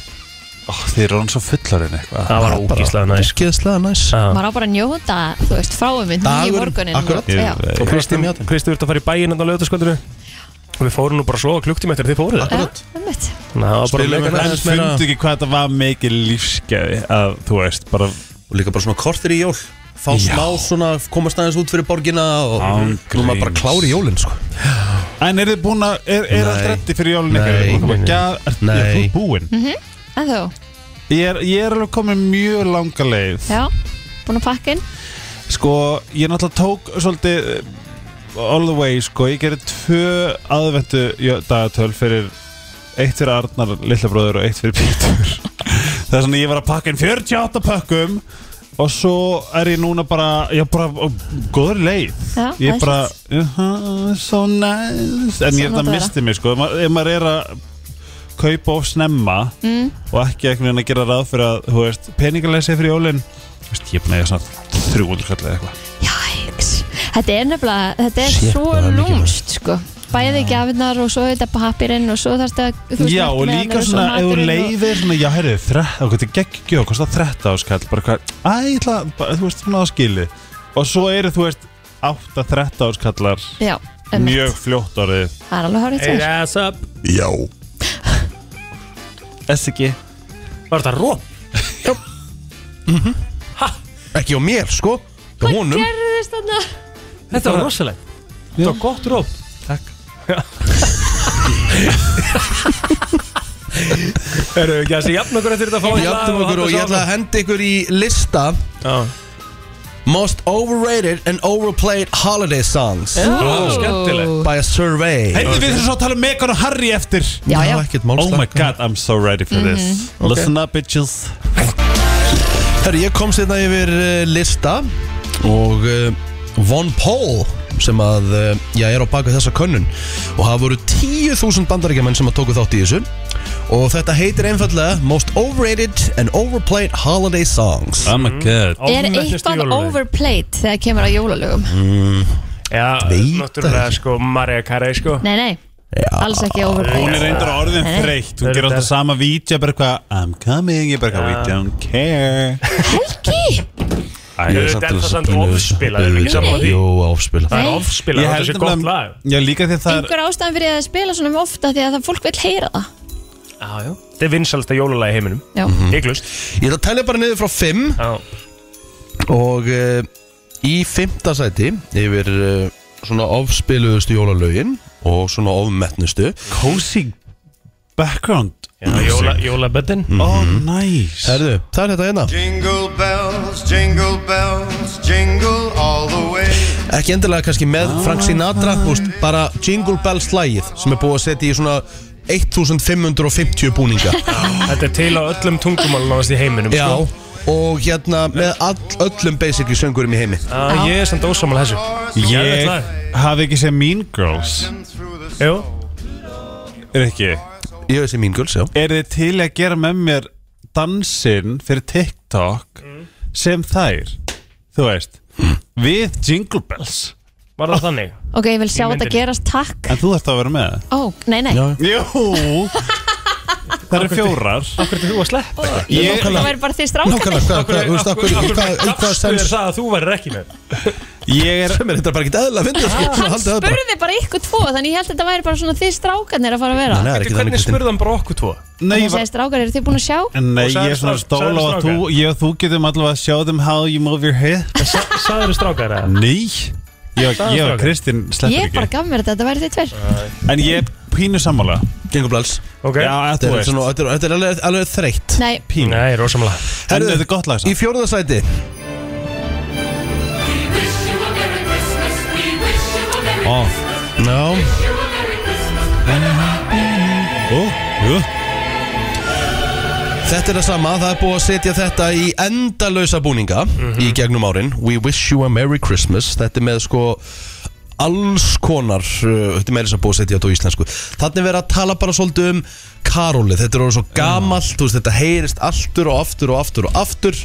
Speaker 6: oh, Þið eru hann svo fullar en eitthvað
Speaker 3: Það var ógíslega næst
Speaker 1: Ógeðslega næs
Speaker 2: maður á bara að njóta, þú veist, fráuminn í
Speaker 1: Dagurinn,
Speaker 2: morgunin
Speaker 1: akkurat.
Speaker 2: Já.
Speaker 6: Ég-
Speaker 3: Og Kristi,
Speaker 1: Kristín játaði.
Speaker 3: Kristi vart að fara í bæinn hérna á lögðskvöldinu Og við fórum nú bara svo klukktum eftir að þið fóruð
Speaker 2: Já,
Speaker 1: Akkurat.
Speaker 2: einmitt.
Speaker 3: Þannig að það var bara
Speaker 1: Spilum
Speaker 3: mega
Speaker 1: við
Speaker 3: næs.
Speaker 1: aðeins
Speaker 6: En
Speaker 1: meira-
Speaker 6: fundu ekki hvað þetta var mikið lífsgæði að þú veist bara
Speaker 1: Og líka bara svona kortir í jól Fá
Speaker 6: Já.
Speaker 1: smá svona, komast aðeins út fyrir borgina Og
Speaker 6: Án
Speaker 1: nú er maður bara
Speaker 6: gríns.
Speaker 1: klári jólinn sko
Speaker 6: En er þið búin að, er, er
Speaker 1: Nei.
Speaker 6: allt reddi fyrir jólun
Speaker 1: Nei.
Speaker 6: ykkur? Er búin að koma
Speaker 3: Nei.
Speaker 6: gjafir? Er-
Speaker 1: Nei.
Speaker 6: Er þú búin?
Speaker 2: En þú,
Speaker 6: Ég er, ég er alveg komin mjög langa leið
Speaker 2: já, búin að pakka inn
Speaker 6: Sko, ég náttúrulega tók svolítið eh, all the way sko Ég gerði tvö aðventu jö- dagatöl fyrir Eitt fyrir Arnar Lillabróður og eitt fyrir Pítur Það er svona ég var að pakka inn 48 pökkum Og svo er ég núna bara, ég er bara á góður leið
Speaker 2: Já,
Speaker 6: Ég er
Speaker 2: það er
Speaker 6: bara, uh -huh, so nice En ég
Speaker 2: Svona
Speaker 6: þetta
Speaker 2: bara.
Speaker 6: misti mig sko Ef ma- Ef maður er að kaupa of snemma
Speaker 2: Mm.
Speaker 6: Og ekki ekki meðan að gera ráð fyrir að Þú veist, peningalæsi fyrir jólin Þú veist, Ég er búin að eiga svona 300 kall eða eitthvað
Speaker 2: Jæks, þetta er nefnilega þetta er
Speaker 1: Shit,
Speaker 2: svo
Speaker 1: það er mikið
Speaker 2: lúmst sko. bæði gjafirnar og svo þetta pappirinn og svo þarfst að þú veist,
Speaker 6: Já, og
Speaker 2: markmiðanir
Speaker 6: líka
Speaker 2: og svo
Speaker 6: svona, ef þú
Speaker 2: maturinn
Speaker 6: leiðir svona, Já, herri, þrætt, okkur þetta geggjó Kostar 13 áskall, bara hvað Æ, ég ætla, að- bara, þú veist, svona áskili Og svo eru, þú veist, 8 13 áskallar
Speaker 2: og, já, um,
Speaker 6: Mjög fljótt orðið
Speaker 2: það er alveg hárið
Speaker 3: Hey,
Speaker 2: til
Speaker 3: that's up
Speaker 1: Já
Speaker 6: SG
Speaker 3: Var þetta róp?
Speaker 1: Ekki á mér sko Hjá honum
Speaker 2: gerðist þarna
Speaker 3: Þetta var rosalegt Þetta var gott róp
Speaker 6: Takk
Speaker 3: Erum við ekki að segja jafn okkur eftir þetta að fá einn lag
Speaker 1: Játtum okkur og ég ætla að henda ykkur í lista
Speaker 3: Já.
Speaker 1: Most overrated and overplayed holiday songs
Speaker 3: Ó, skemmtilegt
Speaker 1: By a survey
Speaker 6: Heyrðu, við þurfum svo að tala um Megan og Harry eftir
Speaker 2: já,
Speaker 1: Það
Speaker 2: já,
Speaker 1: var ekkert málslag.
Speaker 6: Oh my god, I'm so ready for this Mhm. Listen up, bitches
Speaker 1: Herri, ég komst hérna yfir eh, lista og uh, Von Paul sem að uh, ég er á baka þessa könnun og það voru 10.000 bandaríkjamenn sem að tóku þátt í þessu og þetta heitir einfallega Most Overrated and Overplayed Holiday Songs
Speaker 3: Ah,
Speaker 6: Oh my god
Speaker 2: er eitthvað overplayed þegar kemur að jólalögum
Speaker 6: Mhm.
Speaker 3: Já,
Speaker 1: Veit
Speaker 3: náttúrulega
Speaker 1: það ekki.
Speaker 3: sko Marja Karei sko
Speaker 2: nei, nei, alls ekki
Speaker 6: Hún er
Speaker 2: overplayed
Speaker 6: reyndar orðin
Speaker 2: Nei.
Speaker 6: þreytt Hún gerir alltaf sama vítja bara eitthvað I'm coming, ég bara eitthvað We don't care
Speaker 2: Helgi,
Speaker 6: Æ,
Speaker 3: Ég veit, er það samt ofspilað, erum við ekki sammála því?
Speaker 1: Jú, ofspilað
Speaker 3: Það er
Speaker 2: Nei.
Speaker 3: ofspilað,
Speaker 6: Ég
Speaker 3: þetta
Speaker 6: held
Speaker 3: sé gott
Speaker 6: nefnilega-
Speaker 3: lag
Speaker 6: Já, líka því að það er
Speaker 2: einhver ástæðan fyrir að spila svona ofta því að það fólk vil heyra það
Speaker 3: Jájú Þetta er vinsalasta jólalagi í heiminum
Speaker 2: já,
Speaker 3: Íglust
Speaker 1: Ég ætla að telja bara niður frá 5
Speaker 3: Já
Speaker 1: og uh, í fymta sæti yfir uh, svona ofspiluðustu jólalögin og svona ofmetnustu
Speaker 6: cozy background
Speaker 3: Já, jóla- Jólaböddin
Speaker 1: Mhm.
Speaker 3: Mhm.
Speaker 6: Oh, nice
Speaker 1: Herðu, það er þetta hérna
Speaker 7: Jingle bells, jingle bells, jingle all the way.
Speaker 1: Ekki endilega kannski með Frank Sinatra þú veist, bara Jingle Bells slægið sem er búið að setja í svona 1550 búninga
Speaker 3: Þetta er til á öllum tungumál náðast í heiminum
Speaker 1: Já,
Speaker 3: sko.
Speaker 1: og hérna með all, öllum basically söngurum í heimi
Speaker 3: Já, Ég er samt ósamal þessu Geðveikt
Speaker 6: Ég
Speaker 3: lag.
Speaker 6: hafi ekki séð Mean Girls
Speaker 3: Jú
Speaker 6: Er ekki
Speaker 1: Ég veist ég mín guls, já
Speaker 6: Er þið til að gera með mér dansinn fyrir TikTok
Speaker 3: Mm.
Speaker 6: sem þær Þú veist Við Jingle Bells
Speaker 3: Var
Speaker 1: Ah.
Speaker 3: það þannig?
Speaker 2: ok, ég vil sjá
Speaker 3: Í
Speaker 2: þetta
Speaker 3: myndinni.
Speaker 2: gerast takk,
Speaker 6: En þú þarft að vera með
Speaker 2: ó, nei, nei
Speaker 6: Jú Það eru fjórar
Speaker 3: Akkur er þú að sleppa?
Speaker 6: Ég,
Speaker 2: það væri bara því strákan
Speaker 1: Nákvæmlega, hvað, hvað, þú veist, okkur,
Speaker 3: Akkur
Speaker 1: í hvað, í hvað
Speaker 3: gafstu þér
Speaker 1: sens
Speaker 3: það að þú værir ekki með?
Speaker 6: ég er
Speaker 1: Sem er þetta bara ekkert eðla að finna, sko svona
Speaker 2: hann
Speaker 1: haldið það bara.
Speaker 2: spurði bara ykkur tvo þannig ég held að þetta væri bara svona því strákarnir að fara að vera
Speaker 1: Nei, það er ekki þannig,
Speaker 3: Hvernig
Speaker 1: Kristín.
Speaker 3: spurði hann bara okkur tvo?
Speaker 6: Nei,
Speaker 2: hann
Speaker 6: ég var
Speaker 2: segi strákar, eru þið búin að sjá?
Speaker 6: Nei,
Speaker 3: Og
Speaker 6: ég
Speaker 3: sagði
Speaker 6: er svona
Speaker 3: strák-
Speaker 6: stól
Speaker 3: sagði
Speaker 6: á að
Speaker 3: strákar.
Speaker 6: þú Ég og þú getum allavega að show them how you move your head
Speaker 3: Sæður strákar eða?
Speaker 6: Nei Ég
Speaker 3: Sagði
Speaker 6: ég og
Speaker 3: strákar.
Speaker 6: Kristinn
Speaker 2: ég
Speaker 6: sleppur
Speaker 2: bara
Speaker 6: ekki
Speaker 2: gaf mér þetta, þetta væri þið tver
Speaker 6: En ég er pínu sammála
Speaker 1: Jingle Bells
Speaker 3: Ok
Speaker 6: Já,
Speaker 1: Þetta
Speaker 6: þú
Speaker 1: er
Speaker 6: veist
Speaker 1: svona- Þetta er- þetta er alveg- alveg þreytt
Speaker 2: nei,
Speaker 6: Pínu
Speaker 3: Nei, rosamlega
Speaker 6: En þetta er gott lag
Speaker 1: Í
Speaker 6: samt
Speaker 1: fjórða sæti
Speaker 6: Ó,
Speaker 1: Já
Speaker 6: ó, jú
Speaker 1: Þetta er það sama, það er búið að setja þetta í endalösa búninga í gegnum árin We wish you a Merry Christmas Þetta er með sko alls konar, uh, þetta er meira þess að búið að setja þetta á íslensku Þannig verið að tala bara svolítið um Karolið, þetta er orðið svo gamalt, þú veist, þetta heyrist aftur og aftur og aftur og aftur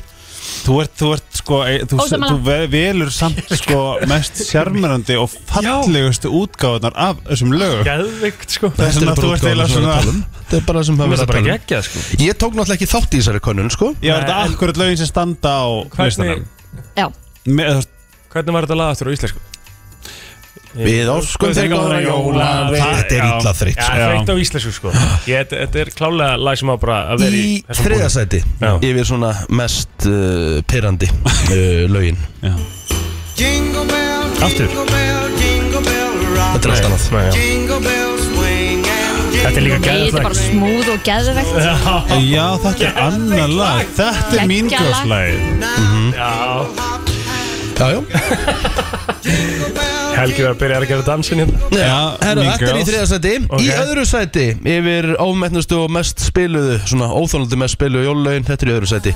Speaker 6: Þú ert, þú ert sko e- Þú,
Speaker 2: Ósammála.
Speaker 6: þú ve- velur samt sko mest sjarmerandi og fallegustu útgáðunar af þessum lögum
Speaker 3: Gæðvikt sko
Speaker 6: Þess
Speaker 1: Þetta
Speaker 6: vegna
Speaker 1: er bara
Speaker 6: þú ert
Speaker 1: útgáfan
Speaker 6: eiginlega
Speaker 1: sem við erum
Speaker 6: svona
Speaker 1: að tala um. Þetta er bara það sem
Speaker 3: Það
Speaker 1: við erum
Speaker 3: verður
Speaker 1: að
Speaker 3: bara
Speaker 1: tala um.
Speaker 3: geggjað sko
Speaker 1: Ég tók náttúrulega ekki þátt í þessari könnun sko
Speaker 6: Já,
Speaker 3: Nei,
Speaker 6: þetta er
Speaker 3: en-
Speaker 6: akkurat lögin sem standa á listanum
Speaker 3: Hvernig,
Speaker 2: Já,
Speaker 6: Með- þú veist,
Speaker 3: hvernig var þetta lag aftur á íslensku?
Speaker 1: Við óskum þeir góðra jóla Þetta er illa þreytt
Speaker 3: Já,
Speaker 1: sko. Ah.
Speaker 3: þreytt á íslensku sko Ég, þetta- Þetta er klálega lag sem á bara að vera
Speaker 1: Í
Speaker 3: þessum búning.
Speaker 1: þriðasæti
Speaker 3: Já.
Speaker 1: Yfir svona mest uh, pyrrandi uh, lögin
Speaker 7: Jingle bell,
Speaker 3: Aftur.
Speaker 7: jingle bell, jingle bell rock.
Speaker 1: Þetta er allt annað
Speaker 3: Nei, já.
Speaker 7: Jingle bells swing and
Speaker 3: Þetta er líka
Speaker 2: Nei, þetta er bara
Speaker 3: gæðvikt
Speaker 2: smúð og geðvegt
Speaker 6: Já, þetta er annar lag Þetta er
Speaker 2: Geggjað
Speaker 6: mín
Speaker 2: lag.
Speaker 6: gjóðslæg
Speaker 1: Jájó
Speaker 3: Helgi var að byrja að gera dansin hérna
Speaker 6: Já,
Speaker 1: Herra,
Speaker 6: Mean
Speaker 1: þetta er í
Speaker 6: Girls.
Speaker 1: þriða sæti Í
Speaker 3: Ok.
Speaker 1: öðru sæti Yfir ofmennustu og mest spiluðu Svona óþónaldi mest spiluðu jólulögin Þetta er í öðru sæti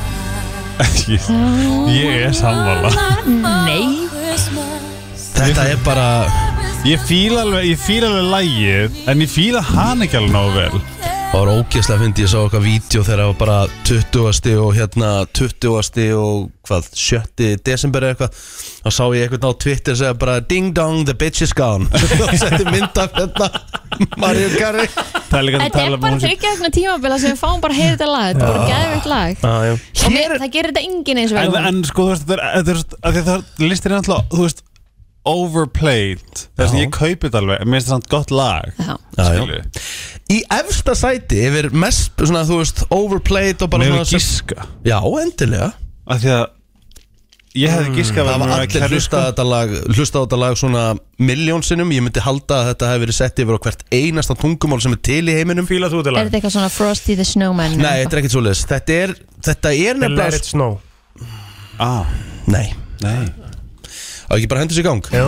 Speaker 6: Ég er sammála
Speaker 2: Nei,
Speaker 1: Þetta er bara
Speaker 6: Ég fíla alveg, ég fíla alveg lægið En ég fíla hann ekki alveg nógu vel
Speaker 1: Það var ógeðslega að fyndi Ég sá okkar vídeo þegar það var bara 20. og hérna 20. og hvað 7. desember eða eitthvað Þá sá ég eitthvað á Twitter segja bara Ding dong the bitch is gone Og setti mynd af hérna Mario Garri
Speaker 6: Það er líka
Speaker 2: þetta
Speaker 6: að
Speaker 2: er
Speaker 6: tala um
Speaker 2: bara
Speaker 6: hún sem
Speaker 2: þryggja vegna tímabila sem við fáum bara að heyra þetta lag Þetta er bara geðvegt lag
Speaker 3: Já, já
Speaker 2: Og mér, það gerir þetta enginn eins og
Speaker 6: en,
Speaker 2: vel
Speaker 6: en sko þú veist þetta er- þetta er svo- af því að það listir er alltaf þú veist overplayed þess að ég kaupi þetta alveg en mér finnst þetta samt gott lag
Speaker 2: Já.
Speaker 1: Já, já.
Speaker 6: skilurðu.
Speaker 1: Í efsta sæti Yfir mest svona þú veist Overplayed og bara
Speaker 6: mér
Speaker 1: svona
Speaker 6: hefur
Speaker 1: sem-
Speaker 6: gíska
Speaker 1: Já endilega
Speaker 6: af því að ég hefði gískað
Speaker 1: Það var allir hlustað á þetta lag, hlusta þetta lag svona miljónsinnum Ég myndi halda að þetta hefði verið sett yfir á hvert einasta tungumál sem er til í heiminum
Speaker 3: Fíla þú til
Speaker 2: Er
Speaker 3: lag
Speaker 2: þetta eitthvað svona Frosty the Snowman
Speaker 1: Nei, þetta er ekkert svoleiðis Þetta er, þetta er
Speaker 3: The Let
Speaker 1: nefnilega
Speaker 3: It Snow
Speaker 6: ah,
Speaker 1: Nei,
Speaker 6: nei
Speaker 1: á ekki bara hendur sér í gang
Speaker 3: Já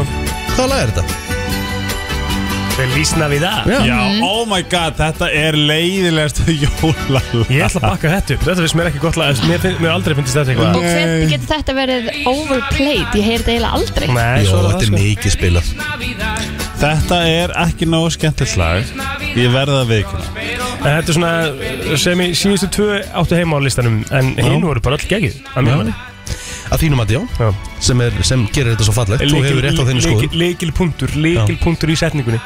Speaker 1: Hvaða lag er þetta?
Speaker 3: Þeir lísna við það
Speaker 6: já oh my god þetta er leiðilegast jólalag
Speaker 3: Ég ætla að bakka þetta upp Þetta finnst mér ekki gott lag en Mér, finn, mér aldrei finnst þetta eitthvað
Speaker 2: Og hvernig getur þetta verið overplayed? Ég heyri þetta eiginlega aldrei
Speaker 3: Nei,
Speaker 1: Jó,
Speaker 3: svo er
Speaker 1: þetta er
Speaker 3: það sko
Speaker 1: mikið spilað
Speaker 6: þetta er ekki nógu skemmtilegt lag ég verða að veikina
Speaker 3: En þetta er svona sem í síðustu tvö áttu heima á listanum En hinn voru bara all geggið Að mér manni
Speaker 1: Að þínum að já,
Speaker 3: Já.
Speaker 1: sem, er, sem gerir þetta svo fallegt Þú hefur rétt á þinni skoðum
Speaker 3: Leikilpunktur, leikilpunktur í setningunni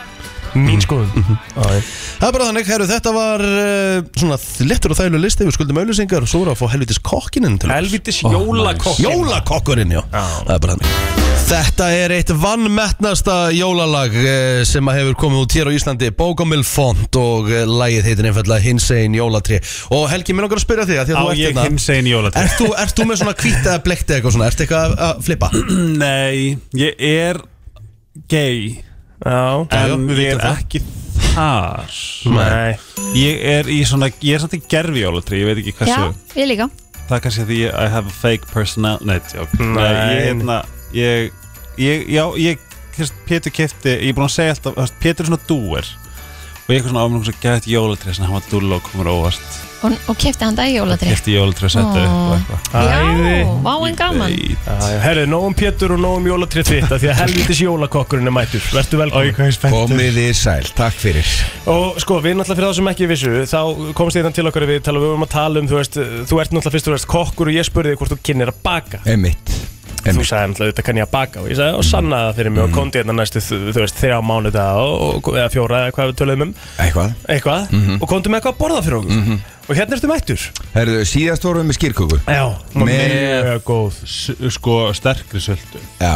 Speaker 1: Mhm.
Speaker 3: Mín skoðum Já, já.
Speaker 1: Það er bara þannig, herru, þetta var uh, svona lettur og þælu listi Við skuldum auðlýsingar og svo voru að fá helvitis kokkinin til okkar.
Speaker 3: Helvitis jólakokk
Speaker 1: Jólakokkurinn, já Það er bara þannig Þetta er eitt vannmettnasta jólalag eh, sem að hefur komið út hér á Íslandi Bókamil Font og eh, lagið heitir einfallega Hinsegin Jólatri og Helgi, mér langar að spyrja þig að því
Speaker 6: á
Speaker 1: að þú ert
Speaker 6: ég
Speaker 1: hérna
Speaker 6: hins einn jólalag
Speaker 1: Ert þú, ert þú með svona kvítt eða blekkt eða eitthvað svona? Ert eitthvað að- að flippa?
Speaker 6: Nei, ég er gay
Speaker 3: Já,
Speaker 1: Já, já,
Speaker 6: En
Speaker 1: við
Speaker 6: ég
Speaker 1: vitum
Speaker 6: er
Speaker 1: það.
Speaker 6: ekki þar
Speaker 3: nei
Speaker 6: Ég er í svona, ég er samt í gerfi jólatri Ég veit ekki
Speaker 2: Já,
Speaker 6: hversu
Speaker 2: ég líka
Speaker 6: Það er kannski því ég I have a fake personal Nei, tjók
Speaker 3: Nei.
Speaker 6: Nei, ég, hérna, ég, ég, já, ég hérst, Pétur kefti, ég er búin að segja alltaf hérst, Pétur er svona dúer Og ég er eitthvað svona ámlum svo gætt jólatri Þannig að hann var dúll og komur óvast
Speaker 2: Og, og kefti hann dag í jólatri
Speaker 6: Kefti jólatri að setja upp og eitthvað
Speaker 2: Já,
Speaker 3: Æði
Speaker 2: vá en gaman
Speaker 6: Ég veit.
Speaker 3: Herru, nóg um Pétur og nóg um jólatrið þitt af Því að helvitis jólakokkurinn er mættur Vertu velkomin
Speaker 8: Komið þið sæl, takk fyrir
Speaker 3: Og sko, við náttúrulega fyrir það sem ekki vissu Þá komst ég þann til okkar við tala Við vorum að tala um, þú veist, þú ert náttúrulega fyrst og veist kokkur Og ég spurði þig hvort þú kynir að baka
Speaker 8: Emmitt
Speaker 3: Þú sagði náttúrulega, þetta kann ég að baka Og ég sagði, og sanna það fyrir mig Og kondi hérna næstu, þú þú veist, þrjá mánuða og, og, Eða fjóra, eða hvað við töluðum um
Speaker 8: Eitthvað
Speaker 3: Eitthvað, og kondi með eitthvað að borða fyrir okkur Og hérna ertu mættur
Speaker 8: Herðu, síðast vorum við með skýrköku
Speaker 3: Já, hún var
Speaker 8: Með-
Speaker 3: mjög góð
Speaker 6: S- Sko, sterkri söldu
Speaker 8: Já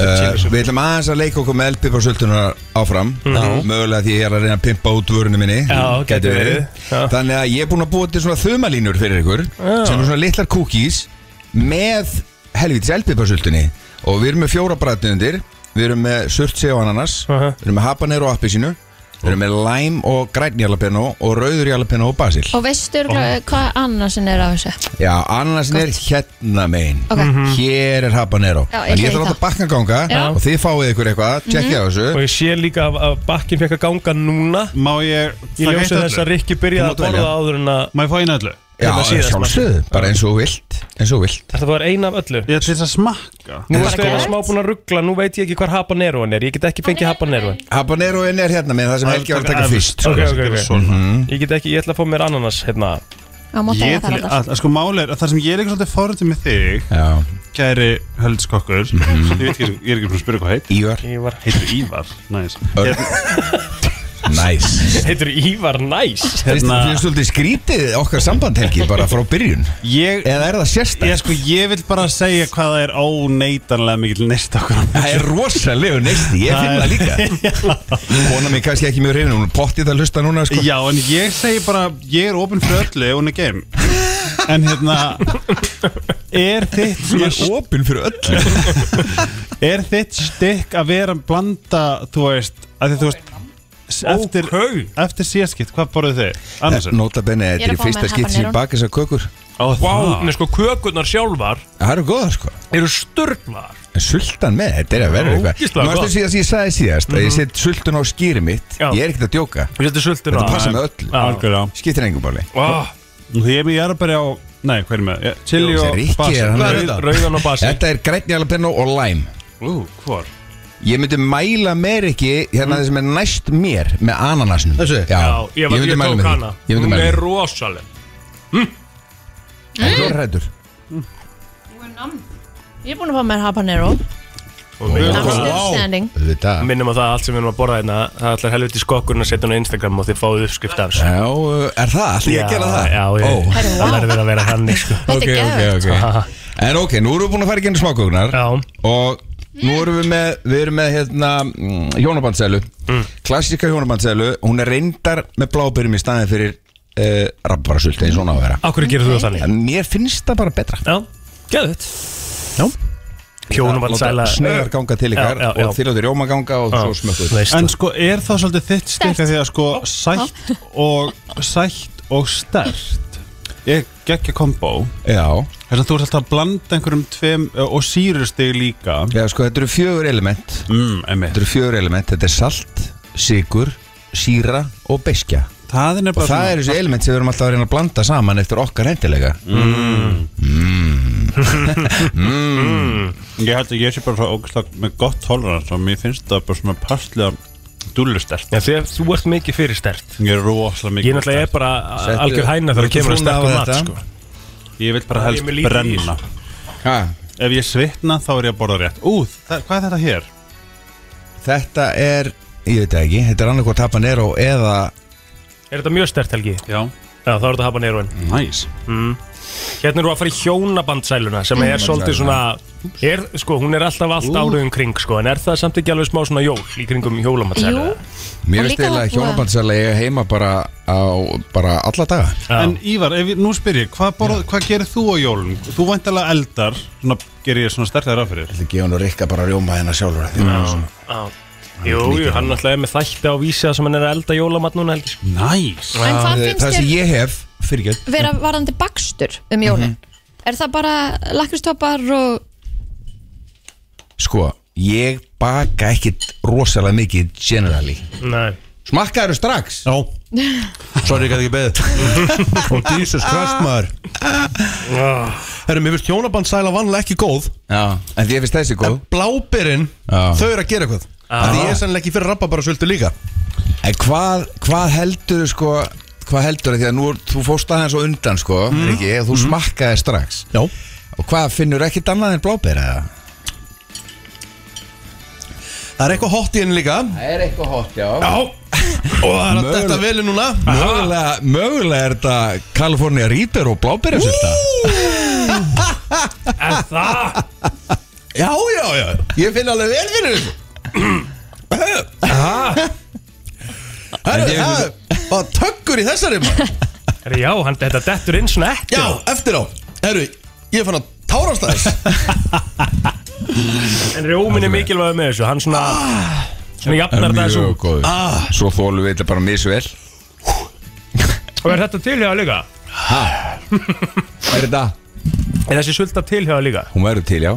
Speaker 8: Uh, við ætlum aðeins að leika okkur með elpiparsöldunar áfram Mögulega því ég er að reyna að pimpa út vörunni minni
Speaker 3: Já, gæti
Speaker 8: Gæti
Speaker 3: verið. Já.
Speaker 8: Þannig að ég er búin að búa til svona þumalínur fyrir ykkur Sem eru svona litlar cookies Með helvitis elpiparsöldunni Og við erum með fjóra bræðnundir Við erum með surtsi og ananas
Speaker 3: Aha.
Speaker 8: Við erum með habanero og appelsínu Við erum með lime og grænjarlapenó Og rauðurjarlapenó og basil
Speaker 2: Og veistu örugglega hvað annarsin er á þessu?
Speaker 8: Já, annars er hérna megin
Speaker 2: Ok.
Speaker 8: Hér er habanero
Speaker 2: Já, ég
Speaker 8: En ég ætla
Speaker 2: segi
Speaker 8: að láta
Speaker 2: það.
Speaker 8: bakkan ganga
Speaker 2: Já.
Speaker 8: Og þið fáið ykkur eitthvað, tjekkið á
Speaker 3: Og
Speaker 8: þessu
Speaker 3: ég sé líka að, að bakkin fekk að ganga núna
Speaker 6: Má
Speaker 3: Ég
Speaker 6: ég taka eitt
Speaker 3: ljósi
Speaker 6: öllu?
Speaker 3: þess að Rikki byrjaði
Speaker 8: Þú
Speaker 3: að
Speaker 8: mátt velja.
Speaker 3: borða áður en að
Speaker 6: Má ég fá einu öllu?
Speaker 8: Já,
Speaker 3: hérna síðast,
Speaker 8: sjálfsögðu, bara eins og þú vilt Eins og þú vilt
Speaker 3: Þetta var eina af öllu
Speaker 6: Ég ætla þess að smakka
Speaker 3: Nú
Speaker 8: Bara
Speaker 3: erstu eða
Speaker 8: gott.
Speaker 3: smá búin að ruggla, nú veit ég ekki hvar habaneroan er Ég get ekki fengið habaneroan
Speaker 8: Habaneroin er hérna megin það sem Helgi var að taka
Speaker 6: Efst,
Speaker 8: fyrst Mhm.
Speaker 6: sko,
Speaker 3: Ok,
Speaker 6: sem
Speaker 3: ok,
Speaker 6: gerir
Speaker 3: ok.
Speaker 6: svona.
Speaker 3: Ég get ekki, ég ætla að fá mér ananas hérna
Speaker 2: á móti
Speaker 6: Ég
Speaker 2: eiga þar
Speaker 6: til,
Speaker 2: allar
Speaker 6: að, að sko máli er að það sem ég er eitthvað svolítið forðið með þig
Speaker 8: Já,
Speaker 6: Kæri höldskokkur Ég veit ekki, ég er ekki frá að spyrja hvað heit
Speaker 8: Ívar,
Speaker 3: Ívar
Speaker 6: Mhm. Heitir Ívar, næs
Speaker 8: Örn. næs
Speaker 3: Heitur Ívar Næs
Speaker 8: Hérna
Speaker 6: Hérna-
Speaker 8: Þetta er svolítið skrítið okkar samband helgi bara frá byrjun
Speaker 6: Ég,
Speaker 8: Eða er það
Speaker 6: ég,
Speaker 8: sérstætt?
Speaker 6: sko, ég vil bara segja hvað það er óneitanlega mikil neist okkur á þessu.
Speaker 8: Það er rosalegu neisti, ég finn það líka Kona mér kannski ekki mjög reyðin, hún er pottið að hlusta núna sko.
Speaker 6: Já, en ég segi bara Ég er opinn fyrir öllu ef hún er geim En hérna Er þitt svona
Speaker 8: Ég er opinn fyrir öllu
Speaker 6: Er þitt stykk að vera að blanda, þú veist, að þið, þú veist, s- eftir,
Speaker 3: Ókei.
Speaker 6: eftir síðaskitt, hvað borðið þið? Andersen?
Speaker 8: Nota benni,
Speaker 2: Ég er
Speaker 8: þetta er
Speaker 2: að
Speaker 8: í
Speaker 2: fá mér
Speaker 8: fyrsta skitt
Speaker 2: habanero.
Speaker 8: sem ég baka þessar kökur
Speaker 6: Ó,
Speaker 3: Vá, nei sko kökurnar sjálfar
Speaker 8: Það eru góða sko
Speaker 3: eru sturglar
Speaker 8: En sultan með, þetta er að vera
Speaker 3: Já,
Speaker 8: eitthvað
Speaker 3: ógeðslega gott.
Speaker 8: Nú
Speaker 3: Mhm.
Speaker 8: ástu síðast, ég sagði síðast að ég set sultun á skýri mitt
Speaker 3: Já.
Speaker 8: Ég er ekkert að djóka,
Speaker 3: Við setjum sultun
Speaker 8: þetta
Speaker 3: á
Speaker 8: passa með öllu
Speaker 3: Já.
Speaker 6: Algjörlega.
Speaker 8: Skiptir engum máli
Speaker 3: Vá,
Speaker 6: Því ég er með jarðabæri á, nei, hvað er ég með? Ég- Chili
Speaker 8: Jó,
Speaker 6: og
Speaker 8: Rikki er hann
Speaker 1: Hvað er
Speaker 6: basil.
Speaker 1: þetta?
Speaker 3: Rauðan og basil
Speaker 8: Þetta er grænni alapenno og lime
Speaker 6: Ú, hvor?
Speaker 8: Ég myndi mæla meir ekki hérna mm. sem er næst mér með ananasnum
Speaker 1: Þessu?
Speaker 8: Já,
Speaker 3: Já, ég, var, ég, tók
Speaker 8: með því.
Speaker 3: hana
Speaker 8: Ég myndi
Speaker 3: Hún
Speaker 8: mæla
Speaker 3: er
Speaker 8: með
Speaker 3: rosaleg
Speaker 8: því Það er rættur
Speaker 3: Mm.
Speaker 2: Ég er búin að fá mér habanero
Speaker 3: Og við-
Speaker 2: I'm still standing
Speaker 8: Þetta
Speaker 3: Minnum á það að allt sem við erum að borða hérna Það ætlar helviti skokkurinn að setja hún á Instagram og þið fáið uppskrift af þessu
Speaker 8: Já, er það? Ætla ég að gera það?
Speaker 3: Já, já,
Speaker 8: Ó,
Speaker 3: ég,
Speaker 2: Herri,
Speaker 3: það
Speaker 2: vá.
Speaker 3: verður verið að vera þannig sko.
Speaker 2: Þetta
Speaker 8: ok,
Speaker 2: er
Speaker 8: ok,
Speaker 2: geðvægt
Speaker 8: ok En ok, nú erum við búin að fara í genið smákökunar
Speaker 3: Já,
Speaker 8: Og nú erum við með, við erum með hérna, mm, hjónabandsælu mm. Klassika hjónabandsælu, hún er reyndar með blábyrjum í staðin fyrir uh, rabbarasult eins og hún á að vera
Speaker 3: af hverju gerir þú það þannig?
Speaker 8: En mér finnst það bara betra
Speaker 3: Já, geðut
Speaker 8: Já.
Speaker 3: Hjónum að sæla
Speaker 8: Sneiðar ganga til ykkar
Speaker 3: Já, já, já.
Speaker 8: og þýrjóttir rjóma ganga og
Speaker 3: Já,
Speaker 8: svo smökkuð
Speaker 3: veist
Speaker 6: En
Speaker 3: það.
Speaker 6: sko, er það svolítið þitt stykk
Speaker 2: Sterkt.
Speaker 6: að því að sko sætt og, sætt og stert Ég geggja kombo
Speaker 8: Já,
Speaker 6: Þess að þú ert alltaf að blanda einhverjum tveim og sýrustig líka
Speaker 8: já sko þetta eru fjögur element
Speaker 6: Mm, einmitt.
Speaker 8: Þetta eru fjögur element, þetta er salt, sigur, síra og beskja
Speaker 6: Það er
Speaker 8: Og
Speaker 6: nefnilega
Speaker 8: það
Speaker 6: svona-
Speaker 8: eru þessi element sem við erum alltaf að reyna að blanda saman eftir okkar hendilega
Speaker 3: Mm.
Speaker 6: Ég held að ég sé bara svo ógæslega með gott tolerance og mér finnst það bara svona passlega dúllustert
Speaker 3: Já, þegar þú ert mikið fyrir stert
Speaker 6: Ég er rosalega mikið
Speaker 3: Ég náttúrulega er bara
Speaker 8: Settu-
Speaker 3: algjör hæna þegar
Speaker 8: Láttu
Speaker 3: kemur að
Speaker 8: frúna
Speaker 3: sterkum
Speaker 8: hafa
Speaker 3: mat
Speaker 8: þetta.
Speaker 3: sko.
Speaker 6: stert Ég vil bara helst
Speaker 3: Ég er með lítið í
Speaker 6: brenna
Speaker 8: ha,
Speaker 6: Ef ég svitna þá er ég að borða rétt Ú, það, hvað er þetta hér?
Speaker 8: Þetta er, ég veit það ekki, þetta er annarkoð tapanero eða
Speaker 3: Er þetta mjög stert Helgi?
Speaker 6: Já
Speaker 3: Já, þá er þetta hafa neyruinn
Speaker 6: Næs nice.
Speaker 3: Hérna eru að fara í hjónabandsæluna sem er svolítið svona er, sko, Hún er alltaf allt árið um kring sko, En er það samt ekki alveg smá svona jól í kringum hjólabandsælu?
Speaker 2: Jú, Og
Speaker 8: Mér veist
Speaker 2: líka
Speaker 8: eða
Speaker 2: það
Speaker 8: að
Speaker 2: búa-
Speaker 8: hjónabandsæla eiga heima bara, á, bara alla daga
Speaker 6: En Ívar, ef, ég- nú spyr ég, hvað, borð, hvað gerir þú á jólum? Þú væntalega eldar, svona gerir ég svona sterklega ráð fyrir
Speaker 8: Þetta gefa hann og Rikka bara rjóma hennar sjálfur af því hún er svona-
Speaker 3: Jú, jú, hann alltaf er með þætti á vísi sem hann er að elda jólamat núna Helgi sko.
Speaker 6: Næs
Speaker 2: en hvað
Speaker 8: Það
Speaker 2: finnst
Speaker 8: það sem
Speaker 2: þér
Speaker 8: ég hef, fyrir ekki
Speaker 2: vera varðandi bakstur um jólin? Er það bara lakristoppar og
Speaker 8: Sko, ég baka ekkit rosalega mikið generally
Speaker 3: Nei
Speaker 8: Smakkaðu strax
Speaker 1: Já Sorry, ég gæti ekki beðið Og Jesus Christ, maður Ah. Herru, mér finnst hjónabandsæla vanlega ekki góð
Speaker 8: Já, en því ég finnst þessi góð
Speaker 1: En blábyrinn,
Speaker 8: Já.
Speaker 1: þau eru að gera eitthvað Það ég er sannlega ekki fyrir rabba bara svöldu líka
Speaker 8: En hvað, hvað heldur sko Hvað heldur því að nú er- þú fórst aðeins og undan sko Riki, þú smakkaði strax
Speaker 1: Já
Speaker 8: Og hvað finnur ekkit annað en blábera eða?
Speaker 1: Það er eitthvað hot í henni líka
Speaker 8: Það er eitthvað hot, já
Speaker 1: Og það er að
Speaker 8: Mögulega-
Speaker 1: detta veli núna
Speaker 8: Mögulega, mögulega er þetta California Reaper og blábera svolta
Speaker 3: En það
Speaker 1: Já, já, já Ég finn alveg vel fyrir þessu Ah. Herru, það er bara tökkur í þessari maður
Speaker 3: Herri, Já, hann, þetta dettur inn svona ekki
Speaker 1: Já, eftir á Herru, ég fann að tárast aðeins
Speaker 3: En rjómin er mikilvæg með þessu Hann svona Svona jafnar það þessu
Speaker 8: Mjög góð
Speaker 1: Ah.
Speaker 8: Svo þólu við þetta bara misvel
Speaker 3: Og er þetta tilhjáða líka?
Speaker 8: Er þetta?
Speaker 3: Er þessi sulta tilhjáða líka?
Speaker 8: Hún verður Mm. til, já,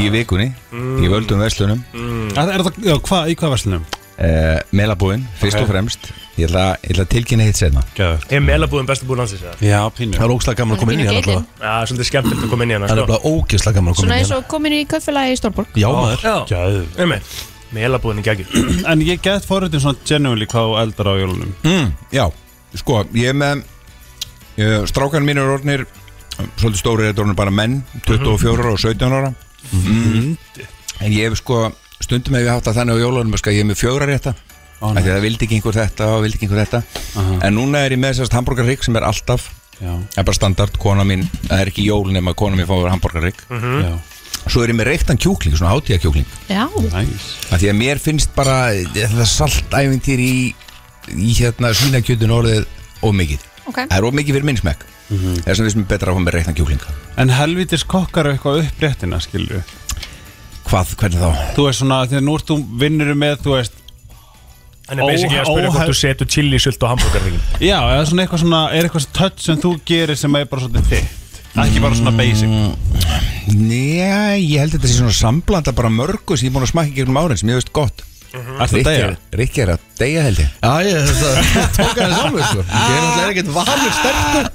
Speaker 8: í vikunni Í völdum verslunum
Speaker 6: Er, er það, já, hvað, í hvað verslunum?
Speaker 8: uh, Melabúinn, fyrst og fremst Ég ætla, ég ætla að tilkynna hitt setna
Speaker 6: Gjöður
Speaker 3: Ég er meðlabúðin bestu búinn hans þessu
Speaker 6: Já, pínu
Speaker 1: Það er ógislega gaman að koma inn í
Speaker 2: Pínu
Speaker 1: hérna
Speaker 2: geitlinn.
Speaker 1: nefnilega.
Speaker 3: Já, svolítið skemmtilegt að koma inn í hana
Speaker 1: Það er
Speaker 3: sko.
Speaker 1: bara ógislega gaman að koma
Speaker 2: svona
Speaker 1: inn í
Speaker 2: eins
Speaker 1: hérna
Speaker 2: og kominu í kaupfélagi í Stórborg?
Speaker 1: Já, maður
Speaker 3: Já,
Speaker 6: Gjöður
Speaker 3: einmitt Meðlabúðin í geggjur
Speaker 6: En ég get forröndin svona genuinely hvað þú eldar á jólunum
Speaker 8: Já, sko, ég er með uh, Strákan mín er orðnir um, Svolítið stóri er þetta orðnir bara menn 24 ára og 17 ára
Speaker 6: Mhm.
Speaker 8: mm. En ég hef sko Stundum hef ég haft að þannig á jólunum sko, að Ég er með fjóra rétta
Speaker 6: Ó,
Speaker 8: oh,
Speaker 6: nei.
Speaker 8: Það vildi ekki einhver þetta og vildi ekki einhver þetta En núna er ég með sérst hambúrgarrygg sem er alltaf
Speaker 6: Já,
Speaker 8: Það er bara standard, kona mín Það er ekki jól nema kona mín fáið hambúrgarrygg
Speaker 6: já,
Speaker 8: Svo er ég með reyktan kjúkling, svona hátíðakjúkling
Speaker 2: Já,
Speaker 6: næs
Speaker 8: að Því að mér finnst bara eh, þetta saltævintýr í, í hérna svínakjötun orðið of mikið
Speaker 2: ok
Speaker 8: Það er of mikið fyrir minn smekk Það er sem við sem er betra að fá með reikna kjúklinga
Speaker 6: En helvitis kokkar eitthvað upp réttina, skilju
Speaker 8: Hvað, hvernig þá?
Speaker 6: Þú veist svona, þegar nú ert þú vinnur með, þú veist
Speaker 3: Hann er basically að spyrja
Speaker 6: Ó-
Speaker 3: hvort
Speaker 6: óhef-
Speaker 3: þú setur chili sult á hambúrgarringin
Speaker 6: Já, eða svona eitthvað svona, er eitthvað svona touch sem þú gerir sem er bara svona þitt Ekki bara svona basic
Speaker 3: Mm.
Speaker 8: Njá, ég held að þetta sé svona samblanda bara mörgu sem ég er búin að smakka í gegnum árin sem ég veist gott
Speaker 6: Ertu að deyja?
Speaker 8: Mhm. Rikki er að deyja held ég
Speaker 1: Já, ég þetta tók hann saman sko. Ég er náttúrulega ekkert vanur sterkur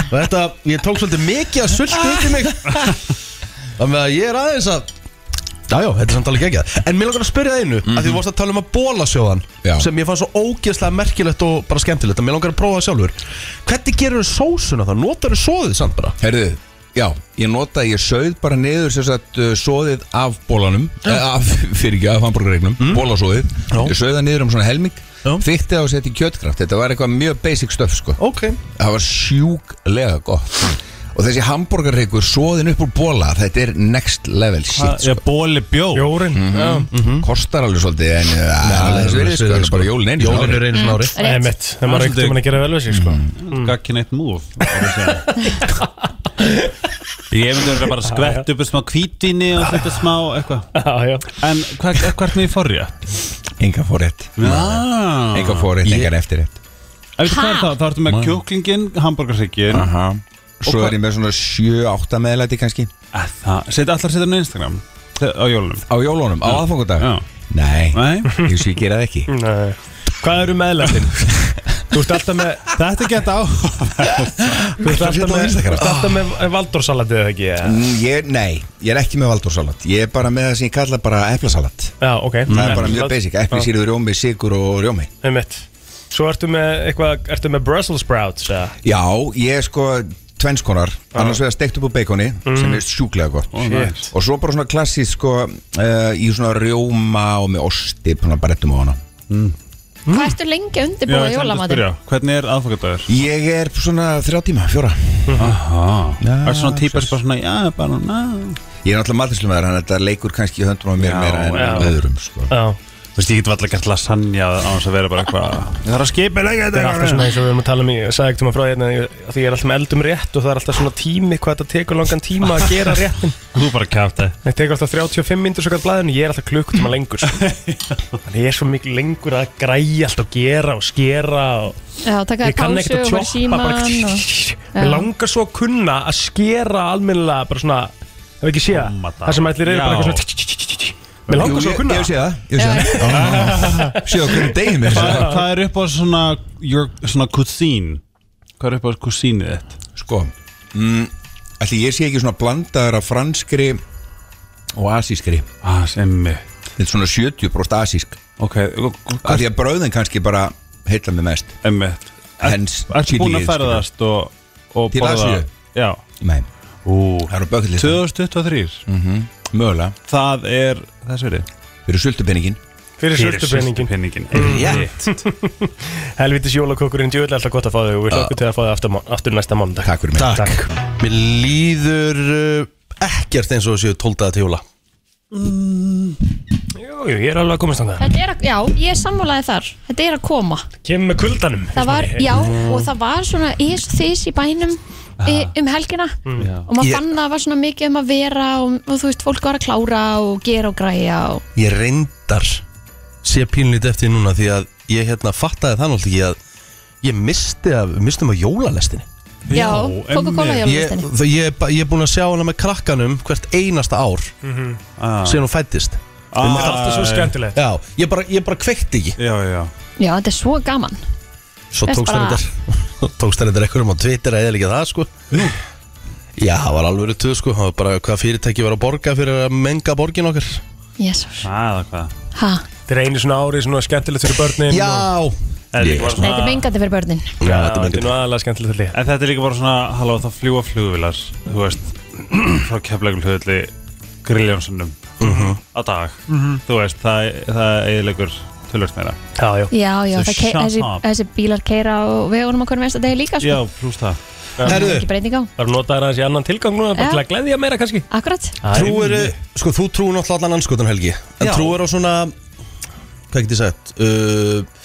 Speaker 1: Og þetta, ég tók svolítið mikið að sulti út í mig Þannig að ég er aðeins að Jájá, þetta er samt alveg ekki En mér langar að spyrja það einu mm Því þú varst að tala um að bóla sjóðan
Speaker 8: Já.
Speaker 1: Sem ég fann svo ógeðslega merkilegt og bara skemmtilegt að Mér langar að prófa það sjálfur Hvernig gerur þú sósuna það? Notar þú sóðið samt bara?
Speaker 8: Herðu, já, ég nota að ég sögð bara niður sem sagt uh, soðið af bólanum eh, af, fyrir ekki, af hambúrgarregnum, mm. bólasóðið
Speaker 1: Já.
Speaker 8: ég sögð það niður um svona helming
Speaker 1: Já.
Speaker 8: þykti það og setti í kjötkraft, þetta var eitthvað mjög basic stuff sko,
Speaker 1: Ok
Speaker 8: það var sjúklega gott og þessi hambúrgarreikur soðin upp úr bóla, þetta er next level
Speaker 6: Ha,
Speaker 8: shit,
Speaker 6: Já, bóli bjó
Speaker 3: Jórinn
Speaker 6: Mm.
Speaker 3: Það
Speaker 8: sko. kostar alveg svolítið en uh, alveg þess verið, sko, en bara jólin einu
Speaker 1: Jólin er einu svona ári
Speaker 3: er
Speaker 2: Rétt.
Speaker 3: mitt Það maður ekkert um að gera vel við sig sko
Speaker 6: Mm. Gakkin eitt múf Ég myndi vera bara að skvett upp smá kvítvinni og þetta smá eitthvað
Speaker 3: Já, já
Speaker 6: En hvað hva ert með í forja?
Speaker 8: enga fórétt,
Speaker 6: Ah.
Speaker 8: enga fórétt,
Speaker 1: Ég-
Speaker 8: engan eftirrétt
Speaker 6: En veistu hvað er það? Það ertu með kjúklingin, hambúrgarsikkin
Speaker 8: Aha. svo
Speaker 6: Og hva-
Speaker 8: er ég með svona 7-8 meðlæti kannski
Speaker 6: Seti allar að setja hann á Instagram Þe- á jólunum
Speaker 8: á jólunum, á aðfangundag
Speaker 6: Já.
Speaker 8: Nei,
Speaker 6: Nei.
Speaker 8: ég sé gera það ekki
Speaker 3: Nei. Hvað eru meðlætin? Þú ert alltaf með
Speaker 6: Þetta geta á
Speaker 3: Þú ert alltaf
Speaker 8: Ég ætla að
Speaker 3: með,
Speaker 8: lýsa
Speaker 3: þú
Speaker 8: þér.
Speaker 3: ert alltaf með valdórsalatið eða ekki eða?
Speaker 8: Mm, ég, Nei, ég er ekki með valdórsalat Ég er bara með það sem ég kalla bara eplasalat
Speaker 3: Já, ok
Speaker 8: Það er bara mjög basic, epli sýrður rjómi, sigur og rjómi
Speaker 3: Með mitt Svo ertu með eitthvað, ertu með Brussels sprouts eða?
Speaker 8: Já, ég er sko tvennskonar Annars vegar steikt upp á beikoni sem er sjúklega gott
Speaker 3: Shit.
Speaker 8: Og svo bara svona klassísk sko uh, Í svona rjóma og með osti Svona bara réttum á hana
Speaker 2: Hvað ertu lengi að
Speaker 6: Já,
Speaker 2: undirbúa
Speaker 6: ég ætla að
Speaker 2: jólamatinn?
Speaker 6: spyrja, Hvernig er aðfokkardagur?
Speaker 8: Ég er svona þrjá tíma, fjóra
Speaker 6: Aha Er Ah. svona típa sem bara svona Já, bara ná
Speaker 8: Ég er náttúrulega matislumaður Þannig að þetta leikur kannski í höndum á mér
Speaker 6: Já,
Speaker 8: meira en
Speaker 3: já.
Speaker 8: öðrum sko.
Speaker 3: Já
Speaker 6: Þú veist, ég get valla gert lasagna á þess að vera bara eitthvað Það er að skipa lega
Speaker 3: Þetta er alltaf svona eins og við erum að tala um í Ég sagði ekki maður frá hérna að ég- að Því ég er alltaf með eldum rétt Og það er alltaf svona tími Hvað þetta tekur langan tíma að gera réttin
Speaker 6: Þú bara kæft það
Speaker 3: Það tekur alltaf 35 myndur svo galt blæðinu Ég er alltaf klukkutíma lengur sko. Þannig ég er svo mikið lengur að græja Allt og gera og skera og
Speaker 2: Já, taka
Speaker 3: Ég
Speaker 2: þér
Speaker 3: kann
Speaker 2: pásu
Speaker 3: ekkert
Speaker 2: og fara í
Speaker 3: að tjópa
Speaker 2: síman
Speaker 3: bara
Speaker 2: og...
Speaker 3: Mér langar svo að kunna að skera almennilega bara svona Ef ekki sé það
Speaker 6: Tómatá.
Speaker 3: Það sem allir eru bara
Speaker 6: Já.
Speaker 3: eitthvað svona Mér langar
Speaker 8: Jú,
Speaker 3: svo
Speaker 8: ég-
Speaker 3: að kunna
Speaker 8: Ég
Speaker 3: það
Speaker 8: sé það, ég sé það Sér það hvernig degið mér
Speaker 6: Hvað hvað er upp á svona your, Svona cuisine Hvað er upp á cuisine þitt?
Speaker 8: Sko mm, Ætli ég sé ekki svona blandaður af franskri og asískri
Speaker 6: Ah, semmi
Speaker 8: Þetta er svona 70% asísk
Speaker 6: Ok,
Speaker 8: Af því að brauðin kannski bara heilla mig mest
Speaker 6: emmi
Speaker 8: Hens
Speaker 6: Ertu búin að ferðast og, og
Speaker 8: Til
Speaker 6: borða-
Speaker 8: Asíu?
Speaker 6: Já
Speaker 8: Nei,
Speaker 6: Ú
Speaker 8: það eru bökillist
Speaker 6: 2023
Speaker 8: Mögulega,
Speaker 6: Það er Þess verið
Speaker 8: fyrir sultupinningin
Speaker 3: Fyrir söldupeningin
Speaker 6: Penningin Rétt
Speaker 3: Helvitis jólakokkurinn djúvel alltaf gott að fá þig og við hlökkum til að fá þig aftur, mán- aftur næsta mánudag
Speaker 8: Takk fyrir mig
Speaker 1: Takk.
Speaker 3: Takk.
Speaker 1: Mér líður uh, ekkert eins og þessu tóldaða til jóla
Speaker 3: Jú, jú, ég er alveg að komast þangað
Speaker 2: Þetta er að, já, ég sammálaði þar Þetta er að koma
Speaker 3: Kemum með kuldanum
Speaker 2: Það var, já, og það var svona ís og þís í bænum e, um helgina
Speaker 6: Mhm.
Speaker 2: og maður
Speaker 1: Ég-
Speaker 2: fann að það var svona mikið um að vera og, og þú veist, fólk var að klára og gera og græja og
Speaker 1: ég reyndar sé pínlítið eftir því núna því að ég hérna fattaði það náttúrulega ekki að ég misti af, mistum af jólalestinni
Speaker 2: já,
Speaker 6: emmi.
Speaker 2: Coca-Cola
Speaker 1: ég,
Speaker 2: jólavistinni
Speaker 1: það- ég, er ba- ég er búin að sjá hana með krakkanum hvert einasta ár
Speaker 6: ah.
Speaker 1: síðan hún fættist
Speaker 3: Það er alltaf svo skemmtilegt
Speaker 1: já, ég bara, ég bara kveikti ekki
Speaker 6: Já, já
Speaker 2: Já, þetta er svo gaman
Speaker 1: svo
Speaker 2: Veist
Speaker 1: tókst
Speaker 2: bara-
Speaker 1: henni tókst henni þetta einhverjum á Twitter að eða líka það sko já, það var alveg tuð sko það var bara hvað fyrirtæki var að borga fyrir að menga borgin okkar
Speaker 2: Jesus,
Speaker 6: Það er hvað
Speaker 2: ha,
Speaker 3: Þetta er einu svona árið svona skemmtilegt fyrir börnin
Speaker 1: já,
Speaker 6: En
Speaker 8: Ég-
Speaker 6: líka
Speaker 2: Nei, þetta
Speaker 6: bara
Speaker 2: er
Speaker 6: svona-
Speaker 2: mengandi fyrir börnin
Speaker 1: Já,
Speaker 3: Já,
Speaker 1: þetta er
Speaker 3: þetta er
Speaker 1: mengið
Speaker 3: nú aðalega skemmtilegt að lið
Speaker 6: En þetta er líka bara svona, halló, það fljúa flugvilar, þú veist, frá keflægul höfðli grilljónsunum
Speaker 1: Mhm.
Speaker 6: á dag. Þú veist, það, það eiginlegur tölvöld meira.
Speaker 3: Já, já
Speaker 2: Já, já,
Speaker 6: Svo
Speaker 2: það kei-
Speaker 6: shut
Speaker 2: þessi,
Speaker 6: up.
Speaker 2: þessi bílar keira á vegunum okkur mesta degi líka sko.
Speaker 6: Já, pluss það.
Speaker 2: Það er
Speaker 1: Herðu.
Speaker 2: ekki breyting á
Speaker 3: Það er notaðar aðeins í annan tilgang núna, bara
Speaker 2: Já.
Speaker 3: til að gleðja meira kannski
Speaker 2: Akkurat
Speaker 1: Trúir, sko þú trúir náttúrulega allan anskotan Helgi En
Speaker 6: Já.
Speaker 1: trúir á svona, hvað get ég sagt uh,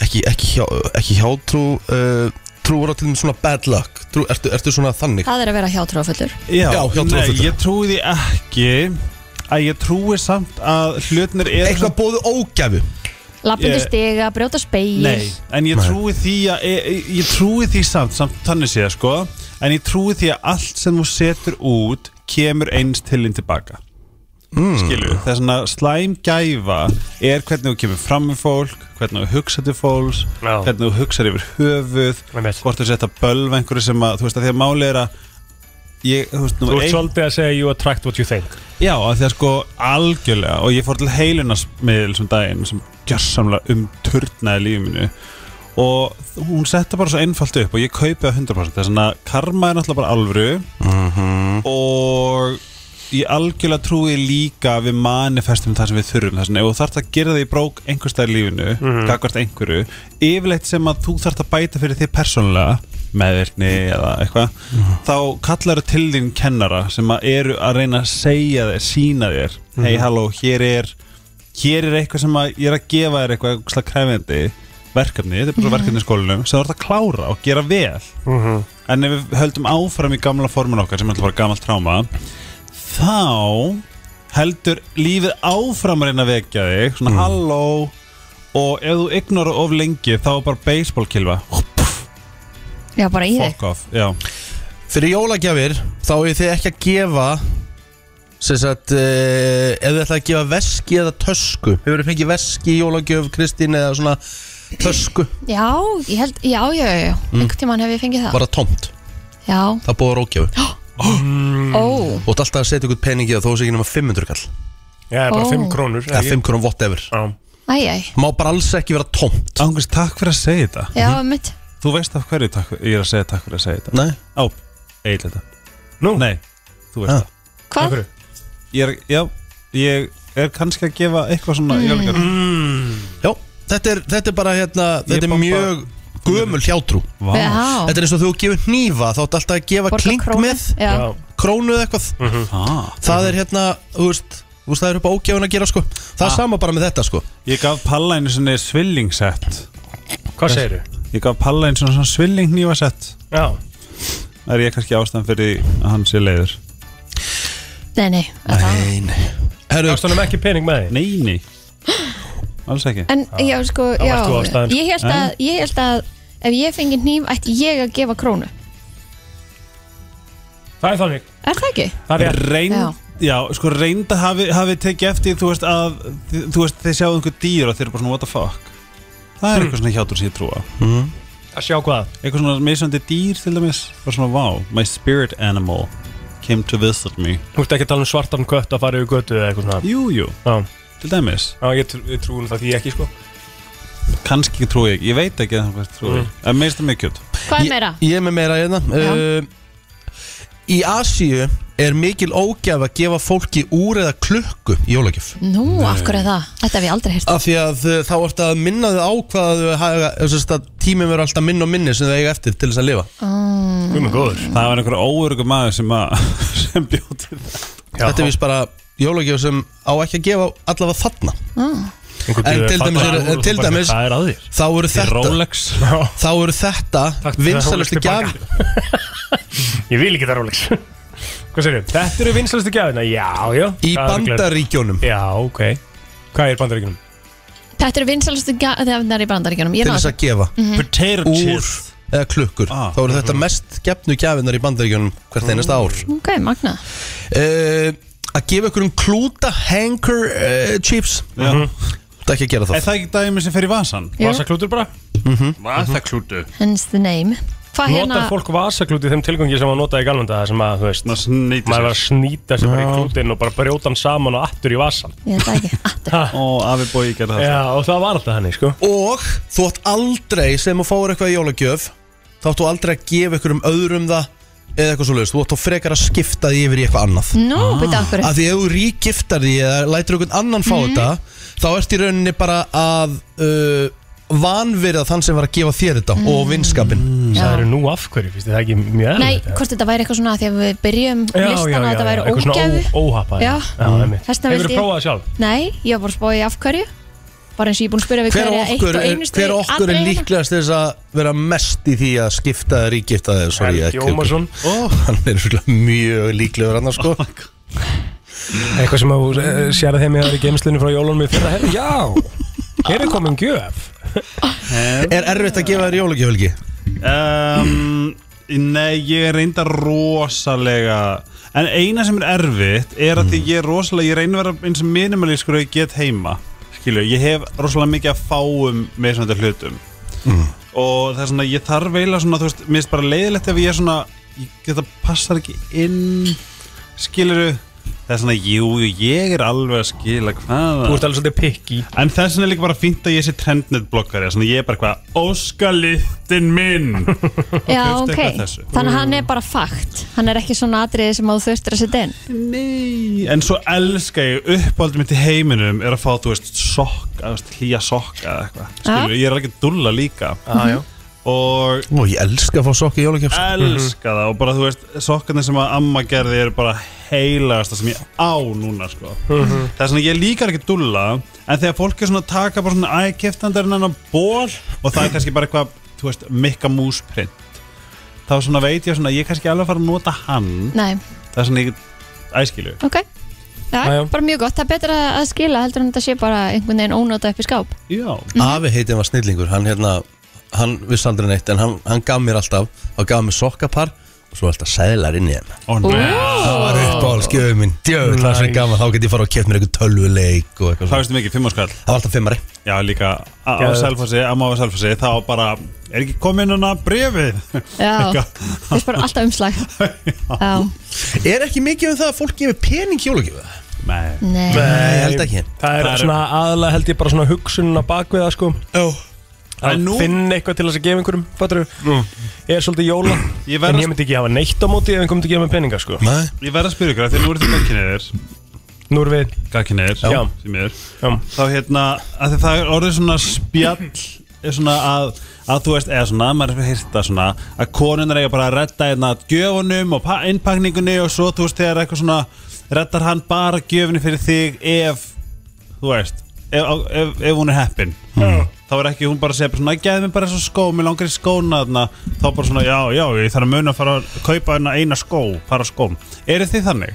Speaker 1: Ekki, ekki, hjá, ekki hjátrú uh, Trúir á til þeim svona bad luck Trú, ertu, ertu svona þannig
Speaker 2: Það er að vera hjátrúafullur
Speaker 6: Já,
Speaker 1: Já, hjá
Speaker 6: nei,
Speaker 1: trúarfulltrúa.
Speaker 6: ég trúi því ekki að ég trúi samt að hlutnir er
Speaker 1: Eitthvað bóðu ógæfu
Speaker 2: Lappindi
Speaker 6: Ég-
Speaker 2: stiga, brjóta speil
Speaker 6: Nei, en ég trúi því að ég, ég- ég trúi því samt, samt þannig séð sko en ég trúi því að allt sem þú setur út kemur eins til inn tilbaka mm. skilju, það er svona slæm gæfa er hvernig þú kemur fram með fólk hvernig þú hugsa til fólks
Speaker 3: Já.
Speaker 6: hvernig þú hugsaði yfir höfuð
Speaker 3: Einmitt.
Speaker 6: hvort þú setja bölv einhverju sem að þú veist að því að máli er að ég, þú veist,
Speaker 3: Þú
Speaker 6: númer
Speaker 3: ert
Speaker 6: eitt-
Speaker 3: svolítið að segja you attract what you think
Speaker 6: Já, af því að sko algjörlega og ég fór til heilunarsmiðl sem daginn sem gjörsamlega umturnaði lífið mínu og hún setta bara svo einfalt upp og ég kaupi það 100% þess að karma er náttúrulega bara alvöru og ég algjörlega trúi líka að við manifestum það sem við þurfum það sem ef þú þarft að gera það í brók einhvers staðar í lífinu mm einhverju, yfirleitt sem að þú þarft að bæta fyrir þig persónulega meðvirkni eða eitthvað þá kallar þú til þín kennara sem að eru að reyna að segja þér sína þér, hei halló, hér er hér er eitthvað sem að ég er að gefa þér eitthvað slag kræfindi verkefni, þetta er bara verkefni í skólanum sem þú ert að klára og gera vel en ef við höldum áfram í gamla formun okkar sem er alltaf bara gamalt tráma þá heldur lífið áfram að reyna að vekja þig svona halló og ef þú ignorar of lengi þá er bara baseball kilva
Speaker 2: Já, bara í þig
Speaker 6: fuck off já.
Speaker 1: Fyrir jólagjafir þá er þið ekki að gefa sem sagt, uh, ef þið ætlaði að gefa veski eða tösku Hefur þið fengið veski í jólagjöf, Kristín eða svona tösku
Speaker 2: Já, ég held, já, já, já, já Einhvern tímann hef ég fengið það
Speaker 1: Mm. Bara tómt,
Speaker 2: Já,
Speaker 1: það bóður ógæfu Mm.
Speaker 2: ó,
Speaker 1: Og þetta alltaf að setja ykkur peningi að þó sé ekki nema 500 kall
Speaker 3: Já, bara
Speaker 2: Ó.
Speaker 3: 5 krónur
Speaker 1: Eða 5 krónum whatever
Speaker 2: æ, æ
Speaker 1: Má bara alls ekki vera tómt
Speaker 6: Angus, takk fyrir að segja þetta
Speaker 1: Mhm.
Speaker 2: Já, mitt
Speaker 6: þú veist af hverju takk, ég er að segja takk fyrir að segja þetta
Speaker 1: Nei,
Speaker 6: á, eiginlega þetta
Speaker 3: Nú?
Speaker 6: nei, þú veist
Speaker 1: Ha.
Speaker 6: það
Speaker 2: Hvað?
Speaker 6: ég er, já, ég er kannski að gefa eitthvað svona mm.
Speaker 1: já, þetta er, þetta er bara hérna Þetta er
Speaker 6: bomba-
Speaker 1: mjög gömul hjátrú
Speaker 6: Vá,
Speaker 2: Já,
Speaker 1: Þetta er eins og þú gefur hnífa Þá ertu alltaf að gefa
Speaker 2: Borga
Speaker 1: klink
Speaker 2: krónu.
Speaker 1: með
Speaker 2: Já,
Speaker 3: Já.
Speaker 1: Krónu eða eitthvað
Speaker 6: ah,
Speaker 1: Það er hérna, þú veist, þú veist það er upp á ógjáðun að gera sko Það er sama bara með þetta sko
Speaker 6: ég gaf Palla einu svona svillingsett
Speaker 3: Hvað segir þú?
Speaker 6: ég gaf Palla einu svona svillingnífasett
Speaker 3: Já
Speaker 6: það er ég kannski ástæðan fyrir því að hann sé leiður
Speaker 2: nei, nei, nei.
Speaker 1: Nein Herru,
Speaker 3: Gafst honum ekki pening með því?
Speaker 6: nei, nei, alls ekki
Speaker 2: En, já, sko, já
Speaker 3: varst þú ástæðan.
Speaker 2: Ég held að, ég held að Ef ég fengi nýf, ætti ég að gefa krónu
Speaker 3: Það er þannig
Speaker 2: Er það ekki?
Speaker 3: Það er
Speaker 6: reynd
Speaker 2: Já.
Speaker 6: Já, sko reynda hafi, hafi tekið eftir þú veist að, þið- þú veist, þið sjáðu einhver dýr og þeir eru bara svona what the fuck það er eitthvað svona hjátur sem ég trúa
Speaker 3: að sjá hvað
Speaker 6: eitthvað svona misandi dýr til dæmis bara svona wow, my spirit animal came to visit me
Speaker 3: Þú ert ekki að tala um svartan kött að fara yfir götu eða eitthvað svona
Speaker 6: jú, jú,
Speaker 3: Já,
Speaker 6: til dæmis
Speaker 3: já ég, tr ég trúin það því ekki sko
Speaker 1: Mm.
Speaker 6: kannski trúi ég, ég veit ekki að það trúi ég en meðist það mjög kjöld
Speaker 2: Hvað er meira?
Speaker 1: Ég, ég er með meira hérna uh, Í Asíu er mikil ógjaf að gefa fólki úr eða klukku í jólagjöf
Speaker 2: Nú, af hverju er það? Þetta hef ég aldrei heyrt
Speaker 1: Af því að uh, þá ertu að minna þau á hvað eh, þau hafa þess að tímum eru alltaf minn og minni sem þau eiga eftir til þess að lifa
Speaker 3: Guð með góður
Speaker 6: það var einhver óörgu maður sem, að, sem bjóti það
Speaker 1: Þetta er vist bara jólagjöf sem á ekki að gefa allavega þarna En til dæmis eru- en til dæmis-
Speaker 3: Það er að þér
Speaker 1: Þá eru þetta,
Speaker 6: Rolex
Speaker 1: þá eru þetta
Speaker 3: Takk fyrir
Speaker 1: vinsalustu
Speaker 3: Rolex
Speaker 1: gjaf
Speaker 3: tilbaka. Ég vil ekki það Rolex Hvað segir þau? Þetta eru vinsalstu gjafina? Já,
Speaker 1: í
Speaker 3: já Það er örugglega-
Speaker 1: bandaríkjónum
Speaker 3: Já, ok Hvað er bandaríkunum?
Speaker 2: Þetta eru vinsalastu gæðnar í bandaríkjunum Ég
Speaker 1: til
Speaker 2: náði
Speaker 1: þess að gefa
Speaker 6: potato
Speaker 1: úr
Speaker 6: chips
Speaker 1: eða klukkur
Speaker 6: Mm-hmm. Ah.
Speaker 1: þá eru þetta mest gefnu gjafinnar í bandaríkjunum hvert einasta ár
Speaker 2: Ok, magna
Speaker 1: uh, að gefa ykkur um klúta hanker uh, chips
Speaker 6: Já.
Speaker 1: þetta er ekki að gera
Speaker 6: er
Speaker 1: það
Speaker 6: það ekki dæmi sem fer í vasan?
Speaker 2: Jú.
Speaker 3: Vasaklútur bara
Speaker 2: Hence the name hvað hérna
Speaker 3: Notar fólk vasaklút í þeim tilgangi sem að nota í galvanda Það sem að, þú veist,
Speaker 6: Maður snýtir sér.
Speaker 3: maður var að snýta sér bara í klútin og bara brjóta hann saman og aftur í vasan
Speaker 2: Ég veit það ekki, Ah, aftur
Speaker 6: Og afi bói gerði það
Speaker 3: Já, og það var alltaf þannig, sko
Speaker 1: Og þú átt aldrei sem að fáir eitthvað í jólagjöf Þá átt þú aldrei að gefa ykkur um öðrum það Eða eitthvað svo Þú átt þú frekar að skipta því yfir í eitthvað annað
Speaker 2: Nú, byrja okkur
Speaker 1: Af því ef þú ríkgiftar því eða lætur einhvern annan
Speaker 2: Mm.
Speaker 1: fá þetta Þá ert í rauninni bara að uh, Vanverða þann sem var að gefa þér þetta Og
Speaker 2: Mm.
Speaker 1: vinskapin
Speaker 3: Það eru nú af hverju, finnst þið það ekki mjög
Speaker 2: Nei,
Speaker 3: erfitt, eða?
Speaker 2: hvort þetta væri eitthvað svona að því að við byrjum
Speaker 3: Já, já,
Speaker 2: listan að
Speaker 3: já,
Speaker 2: þetta
Speaker 3: já,
Speaker 2: væri
Speaker 3: eitthvað svona
Speaker 2: ógæfu
Speaker 3: ó- óhappað,
Speaker 2: Já. Mm.
Speaker 3: já einmitt.
Speaker 2: Þess vegna
Speaker 3: Hefurðu
Speaker 2: vildi ég-
Speaker 3: prófað það sjálf?
Speaker 2: Nei, ég var bara að spóið af hverju Bara eins og ég er búin að spyrja við
Speaker 1: Hver
Speaker 2: hverja
Speaker 1: af okkur, er, hver af okkur er líklegast til þess að vera mest í því að skipta eða ríkgifta þig Sorry,
Speaker 3: Helgi Ómarsson
Speaker 1: oh. Hann er örugglega mjög líklegur annars sko
Speaker 3: Eitthvað sem þú eh, sér að þeim ég var í geimslunni frá jólunum í fyrra herri Já, hér er komin gjöf
Speaker 1: Er erfitt að gefa þér jólagjöf helgi?
Speaker 6: um, Nei, ég er reynda rosalega En eina sem er erfitt er að því ég er rosalega Ég reyna að vera eins og minimalískur að ég get heima Skilju, ég hef rosalega mikið að fáum með svona þetta hlutum Mm. Og það er svona, ég þarf eiginlega svona, þú veist Mér er bara leiðilegt ef ég er svona Ég geta passar ekki inn Skilju Það er svona, jú, jú, ég er alveg að skila hvað
Speaker 3: Þú ert alveg svolítið pikki
Speaker 6: En þess vegna er líka bara fínt að ég sé trendnet blokkari Þannig ég er bara eitthvað Óskalittin minn
Speaker 2: hérna. Já,
Speaker 6: Þú veist,
Speaker 2: ok,
Speaker 6: eitthvað þessu.
Speaker 2: þannig að hann
Speaker 1: Mm.
Speaker 2: er bara fakt Hann er ekki svona atriði sem að þú þurftir að setja inn
Speaker 6: Nei En svo elska ég uppáldum mitt í heiminum Er að fá, þú veist, sokka þú veist, Hlýja sokka eða eitthvað Skilur, ég er alveg að dulla líka
Speaker 3: ah,
Speaker 6: Og
Speaker 1: Ó, ég elska að fá sokk í jólagjöf sko.
Speaker 6: elska það Og bara, þú veist, sokkarnir sem að amma gerði Eru bara heilagasta sem ég á núna sko.
Speaker 3: Mhm.
Speaker 6: Það er svona, ég líkar ekki dulla En þegar fólk er svona að taka bara svona Æ, keftandarinn hennar ból Og það er kannski bara eitthvað, þú veist, mikka músprint Þá svona veit ég svona Ég er kannski alveg að fara að nota hann
Speaker 2: Nei,
Speaker 6: Það er svona, ég æskilu
Speaker 2: ok Já,
Speaker 3: Já, já.
Speaker 2: bara mjög gott, það er betra að skila heldur en þetta sé bara einhvern veginn ónóta upp í skáp
Speaker 6: Já
Speaker 1: Afi heitin var snillingur Hann hérna, hann vissi aldrei neitt En hann, hann gaf mér alltaf Hann gaf mér sokkapar Og svo alltaf sæðlar inn í þeim
Speaker 6: Ó, nei
Speaker 1: Það var uppáhaldsgjöðu minn Djöðu, það er svo
Speaker 3: Nice.
Speaker 1: gaman Þá get ég fara og keft mér einhvern tölvuleik og eitthvað
Speaker 6: Hvað
Speaker 1: svona.
Speaker 6: veistu mikið, fimm áskall?
Speaker 1: Það var alltaf fimmari
Speaker 6: Já, líka á á
Speaker 3: Geðveikt.
Speaker 6: Selfossi, amma á Selfossi Þá bara, er ekki komin hana brefið?
Speaker 2: Já, þess bara alltaf umslag Já,
Speaker 1: Er ekki mikið um það að fólk gefur pening jólagjöfu?
Speaker 6: Nei
Speaker 2: nei
Speaker 1: Nei, ég held ekki
Speaker 3: Það er
Speaker 6: Það er-
Speaker 3: svona aðalega held ég bara svona hugsunna bakvið það sko
Speaker 1: Ó
Speaker 3: Að
Speaker 6: En nú-
Speaker 3: finna eitthvað til þess að gefa einhverjum Fattur Ég er svolítið jóla
Speaker 6: Ég
Speaker 3: En
Speaker 6: verð,
Speaker 3: Mm. ég myndi ekki hafa neitt á móti ef einhver myndi gefa mig peninga sko
Speaker 1: Nei
Speaker 6: ég verð að spyrja ykkur, af því nú eru þið gagkinniðir
Speaker 3: Nú erum við um,
Speaker 6: Gagkinniðir,
Speaker 3: Já.
Speaker 6: sem ég er
Speaker 3: Já.
Speaker 6: Þá hérna, af því það er orðið svona spjall er Svona að, að þú veist, eða svona, maður er hýrta svona Að konunar eiga bara að redda hérna gjöfunum og pa- innpakningunni Og svo, þú veist, þegar eitthvað svona Reddar hann bara gjöfunni fyrir þig ef, þú veist Ef, ef, ef hún er heppin þá er ekki hún bara að segja bara svona geði mér bara þessu skó, mér langar í skóna þarna þá bara svona, já, já, ég þarf að muna að fara að kaupa hérna eina skó, fara skóm eru þið þannig?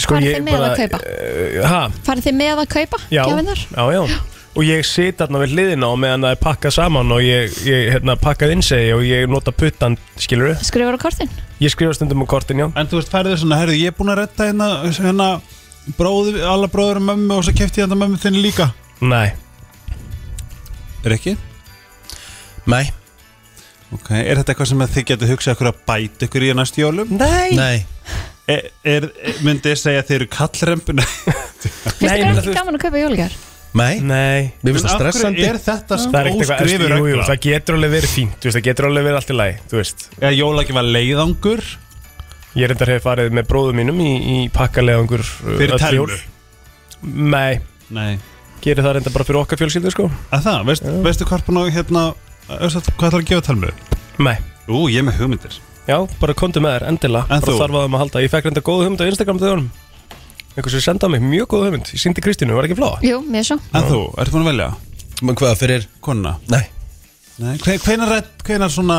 Speaker 3: sko,
Speaker 2: Farið
Speaker 3: ég
Speaker 2: þið með
Speaker 3: bara-
Speaker 2: að kaupa?
Speaker 3: Eh, Ha,
Speaker 2: Farið þið með að kaupa
Speaker 3: já,
Speaker 2: gjafinnar?
Speaker 3: já, já Og ég sit þarna við hliðina og meðan það er pakkað saman og ég, ég hérna, pakkað innsegi og ég nota puttan, skilur við
Speaker 2: Skrifar á kortin?
Speaker 3: Ég skrifa stundum á kortin, já
Speaker 6: En þú veist, færðu svona, herðu, ég er búin að retta hérna, hérna bróður, alla bróður og mömmu og svo kefti ég hérna mömmu þinni líka
Speaker 3: Nei,
Speaker 6: Er ekki?
Speaker 1: Nei
Speaker 6: Ok, er þetta eitthvað sem að þið getur hugsað ykkur að bæta ykkur í næst jólum?
Speaker 3: nei,
Speaker 1: Nei
Speaker 6: Er, er, myndi ég segja að þið eru kallrempuna?
Speaker 2: Fyrst
Speaker 3: Nei,
Speaker 2: er
Speaker 3: menn
Speaker 2: ekki
Speaker 3: þú-
Speaker 2: gaman að kaupa jólugjár
Speaker 1: Nei
Speaker 3: nei
Speaker 1: Mér finnst það stressandi
Speaker 6: Er þetta
Speaker 3: Það er ekkert
Speaker 6: óskrifur
Speaker 3: eitthvað, jú, jú,
Speaker 6: regla?
Speaker 3: það getur alveg verið fínt, þú veist, það getur alveg verið allt í lagi, þú veist
Speaker 6: Eða jóla ekki var leiðangur
Speaker 3: Ég reyndar hefur farið með bróðum mínum í, í pakkalegangur uh,
Speaker 6: fyrir
Speaker 3: öll
Speaker 6: telmu?
Speaker 3: jól. Nei,
Speaker 6: Nei
Speaker 3: gerir það reyndar bara fyrir okkar fjölskyldu, sko
Speaker 6: Að það, veist, veistu hvað er búin hérna, östu, hvað ætlar að gefa talmu?
Speaker 3: Nei,
Speaker 6: Ú, ég er með hugmyndir
Speaker 3: já, bara komdu með þér, endilega Bara
Speaker 6: En þú?
Speaker 3: þarf að þeim að halda, ég fekk reynda góða hugmynd á Instagram þegar honum Einhver sem sendaði mig, mjög góða hugmynd, ég síndi Kristínu, var ekki flóa?
Speaker 2: Jú, mér svo
Speaker 6: En þú, ertu búin að velja
Speaker 1: Men Hvað fyrir
Speaker 6: konuna?
Speaker 1: Nei
Speaker 6: Nei, hve- hvenær, redd- hvenær svona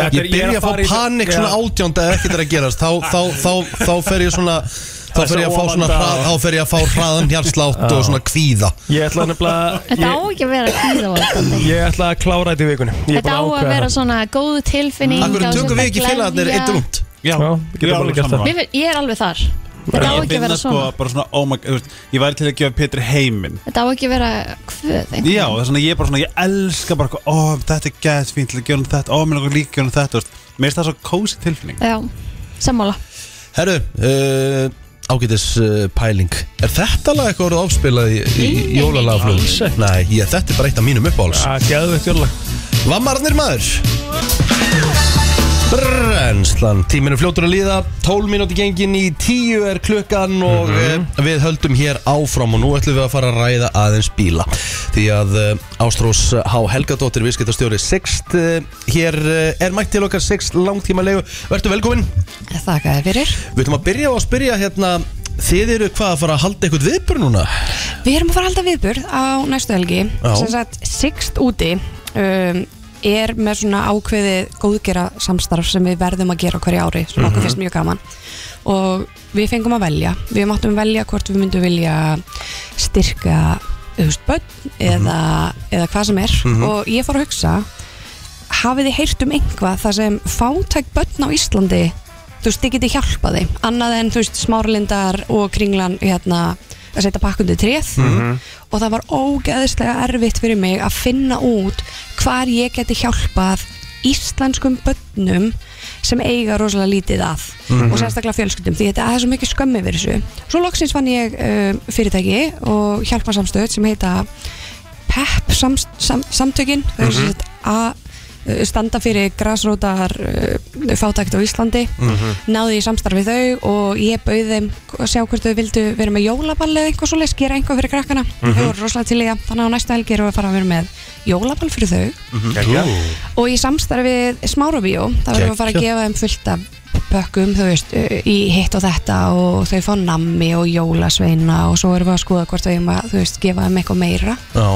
Speaker 3: Þetta
Speaker 6: það?
Speaker 3: er-
Speaker 1: Ég byrja
Speaker 3: er að
Speaker 1: að fá
Speaker 3: fara í-
Speaker 1: panik svona
Speaker 3: Já.
Speaker 1: átjónda ef ekkert er að gerast þá, þá, þá, þá fer ég svona þá
Speaker 3: er
Speaker 1: fer ég að fá
Speaker 3: svo
Speaker 1: svona
Speaker 3: óvanda.
Speaker 1: hrað, þá fer ég að fá hraðan hjarslátt og svona kvíða
Speaker 3: Ég ætla nefnilega,
Speaker 2: Þetta á
Speaker 3: ég,
Speaker 2: ekki að vera kvíðavald
Speaker 3: ég ætla að klára þetta í vikunni Ég er
Speaker 2: Þetta á
Speaker 3: búin
Speaker 2: að
Speaker 3: ákveða
Speaker 2: vera
Speaker 3: það.
Speaker 2: svona góð tilfinning
Speaker 1: Akkur
Speaker 2: og
Speaker 1: tökum
Speaker 2: svona
Speaker 1: við ekki
Speaker 2: gleðja.
Speaker 1: félagarnir eitt rúnd
Speaker 6: Já,
Speaker 3: Já, við getum
Speaker 6: ég er
Speaker 3: alveg
Speaker 6: alveg
Speaker 3: gert það.
Speaker 6: sammála.
Speaker 2: Mér finn- Ég er alveg þar Þetta á
Speaker 6: Ég
Speaker 2: ekki að
Speaker 6: finn
Speaker 2: vera
Speaker 6: það sko
Speaker 2: svona
Speaker 6: bara svona, oh my god, þú veist, ég væri til að gefa Petri heiminn
Speaker 2: Þetta á ekki að vera kvöð einhvern veginn.
Speaker 6: Já, það er svona, ég er bara svona, ég elska bara eitthvað, ó, þetta er gæðt fínt til að gera honum þetta, ó, mér langar líka að gera honum þetta, þú veist Mér finnst það svo kósi tilfinning
Speaker 2: Já, sammála
Speaker 1: Herru, uh, ágætis uh, pæling Er þetta lag eitthvað orðið áspilað í, í, í jólalagaflug? Nei, ég, þetta er bara eitt af mínum uppáhals
Speaker 3: Það geðu eitt jólag
Speaker 1: Vammarnir maður Brenslan, tíminu fljótur að líða 12 mínúti gengin í 10 er klukkan og mm við höldum hér áfram og nú ætlum við að fara að ræða aðeins bíla því að eh, Ástrós H. Helgadóttir viðskiptastjóri 6 hér eh, er mætt til okkar 6 langtímalegu, verður velkomin
Speaker 9: Þakka þér fyrir.
Speaker 1: Við ætlum að byrja á að spyrja hérna Þið eru hvað að fara að halda eitthvað viðbur núna?
Speaker 9: Við erum að fara að halda viðburð á næstu helgi.
Speaker 1: Já.
Speaker 9: Sem sagt, Sixt úti um, er með svona ákveðið góðgera samstarf sem við verðum að gera á hverju ári, sem okkur finnst mjög gaman. Og við fengum að velja. Við máttum velja hvort við myndum vilja styrka auðvistbönn eða, eða hvað sem er. Og ég fór að hugsa, hafið þið heyrt um einhvað þar sem fátæk börn á Íslandi þú veist, þið getið hjálpað þeim annað en, þú veist, smárlindar og kringlan hérna, að setja pakkundi tréð og það var ógeðislega erfitt fyrir mig að finna út hvar ég geti hjálpað íslenskum börnum sem eiga rosalega lítið að og sérstaklega fjölskyldum því þetta það er svo mikið skömmi fyrir þessu svo loksins fann ég uh, fyrirtæki og hjálparsamstöð sem heita PEP E sam, sam, samtökin þau eru sem sagt að uh, standa fyrir grasrótar uh, fátækt á Íslandi náði í samstarfi þau og ég bauð þeim að sjá hvort þau vildu vera með jólaball eða eitthvað svoleiðis, gera eitthvað fyrir krakkana þau voru rosalega til í það, þannig að á næstu helgi erum við að fara að vera með jólaball fyrir þau og í samstarfið Smárabíó, þá erum við að fara að gefa þeim fullt af pökkum, þú veist, uh, í hitt og þetta og þau fá nammi og jólasveina og svo erum við að skoða hvort þau eigum að, þú veist, gefa þeim eitthvað meira
Speaker 1: Já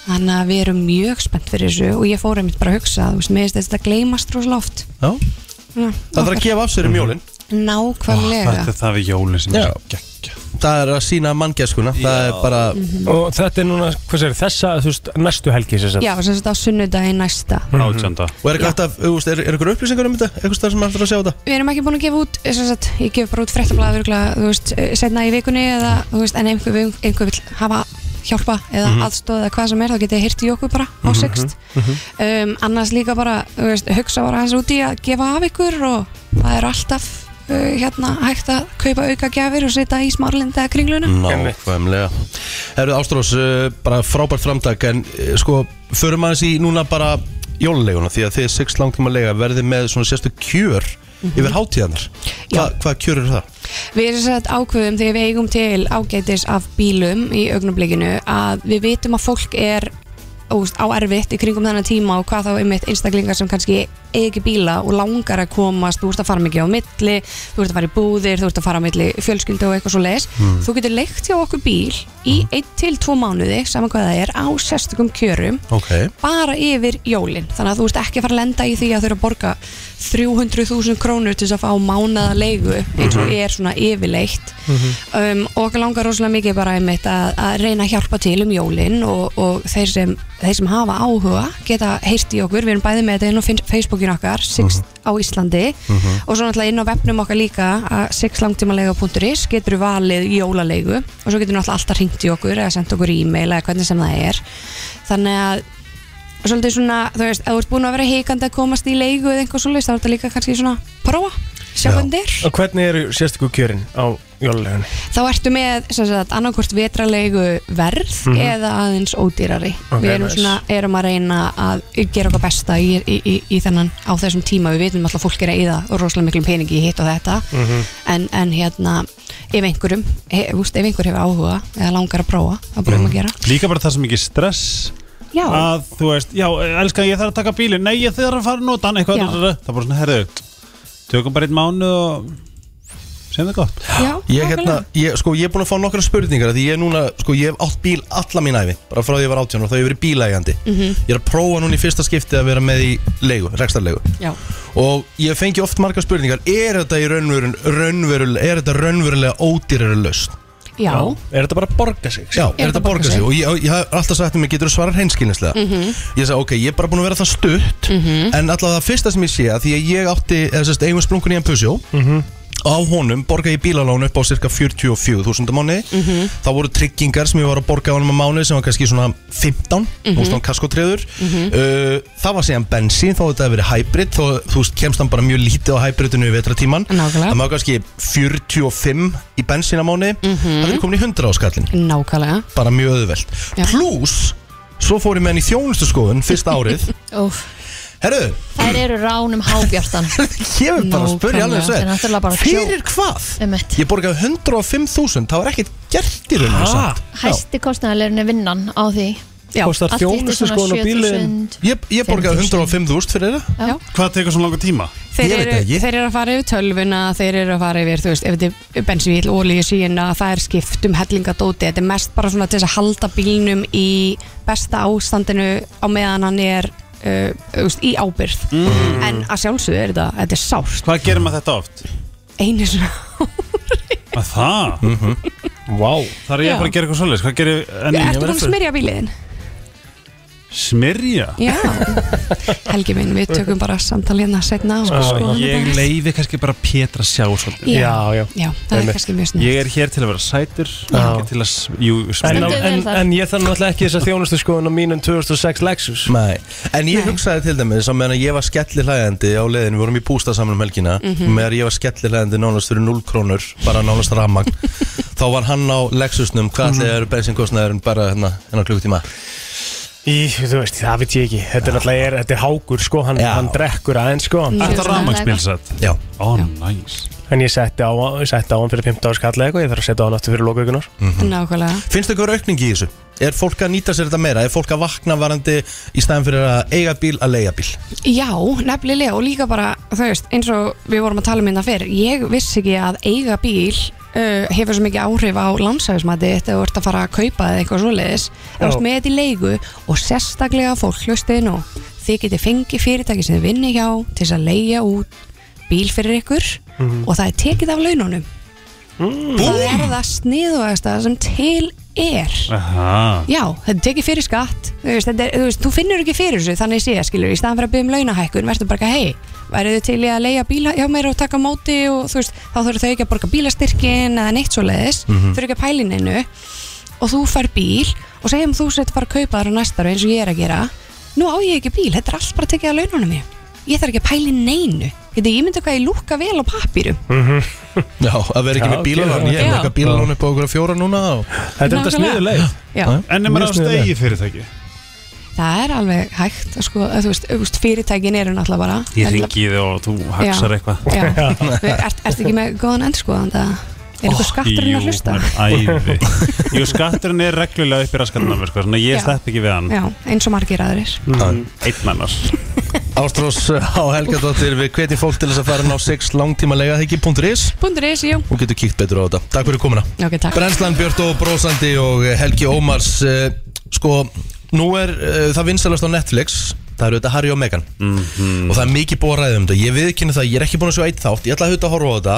Speaker 9: Þannig að við erum mjög spennt fyrir þessu og ég fór einmitt bara að hugsa, þú veist, mér finnst þetta gleymast rosalega oft.
Speaker 1: Já, það þarf að gefa af sér um jólin
Speaker 9: Nákvæmlega.
Speaker 6: Þetta er það við jólinn sem
Speaker 1: Já.
Speaker 6: er geggja
Speaker 1: Það er að sína manngjæskuna Það er bara,
Speaker 3: Og þetta er núna, hvað segir þessa, þú veist, næstu helgi sem sagt
Speaker 9: Já, sem þetta á sunnudagi næsta.
Speaker 6: Átjönda
Speaker 1: og er eitthvað hægt að, þú veist, er, er eitthvað upplýsingar um þetta? Eitthvað starf sem hægt er að sjá þetta?
Speaker 9: Við erum ekki búin að gefa út, eh, sem sagt, ég gef bara út fréttablaður, þú veist, setna í vikunni eða, þú veist, en einhver, einhver vil hafa hjálpa eða
Speaker 6: Mhm.
Speaker 9: mm eða hvað sem er, þá getið þið hýrt í okkur bara á sext.
Speaker 6: mhm.
Speaker 9: um, annars líka bara, þú veist, hugsa bara hans úti að gefa af ykkur og það er alltaf uh, hérna hægt að kaupa auka gjafir og setja í smárlinda kringluna.
Speaker 1: Nákvæmlega Herru Ástrós, uh, bara frábært framtak En uh, sko, förum aðeins í núna bara jóluleguna Því að þið sex langtíma lega verði með svona sérstu kjör Yfir hátíðanar Hva, Hvað kjör eru það?
Speaker 9: Við erum sett ákveðum þegar við eigum til ágætis af bílum í augnablikinu að við vitum að fólk er óst, á erfitt í kringum þennan tíma og hvað þá einmitt einstaklingar sem kannski eiga ekki bíla og langar að komast, þú ert að fara mikið á milli, þú ert að fara í búðir, þú ert að fara á milli fjölskyldu og eitthvað svo leis. Þú getur leikt hjá okkur bíl í mm. 1-2 mánuði, saman hvað það er, á sérstakum kjörum
Speaker 1: Ok
Speaker 9: bara yfir jólin þannig að þú ert ekki að fara að lenda í því að þau eru að borga 300.000 krónur til þess að fá mánaða leigu eins og er svona yfirleitt um, og okkur langar rosalega mikið bara einmitt að, að reyna að hjálpa til um jólin og, og þeir, sem, þeir sem hafa áhuga geta heyrt í okkur, við erum bæði með þetta inn á fin- Facebookinu okkar, Six á Íslandi og svo náttúrulega inn á webnum okkar líka að sixlangtímalega.is getur valið jólalegu og svo getur náttúrulega alltaf hringt í okkur eða sendt okkur e-mail eða hvernig sem það er þannig að og svolítið svona, þú veist, ef þú ert búin að vera heikandi að komast í leigu eða eitthvað svolítið, þá er þetta líka kannski svona prófa, sjá hvernig þetta er
Speaker 3: Og hvernig eru sérstöku kjörin á jólulegunni?
Speaker 9: þá ertu með, sem sagt, annarkvort vetralegu verð eða aðeins ódýrari
Speaker 3: Mhm. Ok,
Speaker 9: við erum
Speaker 3: nice.
Speaker 9: svona, erum að reyna að gera okkar besta í, í, í, í þennan á þessum tíma, við vitum alltaf að fólk er að eyða rosalega miklum peningi í hitt og þetta
Speaker 3: Mhm.
Speaker 9: en, en hérna, ef einhverjum he, úst, ef einhver hefur áhuga eða langar að prófa, þá prófum
Speaker 3: Mhm.
Speaker 9: að gera
Speaker 6: Líka bara það sem ekki stress
Speaker 9: Já,
Speaker 3: Ah.
Speaker 6: að þú veist, já, elskan ég þarf að taka bílinn nei, ég þarf að fara að nota hann eitthvað
Speaker 9: Já.
Speaker 6: það er bara svona, herðu, tökum bara einn mánu og sem það gott
Speaker 9: já,
Speaker 1: Ég, hérna,
Speaker 9: nákvæmlega.
Speaker 1: ég, sko, ég er búin að fá nokkra spurningar af Því ég er núna, sko, ég hef átt bíl alla mín æfi Bara frá því ég var 18 og þá hef ég verið bílægjandi
Speaker 9: Mhm.
Speaker 1: Ég er að prófa núna í fyrsta skipti að vera með í leigu, rekstarlegu
Speaker 9: já.
Speaker 1: Og ég fengi oft margar spurningar Er þetta í raunverun, raunverun, er þetta raunverulega ódýrari lausn?
Speaker 9: já.
Speaker 3: Er þetta bara að borga sig?
Speaker 1: Já, er þetta borga sig? Og ég, ég hef alltaf sagt að mér getur að svara hreinskilnislega Ég sagði, ok, ég er bara búin að vera það stutt En alltaf það fyrsta sem ég sé að Því að ég átti, eða sérst, eigum sprungun í en pusjó á honum borgaði ég bílalán upp á cirka 44.000 á mánuði þá voru tryggingar sem ég var að borga á honum á mánuði sem var kannski svona 15
Speaker 10: Mhm.
Speaker 1: þú veist hann kaskotreður
Speaker 10: Mhm.
Speaker 1: uh, það var síðan bensín þá þetta hefði verið hybrid þá þú veist kemst hann bara mjög lítið á hybridinu í vetratíman
Speaker 9: Nákvæmlega.
Speaker 1: það maður kannski 45 í bensín á mánuði það er komin í 100 á skallin
Speaker 9: Nákvæmlega
Speaker 1: bara mjög öðvöld pluss svo fór ég með hann í þjónustu skoðun fyrst árið
Speaker 2: Óf,
Speaker 1: herru
Speaker 2: þær eru ránum hábjartan
Speaker 1: Ég vil bara spyrja alveg
Speaker 2: Þetta er náttúrulega bara
Speaker 1: svo Fyrir hvað?
Speaker 2: Einmitt.
Speaker 1: Ég borgaði 105.000, það var ekkert gert í rauninu
Speaker 2: Ha? Hæsti kostnæðarlegurinn er vinnan á því
Speaker 1: Kostar
Speaker 2: allt hitt er
Speaker 1: þjónustu
Speaker 2: svona
Speaker 1: skoðun á bílinn.
Speaker 2: 7000.
Speaker 1: Ég, ég borgaði 105.000 fyrir
Speaker 2: Já.
Speaker 1: það Hvað tekur svona langa tíma?
Speaker 9: Þeir eru, þeir eru að fara yfir tölvuna, þeir eru að fara yfir, þú veist, ef þetta er bensíl, ólíu sína, það er skipt um hellingadóti, þetta er mest bara svona til þess að halda bílnum í besta ástandinu á meðan hann er, uh, þú veist, í ábyrð.
Speaker 6: Mm.
Speaker 9: En að sjálfsögðu er þetta, þetta er sárt.
Speaker 6: Hvað gerir maður þetta oft?
Speaker 9: Einu svona,
Speaker 6: Að það? Mm -hmm. wow. Það er ég
Speaker 9: Já.
Speaker 6: að fara að gera eitthvað svolítið Hvað gerir en
Speaker 9: ertu búin að smyrja bíliðin?
Speaker 6: Smyrja?
Speaker 9: Já, Helgi minn, við tökum bara samtal hérna setna
Speaker 3: Ah,
Speaker 9: og
Speaker 6: Sko,
Speaker 9: skoðum
Speaker 6: ég
Speaker 9: þetta.
Speaker 6: leiði kannski bara Pétra sjá svolítið
Speaker 9: Já. Já, já. Já, það er kannski mjög snilt.
Speaker 6: Ég er hér til að vera sætur ekki til að, s- jú,
Speaker 3: En,
Speaker 6: smyrja.
Speaker 3: en, en ég þarf náttúrulega ekki þess að þjónustu skoðun á mínum 2006 Lexus
Speaker 1: Nei, en ég hugsaði til dæmis að meðan ég var skellir hlæðandi á leiðinu, við vorum í bústaðsamlum helgina
Speaker 10: Mhm.
Speaker 1: meðan ég var skellir hlæðandi nánast fyrir 0 krónur bara nánast rammagn þá var hann á Lexusnum, hvað mm -hmm. er bensinkostnæðurinn bara hérna, hérna klukkutíma
Speaker 3: Í, þú veist, það veit ég ekki Þetta er náttúrulega, er, þetta er hákur sko, hann, hann drekkur aðeins sko
Speaker 6: Er þetta rafmagnsbíl sett?
Speaker 1: Já
Speaker 6: Ó, næs
Speaker 3: En ég setti á, ég setti á hann fyrir 15 árs kalla eitthvað Ég þarf að setja á hann aftur fyrir lokaugjunar
Speaker 9: Nákvæmlega
Speaker 1: Finnst ykkur aukning í þessu? Er fólk að nýta sér þetta meira? Er fólk að vakna varandi í staðin fyrir að eiga bíl að leiga bíl?
Speaker 9: Já, nefnilega og líka bara, þú veist, eins og við vorum að tala um hérna fyrr, ég vissi ekki að eiga bíl uh, hefur svo mikið áhrif á landsæðismæti þegar þú ert að fara að kaupa eða eitthvað svoleiðis,
Speaker 2: Já.
Speaker 9: þú veist, með þetta í leigu og sérstaklega fólk, hlustiði nú, þið getið fengið fyrirtæki sem þið vinni hjá til þess að leiga út bíl fyrir ykkur
Speaker 10: Mhm.
Speaker 9: og það er tekið af laununum. Það er það sniðvægasta sem til er.
Speaker 6: Aha.
Speaker 9: Já, þetta tekið fyrir skatt þú, veist, þetta er, þú, veist, þú finnur ekki fyrir þessu þannig sé skilur, í staðan fyrir að byggja um launahækkun verður bara ekki, hei, værið þau til í að leiða bíla hjá mér og taka á móti og þú veist þá þurfur þau ekki að borga bílastyrkin eða neitt svo leiðis, mm
Speaker 10: Mhm.
Speaker 9: -hmm. þurfur ekki að pælininu og þú fær bíl og segjum þú sett fara að kaupa þar á næstara eins og ég er að gera nú á ég ekki bíl, þetta er allt bara tekið að laununum mér ég þarf ekki að pæli neinu Geti, ég myndi hvað ég lúka vel á pappýrum
Speaker 1: Já, að vera ekki
Speaker 6: Já,
Speaker 1: með bílalán
Speaker 6: ok,
Speaker 1: Ég er
Speaker 6: já.
Speaker 1: með eitthvað bílalán upp á okkur að fjóra núna og...
Speaker 9: Þetta er enda sniðug leið. Já.
Speaker 6: En ef maður á stegi fyrirtæki
Speaker 9: það er alveg hægt sko, að, þú veist, þú veist, fyrirtækin eru náttúrulega bara
Speaker 6: Ég ringi þið og þú haksar
Speaker 9: Já.
Speaker 6: eitthvað
Speaker 9: Já. Við- ert- Ertu ekki með góðan endurskoðan það? Er eitthvað skatturinn að hlusta?
Speaker 6: Jú, hann er æði Jú, skatturinn er reglulega upp í raskatnum sko, Þannig að ég
Speaker 9: Já.
Speaker 6: slepp ekki við hann
Speaker 9: Já, eins og margir aðrir
Speaker 6: Mm. Einn annars
Speaker 1: Ástrós eh, á Helgadóttir Við hvetjum fólk til þess að fara ná 6 langtíma leiga þekki.is
Speaker 9: Pundur is, jú
Speaker 1: og getur kíkt betur á þetta. Takk fyrir komuna.
Speaker 9: Ok, takk
Speaker 1: Brennslan Björn og Brósandi og Helgi Ómars eh, Sko, nú er eh, það vinsalast á Netflix Það eru þetta Harry og Meghan Og það er mikið búið að ræða um þetta Ég viðkynna það, ég er ekki búin að sjá eitt þátt Ég ætla að hauta að horfa á þetta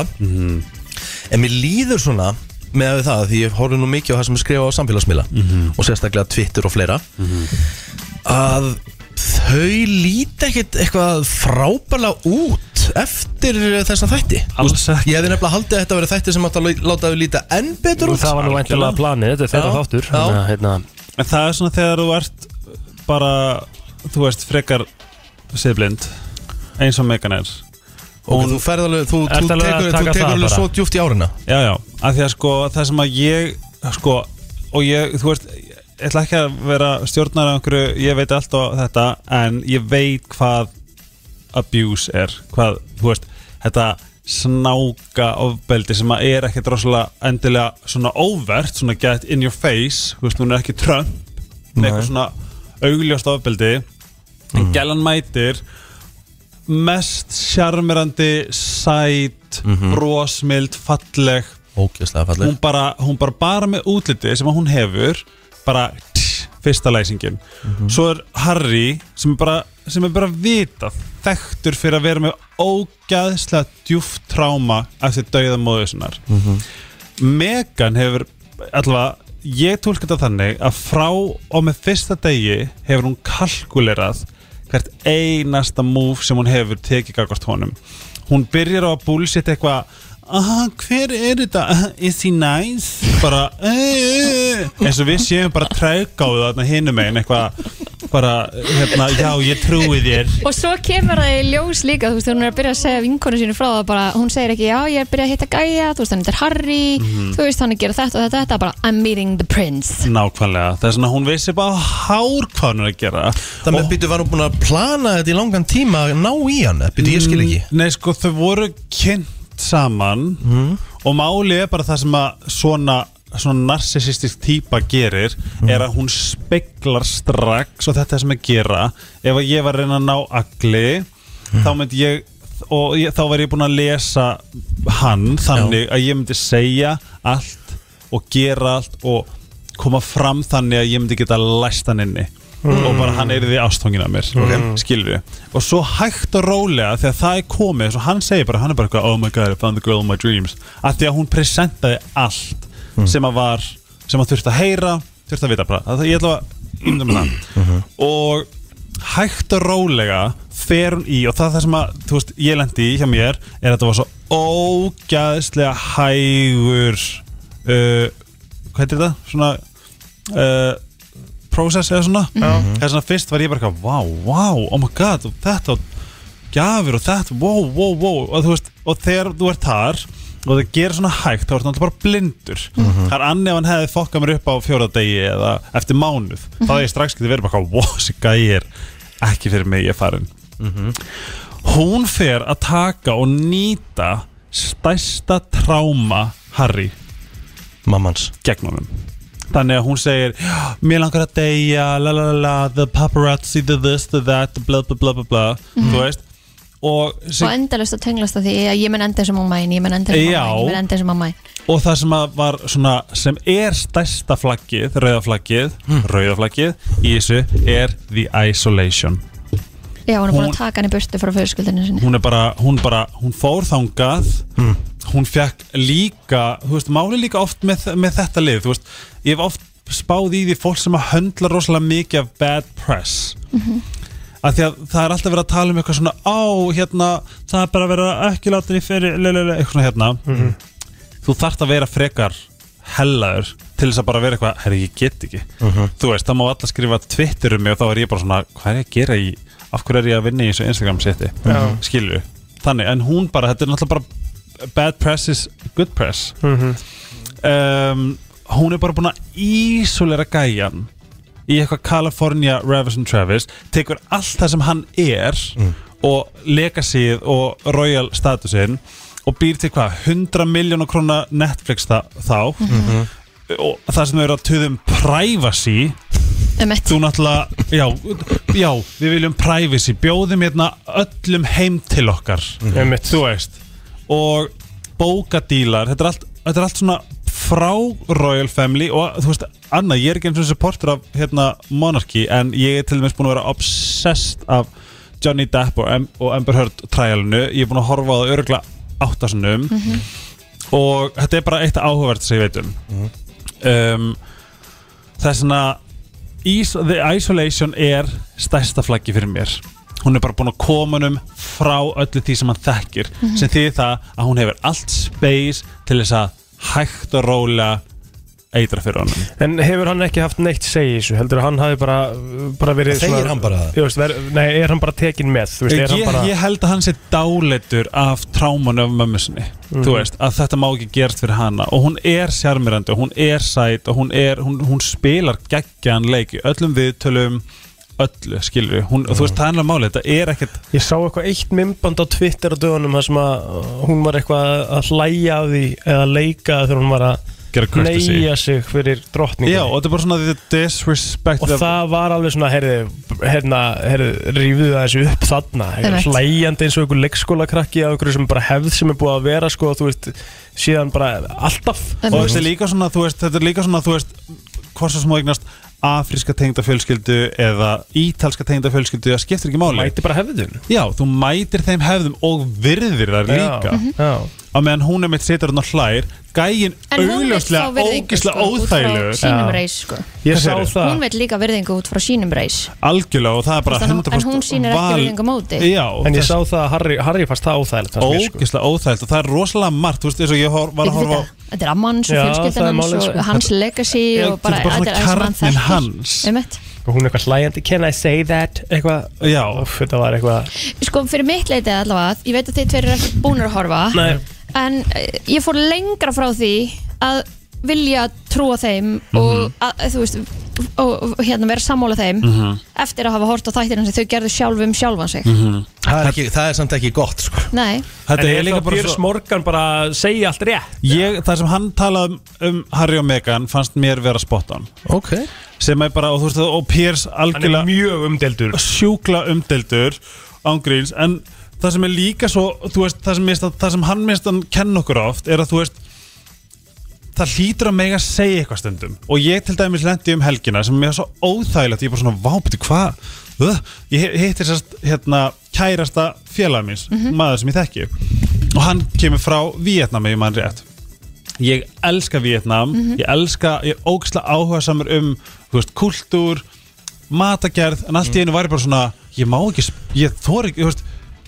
Speaker 1: En mér líður svona með við það Því ég horfði nú mikið á það sem er skrifað á samfélagsmiðla Og sérstaklega Twitter og fleira Að þau líti ekkit eitthvað frábæla út Eftir þessa þætti
Speaker 6: Alls ekki
Speaker 1: Ég hefði nefnilega haldið að þetta verið þætti sem átt að láta þau líta enn betur út
Speaker 3: Það var nú endilega planið, þetta er þeirra
Speaker 1: Já,
Speaker 3: þáttur
Speaker 1: já.
Speaker 3: þannig að, hérna,
Speaker 6: En það er svona þegar þú ert bara, þú veist, frekar siðblind, eins og Megan er
Speaker 1: Og þú ferð alveg, þú, þú
Speaker 6: Ertu alveg að
Speaker 1: tekur, þú
Speaker 6: taka
Speaker 1: tekur
Speaker 6: það
Speaker 1: alveg
Speaker 6: bara?
Speaker 1: svo djúft í árina
Speaker 6: Já, já, af því að sko, það sem að ég, sko, og ég, þú veist, ég ætla ekki að vera stjórnar af einhverju, ég veit allt á þetta, en ég veit hvað abuse er, hvað, þú veist, þetta snáka ofbeldi sem að er ekkert rosalega endilega svona óvert, svona get in your face, þú veist, hún er ekki Trump,
Speaker 1: Nei.
Speaker 6: með eitthvað svona augljóst ofbeldi, en gælan mætir, mest sjarmerandi, sæt, brosmild, falleg
Speaker 1: Ógjörslega falleg
Speaker 6: hún bara, hún bara bara með útliti sem að hún hefur bara tss, fyrsta læsingin svo er Harry sem er bara, sem er bara vita þekktur fyrir að vera með ógæðslega djúft tráma eftir dauðamóðu sinnar Megan hefur allavega, ég tólka þetta þannig að frá og með fyrsta degi hefur hún kalkulerað hvert einasta múf sem hún hefur tekið gagvart honum hún byrjar á að búlsitt eitthvað aha, hver er þetta, is he nice bara "Eh, eh, eh." eins og við séum bara trækáðu þarna hinum megin eitthvað bara, hérna, já ég trúi þér
Speaker 2: Og svo kemur það í ljós líka, þú veist, þegar hún er að byrja að segja vinkonu sínu frá það bara, hún segir ekki, já, ég er að byrja að hitta gæja, þú veist, hann er Harry,
Speaker 6: Mhm.
Speaker 2: þú veist, hann er að gera þetta og þetta, þetta, bara, I'm meeting the prince.
Speaker 6: nákvæmlega, það er svona hún vissi bara hár hvað hún er að gera
Speaker 11: Það með býttu var hún búin að plana þetta í langan tíma að ná í hann Býttu ég skil ekki
Speaker 6: Mm, Nei, sko, þau voru kynnt saman og málið er bara það sem að svona, svona narsisistisk típa gerir er að hún speglar strax og þetta er sem að gera ef að ég var að reyna að ná agli þá myndi ég og ég, þá var ég búin að lesa hann þannig að ég myndi segja allt og gera allt og koma fram þannig að ég myndi geta læst hann inni
Speaker 3: Mm.
Speaker 6: og bara hann er því ástóngin að mér
Speaker 3: Ok.
Speaker 6: skilur við og svo hægt og rólega þegar það er komið svo hann segir bara, hann er bara eitthvað oh my god, I found the girl of my dreams af því að hún presentaði allt sem að var sem að þurfti að heyra, þurfti að vita bara það, ég ætla að ymda með það og hægt og rólega fer hún í og það er það sem að þú veist, ég lendi í hjá mér er að þetta var svo ógæðslega hægur uh, hvað heitir þetta? svona uh, process eða svona
Speaker 3: Já.
Speaker 6: eða svona fyrst var ég bara eitthvað wow, wow, oh my god, og þetta og gjafir og þetta, wow, wow, wow og þú veist, og þegar þú ert þar og það gerir svona hægt, þá ertu náttúrulega bara blindur
Speaker 3: Mhm.
Speaker 6: það er annað ef hann hefði fokkað mér upp á fjóraðdegi eða eftir mánuð þá hefði ég
Speaker 3: Mhm.
Speaker 6: strax getið verið bara eitthvað, wow, þessi gæi er ekki fyrir mig, ég er farin
Speaker 3: Mhm.
Speaker 6: hún fer að taka og nýta stærsta tráma Harry
Speaker 11: mammans
Speaker 6: gegn honum þannig að hún segir mér langar að deyja, la la la la the paparazzi, the this, the that bla bla bla bla bla
Speaker 2: Mhm.
Speaker 6: þú veist og, sig,
Speaker 2: Og endalust að tenglast að því, ég, ég mun enda sem mamma einn, ég mun enda sem
Speaker 6: Já.
Speaker 2: mamma einn, ég mun enda sem mamma einn.
Speaker 6: og það sem að var svona sem er stærsta flaggið, rauða flaggið rauða flaggið í þessu er the isolation
Speaker 2: Já, hún er búin
Speaker 6: Hún-
Speaker 2: að taka hann í burtu frá fyrirskuldinu sinni.
Speaker 6: hún er bara, hún bara, hún fór þangað hún fekk líka þú veist, máli líka oft með, með þetta lið þú veist, ég hef oft spáð í því fólk sem að höndla rosalega mikið af bad press að því að það er alltaf verið að tala um eitthvað svona á, hérna, það er bara að vera ekki látin í fyrir, lelele, eitthvað svona hérna þú þarft að vera frekar hellaður til þess að bara vera eitthvað herri, ég get ekki,
Speaker 3: Mhm.
Speaker 6: þú veist, það má alla skrifa Twitter um mig og þá er ég bara svona hvað er ég að gera í, af hverju er ég að vinna í þessu Instagram seti,
Speaker 3: Já.
Speaker 6: skilju þannig, en hún bara, þetta er náttúrulega bara bad press is good press
Speaker 3: Mhm.
Speaker 6: um, hún er bara búin að ísolera gæjan í eitthvað California Ravis and Travis tekur allt það sem hann er og legacyð og royal statusinn og býr til hvað 100 miljónu krónar Netflix þa þá
Speaker 3: Mhm.
Speaker 6: og það sem þau eru að töðum um privacy
Speaker 2: Emmett.
Speaker 6: þú náttúrulega já, já, við viljum privacy bjóðum hérna öllum heim til okkar
Speaker 3: Einmitt.
Speaker 6: þú veist og bókadílar þetta er allt, þetta er allt svona frá Royal Family og þú veist Anna, ég er ekki eins og supporter af hérna, Monarchy en ég er til dæmis búin að vera obsessed af Johnny Depp og, Am og Amber Heard trialinu ég er búin að horfa á það öruglega áttasunum mm
Speaker 3: Mhm.
Speaker 6: og þetta er bara eitt áhugavert sem ég veit um
Speaker 3: Mhm.
Speaker 6: um, það er svona is The Isolation er stærsta flaggi fyrir mér hún er bara búin að koma hennum frá öllu því sem hann þekkir
Speaker 3: Mhm.
Speaker 6: sem þýðir það að hún hefur allt space til þess að hægt og róla eitra fyrir honum
Speaker 3: En hefur hann ekki haft neitt segið þessu? Heldur að hann hafi bara, bara verið
Speaker 6: Þegir hann bara það?
Speaker 3: Ég veist, ver, nei, er hann bara tekin með? Þú veist, er
Speaker 6: ég,
Speaker 3: hann bara
Speaker 6: ég held að hann sé dáleitur af trámanu af mömmu sinni
Speaker 3: Mhm.
Speaker 6: þú veist, að þetta má ekki gerast fyrir hana og hún er sjarmirandi og hún er sæt og hún, er, hún, hún spilar geggjan leik í öllum viðtölum öllu, skilur við, hún, þú veist, það er ennlega máli þetta er ekkert
Speaker 3: Ég sá eitthvað eitt mymband á Twitter á dögunum þar sem að uh, hún var eitthvað að hlæja af því eða leika þegar hún var
Speaker 6: Gera
Speaker 3: að
Speaker 6: courtesy.
Speaker 3: neyja sig fyrir drottningu
Speaker 6: Já, og þetta er bara svona the disrespect
Speaker 3: Og það var alveg svona, herði, herna, herði, rífðu það þessu upp þarna
Speaker 6: Einmitt.
Speaker 3: Hlæjandi eins og einhver leikskólakrakki af einhverju sem bara hefð sem er búið að vera sko, þú veist, síðan bara alltaf
Speaker 6: og þetta er líka svona, þú veist, þetta er líka svona, þú veist, hvort svo smá eignast afríska tengda fjölskyldu eða ítalska tengda fjölskyldu, það skiptir ekki máli
Speaker 3: Mætir bara hefðun
Speaker 6: Já, þú mætir þeim hefðum og virðir
Speaker 3: Já,
Speaker 6: þar líka
Speaker 3: mhm.
Speaker 6: á meðan hún er mitt situr hann og hlær gægin
Speaker 2: En hún vill fá
Speaker 6: augljóslega,
Speaker 2: virðingu sko,
Speaker 6: ógislega
Speaker 2: út frá
Speaker 6: óþægilegur
Speaker 2: sínum reis sko.
Speaker 6: Ég sá það
Speaker 2: Hún vill líka virðingu út frá sínum reis
Speaker 6: algjörlega og það er bara
Speaker 2: Þú veist, en hún-
Speaker 6: 100%
Speaker 2: en hún sýnir ekki
Speaker 6: val-
Speaker 2: virðingu á móti.
Speaker 6: Já,
Speaker 3: En ég
Speaker 6: þess-
Speaker 3: sá það að Harry, Harry fannst það óþægilegt fannst mér, sko.
Speaker 6: ógislega óþægilt og það er rosalega margt, þú veist, eins og ég hor- var að
Speaker 2: Þetta-
Speaker 6: horfa á
Speaker 2: Þetta er amman hans og
Speaker 6: Já,
Speaker 2: fjölskyldan
Speaker 6: það er
Speaker 2: hans
Speaker 6: málið,
Speaker 2: og
Speaker 6: sko.
Speaker 2: hans legacy
Speaker 6: Já,
Speaker 2: og bara
Speaker 6: þetta er bara svona
Speaker 2: þetta er aðeins sem hann þekkir
Speaker 6: kjarninn
Speaker 2: Um
Speaker 6: hans.
Speaker 2: Einmitt.
Speaker 3: og hún er eitthvað hlægjandi Can I say that? Eitthvað
Speaker 6: Já
Speaker 3: Úf, Þetta var eitthvað
Speaker 2: Sko fyrir mitt leitið allavega Ég veit að þeir tveir eru ekki búnir að horfa
Speaker 3: Nei.
Speaker 2: En eh, ég fór lengra frá því að vilja trúa þeim og að, eh, þú veist og, og hérna vera sammála þeim
Speaker 11: Mhm.
Speaker 2: eftir að hafa hort á þættirinn sem þau gerðu sjálf um sjálfan sig
Speaker 11: það, er ekki, það er samt ekki gott sko.
Speaker 2: Nei,
Speaker 6: Þetta
Speaker 3: En
Speaker 6: er líka
Speaker 3: þá
Speaker 6: bara
Speaker 3: Piers
Speaker 6: svo-
Speaker 3: Morgan bara að segja allt rétt
Speaker 6: ég, það sem hann talaði um, um Harry og Meghan fannst mér vera spot on
Speaker 11: Ok
Speaker 6: sem er bara, og þú veist, og Piers
Speaker 3: Hann er
Speaker 6: algjörlega
Speaker 3: mjög umdeldur
Speaker 6: sjúkla umdeldur ángríns, en það sem er líka svo, þú veist, það sem, mist, það sem hann minnst hann kenn okkur oft er að þú veist það hlýtur að mega segja eitthvað stundum og ég til dæmis lendi um helgina sem mér er svo óþægilegt, ég er bara svona vápti hvað, uh, ég hittir sérst hérna kærasta félag minns maður sem ég þekki og hann kemur frá Vietnami, ég mann rétt ég elska Vietnam ég elska, ég er ógislega áhuga samur um þú veist, kultúr matagerð, en allt í einu var ég bara svona ég má ekki, sp- ég þor ekki þú veist,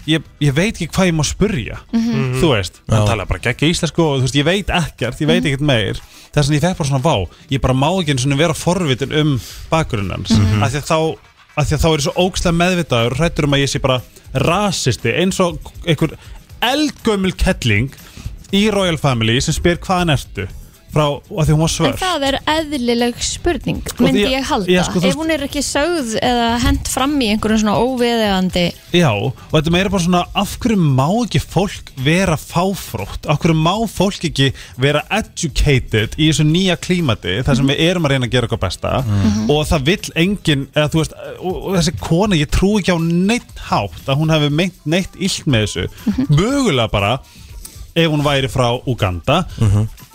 Speaker 6: ég, ég veit ekki hvað ég má spurja
Speaker 4: Mhm.
Speaker 6: þú veist, hann tala bara gegn íslensku og þú veist, ég veit ekkert, ég
Speaker 2: Mhm.
Speaker 6: veit ekkert meir þess að ég fekk bara svona vá, ég bara má ekki einu sinni vera forvitin um bakgrunnans mm
Speaker 4: Mhm.
Speaker 6: af því að þá af því að þá er ég svo ógstlega meðvitaður og hrættur um að ég sé bara rasisti eins og einhver eldgömmul kettling í Royal Family sem spyr hvaðan ertu frá, af því hún var
Speaker 2: en
Speaker 6: svör
Speaker 2: það er eðlileg spurning
Speaker 6: því-
Speaker 2: myndi ég halda,
Speaker 6: Já, sko,
Speaker 2: ef
Speaker 6: þú veist-
Speaker 2: hún er ekki sögð eða hent fram í einhverjum svona óviðegandi
Speaker 6: Já, og þetta meira bara svona af hverju má ekki fólk vera fáfrótt, af hverju má fólk ekki vera educated í þessu nýja klímati, þar sem við erum að reyna að gera okkar besta og það vill engin, eða þú veist, og, og þessi kona, ég trú ekki á neitt hátt að hún hefði meint neitt illt með þessu mögulega bara ef hún væri frá Uganda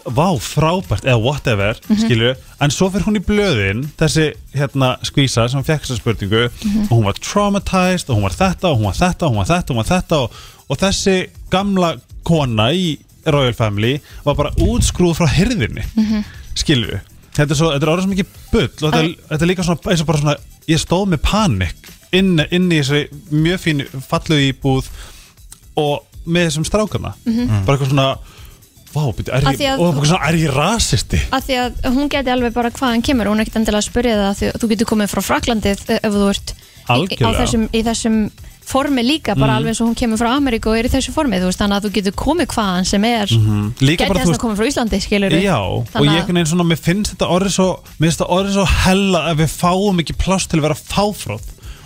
Speaker 6: vá, frábært, eða whatever mm
Speaker 4: Mhm.
Speaker 6: skilju, en svo fyrir hún í blöðin þessi hérna skvísa sem fekk þessa spurningu
Speaker 4: Mhm.
Speaker 6: og hún var traumatized og hún var þetta og hún var þetta og hún var þetta og hún var þetta og, og þessi gamla kona í Royal Family var bara útskrúð frá hirðinni
Speaker 4: Mhm.
Speaker 6: skilju, þetta er, svo, þetta er orðið sem ekki bull og þetta, er- þetta er líka svona, eins og bara svona ég stóð með panik inn, inn í þessari mjög fínu fallu íbúð og með þessum strákana
Speaker 2: Mhm.
Speaker 6: bara eitthvað svona Vá, býttu, er,
Speaker 2: Af því
Speaker 6: ég,
Speaker 2: að-
Speaker 6: og bara svona, er ég rasisti?
Speaker 2: að því að hún geti alveg bara hvaðan kemur hún er ekkert endilega að spyrja það að því, að þú getur komið frá Fraklandið eh, ef þú ert í, á
Speaker 6: Algjörlega.
Speaker 2: þessum, í þessum formi líka bara
Speaker 6: Mm.
Speaker 2: alveg eins og hún kemur frá Ameríku og er í þessu formi þú veist, þannig að þú getur komið hvaðan sem er
Speaker 6: Mhm. Líka
Speaker 2: geti
Speaker 6: bara, þú
Speaker 2: þess að
Speaker 6: veist-
Speaker 2: koma frá Íslandi skilur
Speaker 6: Já, og ég einhvern veginn svona, mér finnst þetta orðið svo, mér finnst þetta orðið svo hella að við fáum ekki pláss til að vera fáfróð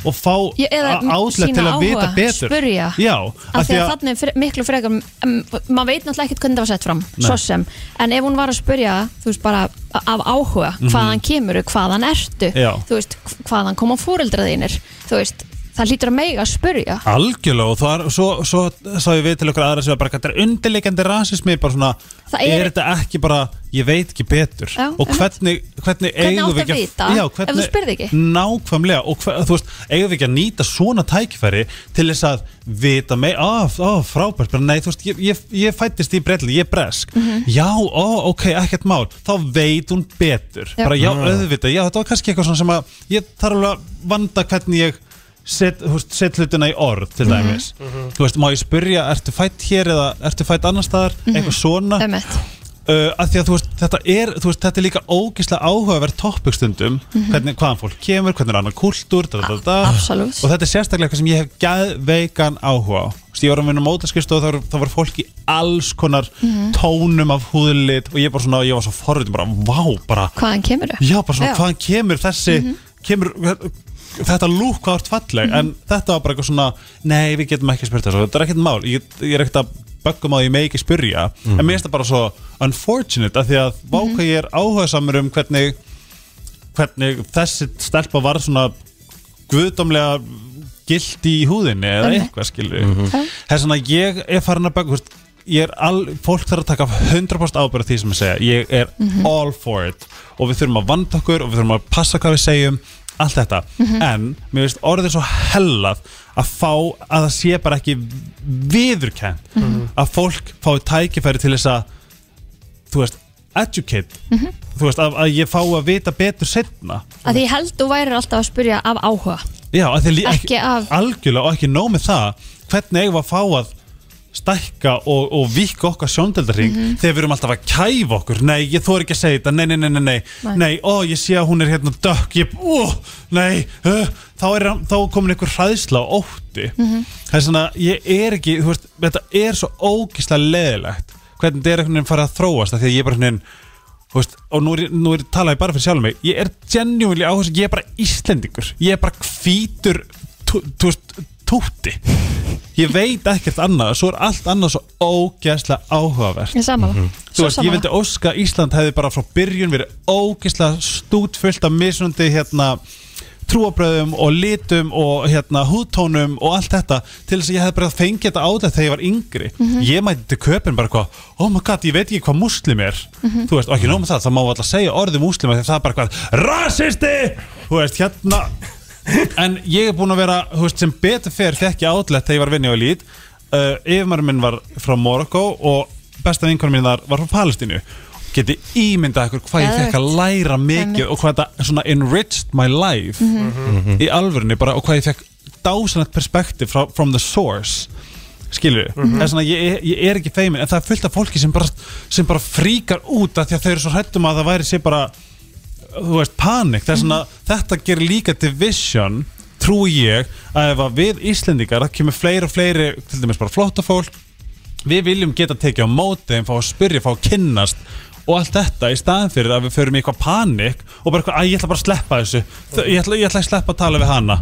Speaker 6: og fá
Speaker 2: Já, eða
Speaker 6: átlet
Speaker 2: sýna
Speaker 6: til að vita
Speaker 2: áhuga,
Speaker 6: betur.
Speaker 2: spyrja.
Speaker 6: Já,
Speaker 2: Af því að þannig fre miklu frekar um, maður veit náttúrulega ekkert hvernig það var sett fram
Speaker 6: Nei.
Speaker 2: svo sem, en ef hún var að spyrja þú veist bara af áhuga
Speaker 6: Mhm.
Speaker 2: hvaðan kemur, hvaðan ertu
Speaker 6: Já.
Speaker 2: þú veist, hvaðan koma fóreldra þínir þú veist, það hlýtur að mega að spyrja
Speaker 6: Algjörlega og það er, svo, svo sá ég við til okkur aðra sem var bara þetta er undirleikandi rasismi bara svona,
Speaker 2: Það
Speaker 6: er,
Speaker 2: er-
Speaker 6: þetta ekki bara, ég veit ekki betur
Speaker 2: Já,
Speaker 6: og
Speaker 2: einmitt.
Speaker 6: hvernig, hvernig,
Speaker 2: Hvernig áttu
Speaker 6: eigum við
Speaker 2: að
Speaker 6: ekki
Speaker 2: vita ef þú spyrð ekki?
Speaker 6: Nákvæmlega og hver, þú veist, eigum við ekki að nýta svona tækifæri til þess að vita með, á, á, frábært, bara nei, þú veist ég, ég, ég fættist í brelli, ég er bresk
Speaker 4: Mhm.
Speaker 6: já, ó, ok, ekkert mál þá veit hún betur,
Speaker 4: Já.
Speaker 6: bara já,
Speaker 4: Ah.
Speaker 6: auðvitað auðvitað, já þetta var kannski eitthvað svona sem að ég þarf alveg að vanda hvernig ég set, þú veist, set hlutina í orð til
Speaker 4: Mhm.
Speaker 6: dæmis,
Speaker 4: Mhm.
Speaker 6: þú veist, má ég spyrja ertu fætt hér eða ertu fætt annar staðar
Speaker 4: Mhm.
Speaker 6: eitthvað svona
Speaker 2: um
Speaker 6: uh, að því að þú veist, þetta er, þú veist, þetta er líka ógislega áhugaverð topic stundum
Speaker 4: Mhm.
Speaker 6: hvernig, hvaðan fólk kemur, hvernig er annar kultúr da, da, da.
Speaker 2: Absolutt.
Speaker 6: og þetta er sérstaklega eitthvað sem ég hef geðveikan áhuga á Þú veist, ég var að vinna mótaskist og það, það var fólk í alls konar
Speaker 2: Mhm.
Speaker 6: tónum af húðlit og ég bara svona, ég var svo forvitin bara, vá, bara
Speaker 2: hvaðan kemur
Speaker 6: Já, bara svona, hvaðan kemur þessi kemur, þetta lúk hvað ert falleg, en þetta var bara eitthvað svona nei, við getum ekki spurt þessu, þetta er ekkert mál ég, ég er ekkert að böggum á því ég megi ekki spyrja en mér finnst það bara svo unfortunate af því að vá hvað ég er áhugasamur um hvernig hvernig þessi stelpa var svona guðdómlega gilt í húðinni eða
Speaker 4: Einmitt.
Speaker 6: eitthvað skilur Mhm. Það er svona að ég er farin að baka hvort, ég er all, fólk þarf að taka 100% ábyrgð á því sem ég segja, ég er
Speaker 4: Mhm.
Speaker 6: all for it og við þurfum að vanda okkur og við þurfum að passa hvað við segjum allt þetta,
Speaker 4: Mhm.
Speaker 6: en mér finnst orðið svo hellað að fá að það sé bara ekki viðurkennt
Speaker 12: Mhm.
Speaker 6: að fólk fái tækifæri til þess að þú veist, educate
Speaker 4: Mhm.
Speaker 6: þú veist, að, að ég fá að vita betur setna
Speaker 2: að því ég held þú værir alltaf að spurja af áhuga
Speaker 6: Já, að þið lí-
Speaker 2: Ekki af-
Speaker 6: algjörlega og ekki nóg með það hvernig eigum við að fá að stækka og, og vika okkar sjóndeldarring
Speaker 12: Mhm.
Speaker 6: þegar við erum alltaf að kæfa okkur nei, ég þóri ekki að segja þetta, nei, nei, nei, nei nei,
Speaker 12: Nei.
Speaker 6: nei ó, ég sé að hún er hérna dökk ég, ó, nei, uh, þá er hann- þá er komin einhver hræðsla og ótti
Speaker 12: Mhm.
Speaker 6: það er svona, ég er ekki þú veist, þetta er svo ógislega leðilegt hvernig þetta er einhvern veginn farið að þróast af því að ég er bara einhvern veginn þú veist, og nú, er, ég- nú er, tala ég bara fyrir sjálfum mig ég er genuinely áherslu, ég er bara Íslendingur ég er bara hvítur tú- þú veist, tóti ég veit ekkert annað, svo er allt annað svo ógeðslega áhugavert
Speaker 2: Ég er sammála.
Speaker 6: Mhm. Þú
Speaker 2: Svo
Speaker 6: veist, ég
Speaker 2: sammála.
Speaker 6: vildi óska að Ísland hefði bara frá byrjun verið ógeðslega stútfullt af misundi hérna trúabröðum og litum og hérna húðtónum og allt þetta til þess að ég hefði bara fengið þetta álega þegar ég var yngri
Speaker 12: Mhm.
Speaker 6: ég mæti til köpinn bara eitthvað oh my god, ég veit ekki hvað muslim er
Speaker 12: Mhm.
Speaker 6: þú veist, og ekki nóg með það, það má alltaf segja orðið muslim þegar það er bara eitthvað, rasisti þú veist, hérna en ég er búin að vera, þú veist, sem betur fer þekk ég álega þegar ég var vinni á lít uh, yfirmarum minn var frá Morocco og besta vinkonum mín þar var frá Palestínu geti ímyndað ykkur hvað ég fekk að
Speaker 12: Geðveikt.
Speaker 6: læra mikið
Speaker 12: Einmitt.
Speaker 6: og hvað þetta svona enriched my life
Speaker 12: Mhm. Mhm.
Speaker 6: í alvörinu bara og hvað ég fekk dásanat perspektiv frá, from the source skilur við,
Speaker 12: Mhm.
Speaker 6: það er svona ég, ég- ég er ekki feimin en það er fullt af fólki sem bara, sem bara fríkar út af því að þau eru svo hrættum að það væri sé bara þú veist, panik, það er svona þetta gerir líka division trú ég að ef að við Íslendingar það kemur fleiri og fleiri, til dæmis bara flotta fólk við viljum geta tekið á móti þeim, fá að spyrja, fá að kynnast og allt þetta í staðan fyrir að við förum í eitthvað panik og bara eitthvað, að ég ætla bara að sleppa þessu Þau- ég ætla, ég ætla að sleppa að tala við hana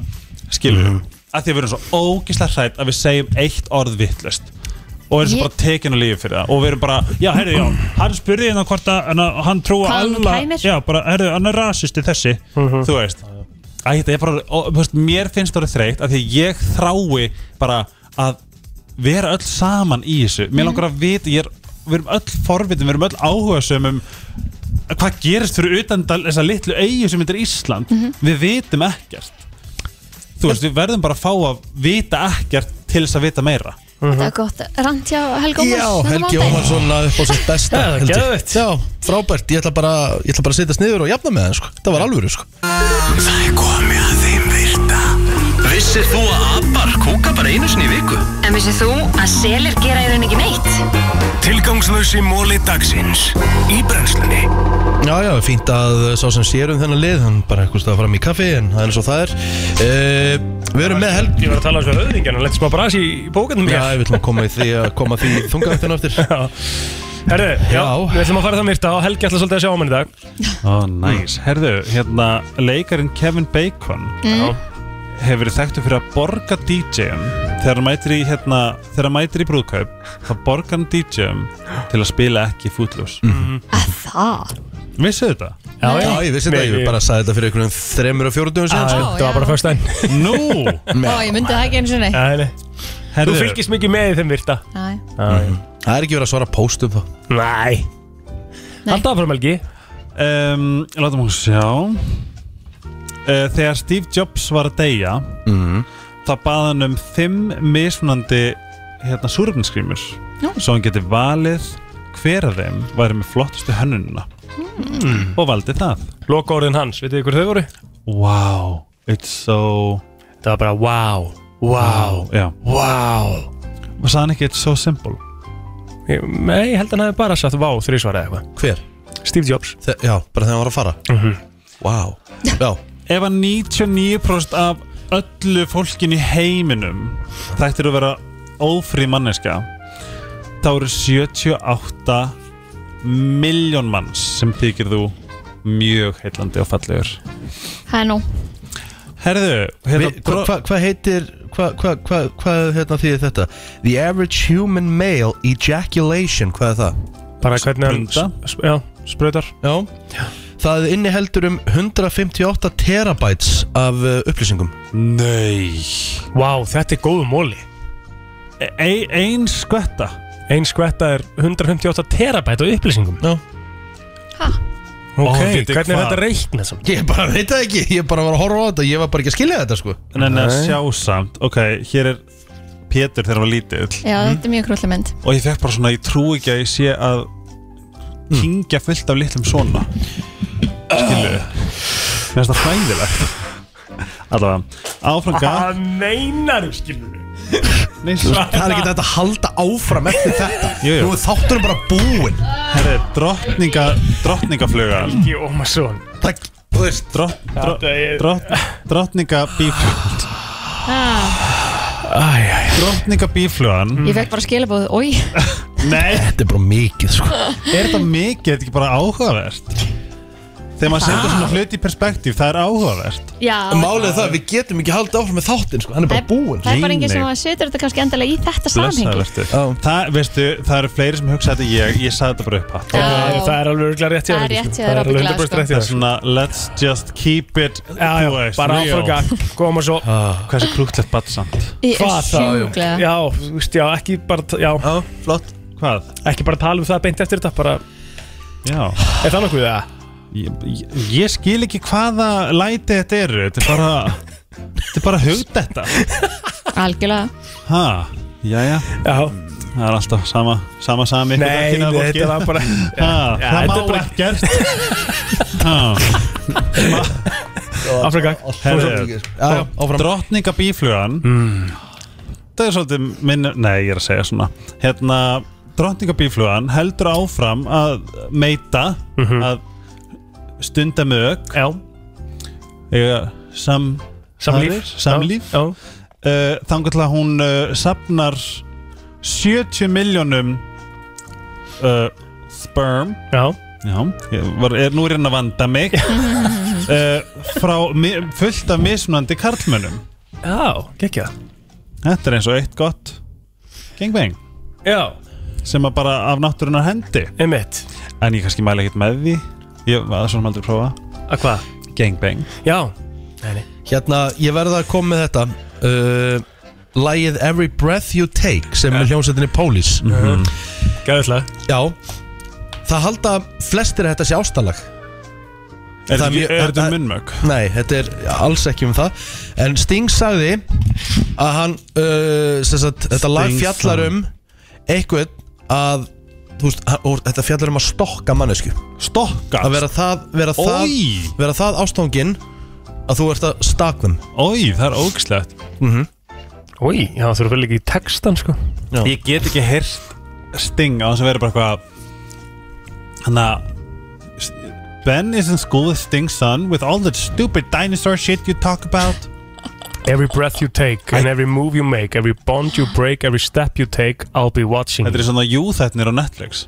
Speaker 6: skilur við, að því að við erum svo ógislega hrætt að við segjum eitt orð vittlust og erum svo
Speaker 2: Ég-
Speaker 6: bara tekin á lífi fyrir það og við erum bara, já, herri, já, hann spurði hérna hvort að hann, hann
Speaker 2: Hvað
Speaker 6: trúa
Speaker 2: hann
Speaker 6: alla-
Speaker 2: kæmir?
Speaker 6: já, bara, herri, hann er rasisti þessi þú veist Æ, þetta er bara, ó, þú veist, mér finnst það þreytt af því að ég þrái bara að vera öll saman í þessu mér
Speaker 2: Mhm.
Speaker 6: langar að vita, ég er, við erum öll forvitin, við erum öll áhugasum um hvað gerist fyrir utan dal- þessa litlu eigu sem þetta er Ísland
Speaker 2: Mhm.
Speaker 6: við vitum ekkert þú veist, við verðum bara að fá að vita ekkert til þess að vita meira
Speaker 2: þetta
Speaker 6: Mhm.
Speaker 2: er gott rantja Helgi Ómars
Speaker 1: Já,
Speaker 2: þennan
Speaker 1: Helgi
Speaker 2: mánudaginn.
Speaker 1: Ómarsson að upp á sitt besta
Speaker 2: Já, það er
Speaker 1: held ég.
Speaker 2: geðveikt.
Speaker 1: Já, frábært, ég ætla bara, ég ætla bara að setjast niður og jafna með það sko. Það var alvöru sko.
Speaker 4: Það er komið að þeim virta Vissir þú að abar kúka bara einu sinni í viku?
Speaker 13: En vissið þú að selir gera í raun ekki neitt?
Speaker 4: Tilgangslösi móli dagsins Í brennslunni
Speaker 1: Já, já, fínt að uh, sá sem sér um þennan lið hann bara eitthvað stað að fara í kaffi en það er eins og það er uh, Við erum með Helgi
Speaker 3: Ég var að tala um svo höfðingjan hann lett smá bras í bókandum
Speaker 1: Já, ég vil nú koma í því að koma því þungaðin aftur
Speaker 3: Herru, já, við ætlum að fara það myrta og Helgi ætla svolítið að sjá á manni í dag
Speaker 6: Ó, næs, Mm. herðu, hérna leikarinn Kevin Bacon
Speaker 3: Mm.
Speaker 6: hefur verið þekktu fyrir að borga DJ-um þegar hann mætir í hérna, þegar hann mætir í brúðkaup þá borgar hann DJ-um til að spila ekki fútlús mm.
Speaker 2: það
Speaker 6: Vissu þetta?
Speaker 1: Já, já. Já, ég vissi þetta, ég bara sagði þetta fyrir einhverjum þremur og fjórum dögum
Speaker 2: Já,
Speaker 1: síðan sko.
Speaker 2: Þetta var já. bara
Speaker 1: fyrst
Speaker 6: enn Nú!
Speaker 2: Ó, ég myndi það ekki eins og neitt
Speaker 3: Nei, nei.
Speaker 6: Herðu.
Speaker 3: Þú fylgist mikið með í þeim virta
Speaker 2: Nei.
Speaker 3: Mhm.
Speaker 1: Það er ekki verið að svara póstum þá
Speaker 3: Nei Alltaf áfram Helgi
Speaker 6: um, Látum hún sjá uh, Þegar Steve Jobs var að deyja
Speaker 12: Mhm.
Speaker 6: þá bað hann um fimm mismunandi hérna súröfniskrímur svo hann geti valið hver af þeim væri með flottustu hönnunina
Speaker 3: Hmm.
Speaker 6: og valdi það
Speaker 3: Loka orðin hans, veitu ykkur þau voru?
Speaker 6: Wow, it's so
Speaker 3: Það var bara wow, wow,
Speaker 6: Já
Speaker 3: wow
Speaker 6: Og sagði hann ekki it's so simple
Speaker 3: Ég- Nei, ég held að hann hefði bara sagt wow þrísvar eða eitthvað
Speaker 1: Hver?
Speaker 3: Steve Jobs
Speaker 1: Þe Já, bara þegar hann var að fara
Speaker 3: mm -hmm.
Speaker 1: Wow Já
Speaker 6: Ef að 99% af öllu fólkin í heiminum þættir að vera ófrí manneska þá eru 78 miljón manns sem þykir þú mjög heillandi og fallegur
Speaker 2: Það er nú
Speaker 6: Herðu,
Speaker 1: hérna, Hvað hva, hva heitir Hvað hva, hva, hva, hérna þýðir þetta? The average human male ejaculation Hvað er það?
Speaker 3: Bara hvernig hann- s- Já, sprautar
Speaker 1: Já Það inniheldur um 158 terabytes af uh, upplýsingum
Speaker 6: Nei
Speaker 3: Vá, wow, þetta er góðu móli
Speaker 6: e Ein skvetta
Speaker 3: Ein skvetta er 158 terabæt á upplýsingum
Speaker 1: Já
Speaker 3: Ok,
Speaker 1: Ó, viti
Speaker 3: hvernig er
Speaker 1: hvað.
Speaker 3: þetta reikna samt?
Speaker 1: Ég bara veit það ekki, ég bara var að horfa á þetta Ég var bara ekki að skilja þetta sko
Speaker 6: En en að
Speaker 1: Nei.
Speaker 6: sjá samt, ok, hér er Pétur þegar hann var lítill
Speaker 2: Já, þetta er mjög krúlli mynd
Speaker 6: Og ég fekk bara svona, ég trú ekki að ég sé að Kingja fullt af litlum svona Skilu Mér finnst það fræðilegt Allavega, áfram gaf
Speaker 3: Hvað meinar þú skilur?
Speaker 6: Nei,
Speaker 1: Það er ekki þetta að halda áfram eftir þetta
Speaker 6: Jú, jú.
Speaker 1: Nú er þátturinn bara búinn
Speaker 6: Herri, drottninga, drottningafluga
Speaker 3: Helgi Ómarsson
Speaker 1: Takk, þú veist
Speaker 6: drott, drott,
Speaker 3: Þetta er-
Speaker 6: drott, Drottninga bíflugan
Speaker 2: ah,
Speaker 6: Drottninga bíflugan
Speaker 2: Ég fekk bara skilabóð, oi
Speaker 6: Nei
Speaker 1: Þetta er bara mikið sko
Speaker 6: Er þetta mikið, er þetta ekki bara áhugavert? Þegar maður setur
Speaker 2: Ah.
Speaker 6: svona hluti í perspektíf, það er áhugavert
Speaker 2: Já,
Speaker 1: Málið er það, að við getum ekki haldið áfram með þáttin sko Hann er bara búinn
Speaker 2: það er bara enginn sem
Speaker 6: Nei.
Speaker 2: að setja þetta kannski endilega í þetta samhengi
Speaker 6: Blessavertu Það, veistu, það eru fleiri sem hugsa þetta en ég Ég sagði þetta bara upp hatt
Speaker 2: Já.
Speaker 3: Það er- það er alveg örugglega rétt hjá
Speaker 2: Það er
Speaker 3: þér,
Speaker 2: rétt
Speaker 3: sko.
Speaker 2: hjá
Speaker 3: Það
Speaker 2: þér
Speaker 3: er alveg
Speaker 2: örugglega,
Speaker 3: 100% rétt hjá
Speaker 6: Það
Speaker 3: þér
Speaker 6: er svona, let's just keep it
Speaker 3: Já, já,
Speaker 6: þú veist,
Speaker 3: bara
Speaker 6: real.
Speaker 3: áfram gang, koma svo
Speaker 6: Hversu krútlegt badsamt
Speaker 2: Ég er
Speaker 3: Hvað þá?
Speaker 2: sjúklega.
Speaker 3: Já, þú veist, já, ekki bara, ta- já,
Speaker 1: Já, flott
Speaker 6: Hvað?
Speaker 3: ekki bara tala um það beint eftir þetta bara,
Speaker 6: Já
Speaker 3: er það nokkuð það?
Speaker 6: Ég, ég, ég skil ekki hvaða læti þetta eru Þetta er bara Þetta er bara hugd þetta
Speaker 2: Algjörlega
Speaker 6: Ha, jæja
Speaker 3: Já,
Speaker 6: Það er alltaf sama, sama sami
Speaker 3: nei, nei, þetta var bara
Speaker 6: ha,
Speaker 3: Já,
Speaker 6: Það
Speaker 3: þetta
Speaker 6: má
Speaker 3: er bara-
Speaker 6: ekki gert Ha,
Speaker 3: áfram gang
Speaker 6: herri
Speaker 1: Já, áfram
Speaker 6: Drottninga bíflugan mm. Það er svolítið minn Nei, ég er að segja svona Hérna, drottninga bíflugan heldur áfram að meita að stunda mög
Speaker 3: Já,
Speaker 6: eiga sam,
Speaker 3: samlíf
Speaker 6: samlíf.
Speaker 3: Já,
Speaker 6: Uh, þangar til að hún uh, sapnar 70 miljónum uh, sperm
Speaker 3: já,
Speaker 6: Já, ég var, er nú reyna að vanda mig uh, frá mi, fullt af mismunandi karlmönnum
Speaker 3: já, gekkja
Speaker 6: Þetta er eins og eitt gott gangbang
Speaker 3: Já,
Speaker 6: sem að bara af náttúrunar hendi
Speaker 3: einmitt,
Speaker 6: en ég kannski mæla ekkert með því ég var svona aldrei að prófa
Speaker 3: að hvað?
Speaker 6: gangbang
Speaker 3: Já,
Speaker 1: Hérna, ég verða að koma með þetta uh, Lægið Every Breath You Take sem er hljómsveitinni Police
Speaker 6: Mhm.
Speaker 3: Mm. gæðislega
Speaker 1: Já Það halda flestir að þetta sé ástalag
Speaker 6: Er
Speaker 1: Það er
Speaker 6: þetta
Speaker 1: mjög-
Speaker 6: ekki- er þetta
Speaker 1: það-
Speaker 6: munnmög?
Speaker 1: Nei, þetta er alls ekki um það En Sting sagði að hann uh, sem sagt, Þetta lag
Speaker 6: Sting
Speaker 1: fjallar
Speaker 6: sagði.
Speaker 1: um eitthvað að þú veist, hann- og þetta fjallar um að stokka mannesku
Speaker 6: Stokka
Speaker 1: að vera það, vera það,
Speaker 6: Ói,
Speaker 1: vera það ástangin að þú ert að stakkum
Speaker 6: ói, það er ógslegt
Speaker 3: Úi, já, þú eru vel ekki í textan, sko
Speaker 1: Já.
Speaker 6: Ég get ekki heyrt sting á þess að vera bara eitthvað Hanna Ben is in school with Sting's son with all the stupid dinosaur shit you talk about
Speaker 3: Every breath you take and every move you make Every bond you break, every step you take I'll be watching
Speaker 6: Þetta er svona júþætnir á Netflix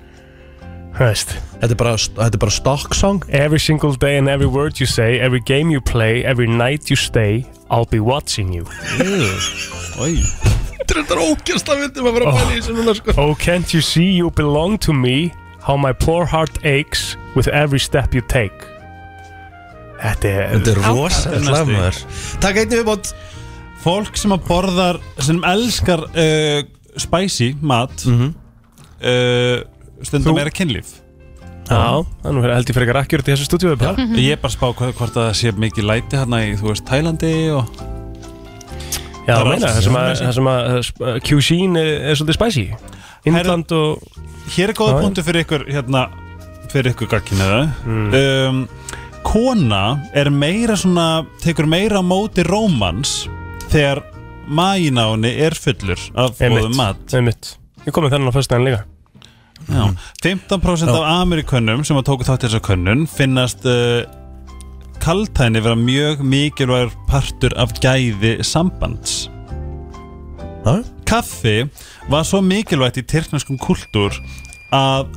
Speaker 3: Hæst
Speaker 1: Þetta er bara, þetta er bara stokk song
Speaker 3: Every single day and every word you say Every game you play, every night you stay I'll be watching you
Speaker 6: Ói
Speaker 1: Þetta er ógjörst að veitum að vera að fæla í þessu núna sko
Speaker 3: Oh, can't you see you belong to me How my poor heart aches With every step you take Þetta er
Speaker 1: Þetta er
Speaker 6: Þetta er
Speaker 1: rosalega
Speaker 6: næstu.
Speaker 1: maður Takk einnig viðbót
Speaker 6: Fólk sem að borðar sem elskar uh, spicy mat mm stundum
Speaker 3: Mhm. Þú-
Speaker 6: er að kynlíf
Speaker 3: Já, þannig að heldur frekar akkjörð í þessu stúdíu bara
Speaker 6: Ég er bara að spá hvað- hvort að það sé mikið læti hérna í, þú veist, Tælandi og
Speaker 3: Já,
Speaker 6: Það er
Speaker 3: meina,
Speaker 6: allt.
Speaker 3: það sem að, það sem að uh, cuisine er, er svolítið spicy Indland og
Speaker 6: Hér er góða
Speaker 3: Já, já.
Speaker 6: punktu fyrir ykkur hérna, fyrir ykkur gagkinuðu
Speaker 3: Mm.
Speaker 6: um, Kona er meira svona tekur meira á móti rómans þegar maginn á henni er fullur af fóðum mat
Speaker 3: Einmitt Ég kom með þennan á föstudaginn líka
Speaker 6: Já. 15% af Amerikönum sem að tóku þátt í þessa könnun finnast uh, kaltæni vera mjög mikilvægur partur af gæði sambands
Speaker 1: Já.
Speaker 6: Kaffi var svo mikilvægt í tyrknarskum kultúr að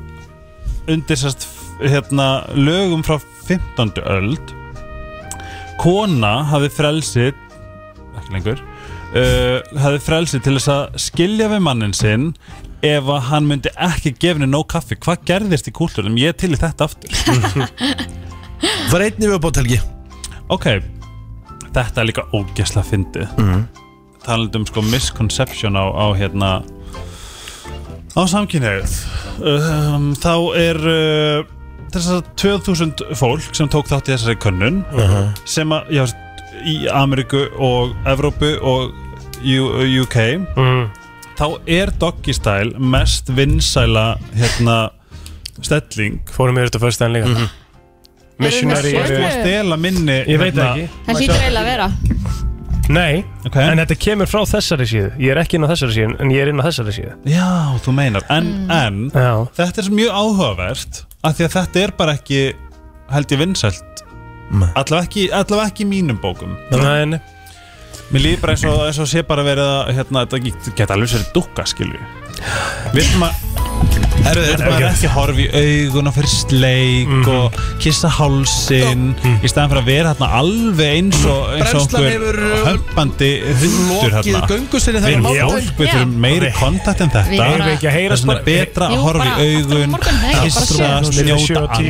Speaker 6: undir sérst hérna, lögum frá 15. öld kona hafi frelsi ekki lengur uh, hafi frelsi til þess að skilja við mannin sinn ef að hann myndi ekki gefni nóg kaffi hvað gerðist í kúlturnum, ég er til í þetta aftur
Speaker 1: Það er einnig viðbót Helgi
Speaker 6: ok, þetta er líka ógesla fyndið mm. talandi um sko misconception á, á hérna á samkynhegð um, þá er uh, þessar 2000 fólk sem tók þátt í þessari könnun
Speaker 12: Mhm.
Speaker 6: sem að, já, í Ameríku og Evrópu og U UK
Speaker 3: Mhm.
Speaker 6: þá er Doggy Style mest vinsæla hérna stelling
Speaker 3: Fórum við þetta fyrst enn líka Missionary eh,
Speaker 6: Þú ert búin að stela minni
Speaker 3: Ég veit
Speaker 6: hérna-
Speaker 3: það ekki
Speaker 2: Það hlýtur eiginlega að vera
Speaker 3: Nei, en þetta kemur frá þessari síðu Ég er ekki inn á þessari síðu, en ég er inn á þessari síðu
Speaker 6: Já, þú meinar En, en þetta er mjög áhugavert af því að þetta er bara ekki held ég vinsælt allavega ekki, allavega ekki í mínum bókum
Speaker 3: Nei, nei
Speaker 6: Mér líður bara eins og, eins og sé bara verið að hérna, þetta get- geta alveg sér dukka, skilju Við ætlum að
Speaker 11: Herru, þetta
Speaker 6: Við
Speaker 11: er
Speaker 6: ætlum að
Speaker 11: bara- Mhm.
Speaker 6: ekki horfa í augun og fyrir sleik og kissa hálsin í staðan fyrir að vera hérna alveg eins og eins og
Speaker 11: Brennslan
Speaker 6: okkur
Speaker 11: hefur, uh,
Speaker 6: hömpandi hundur
Speaker 11: lokið
Speaker 6: hérna
Speaker 11: göngu sinni þennan
Speaker 6: Við-
Speaker 11: mánudaginn.
Speaker 6: já, Við þurfum
Speaker 11: Já.
Speaker 6: meiri kontakt en þetta
Speaker 11: Við erum ekki að heyrast
Speaker 6: Það er svona
Speaker 11: bara-
Speaker 6: betra að
Speaker 11: Jú,
Speaker 6: horfa
Speaker 11: bara
Speaker 6: í augun
Speaker 11: morgun, nei, bara
Speaker 6: kissa,
Speaker 11: sjö.
Speaker 6: snjóta
Speaker 11: Sjö og tíu.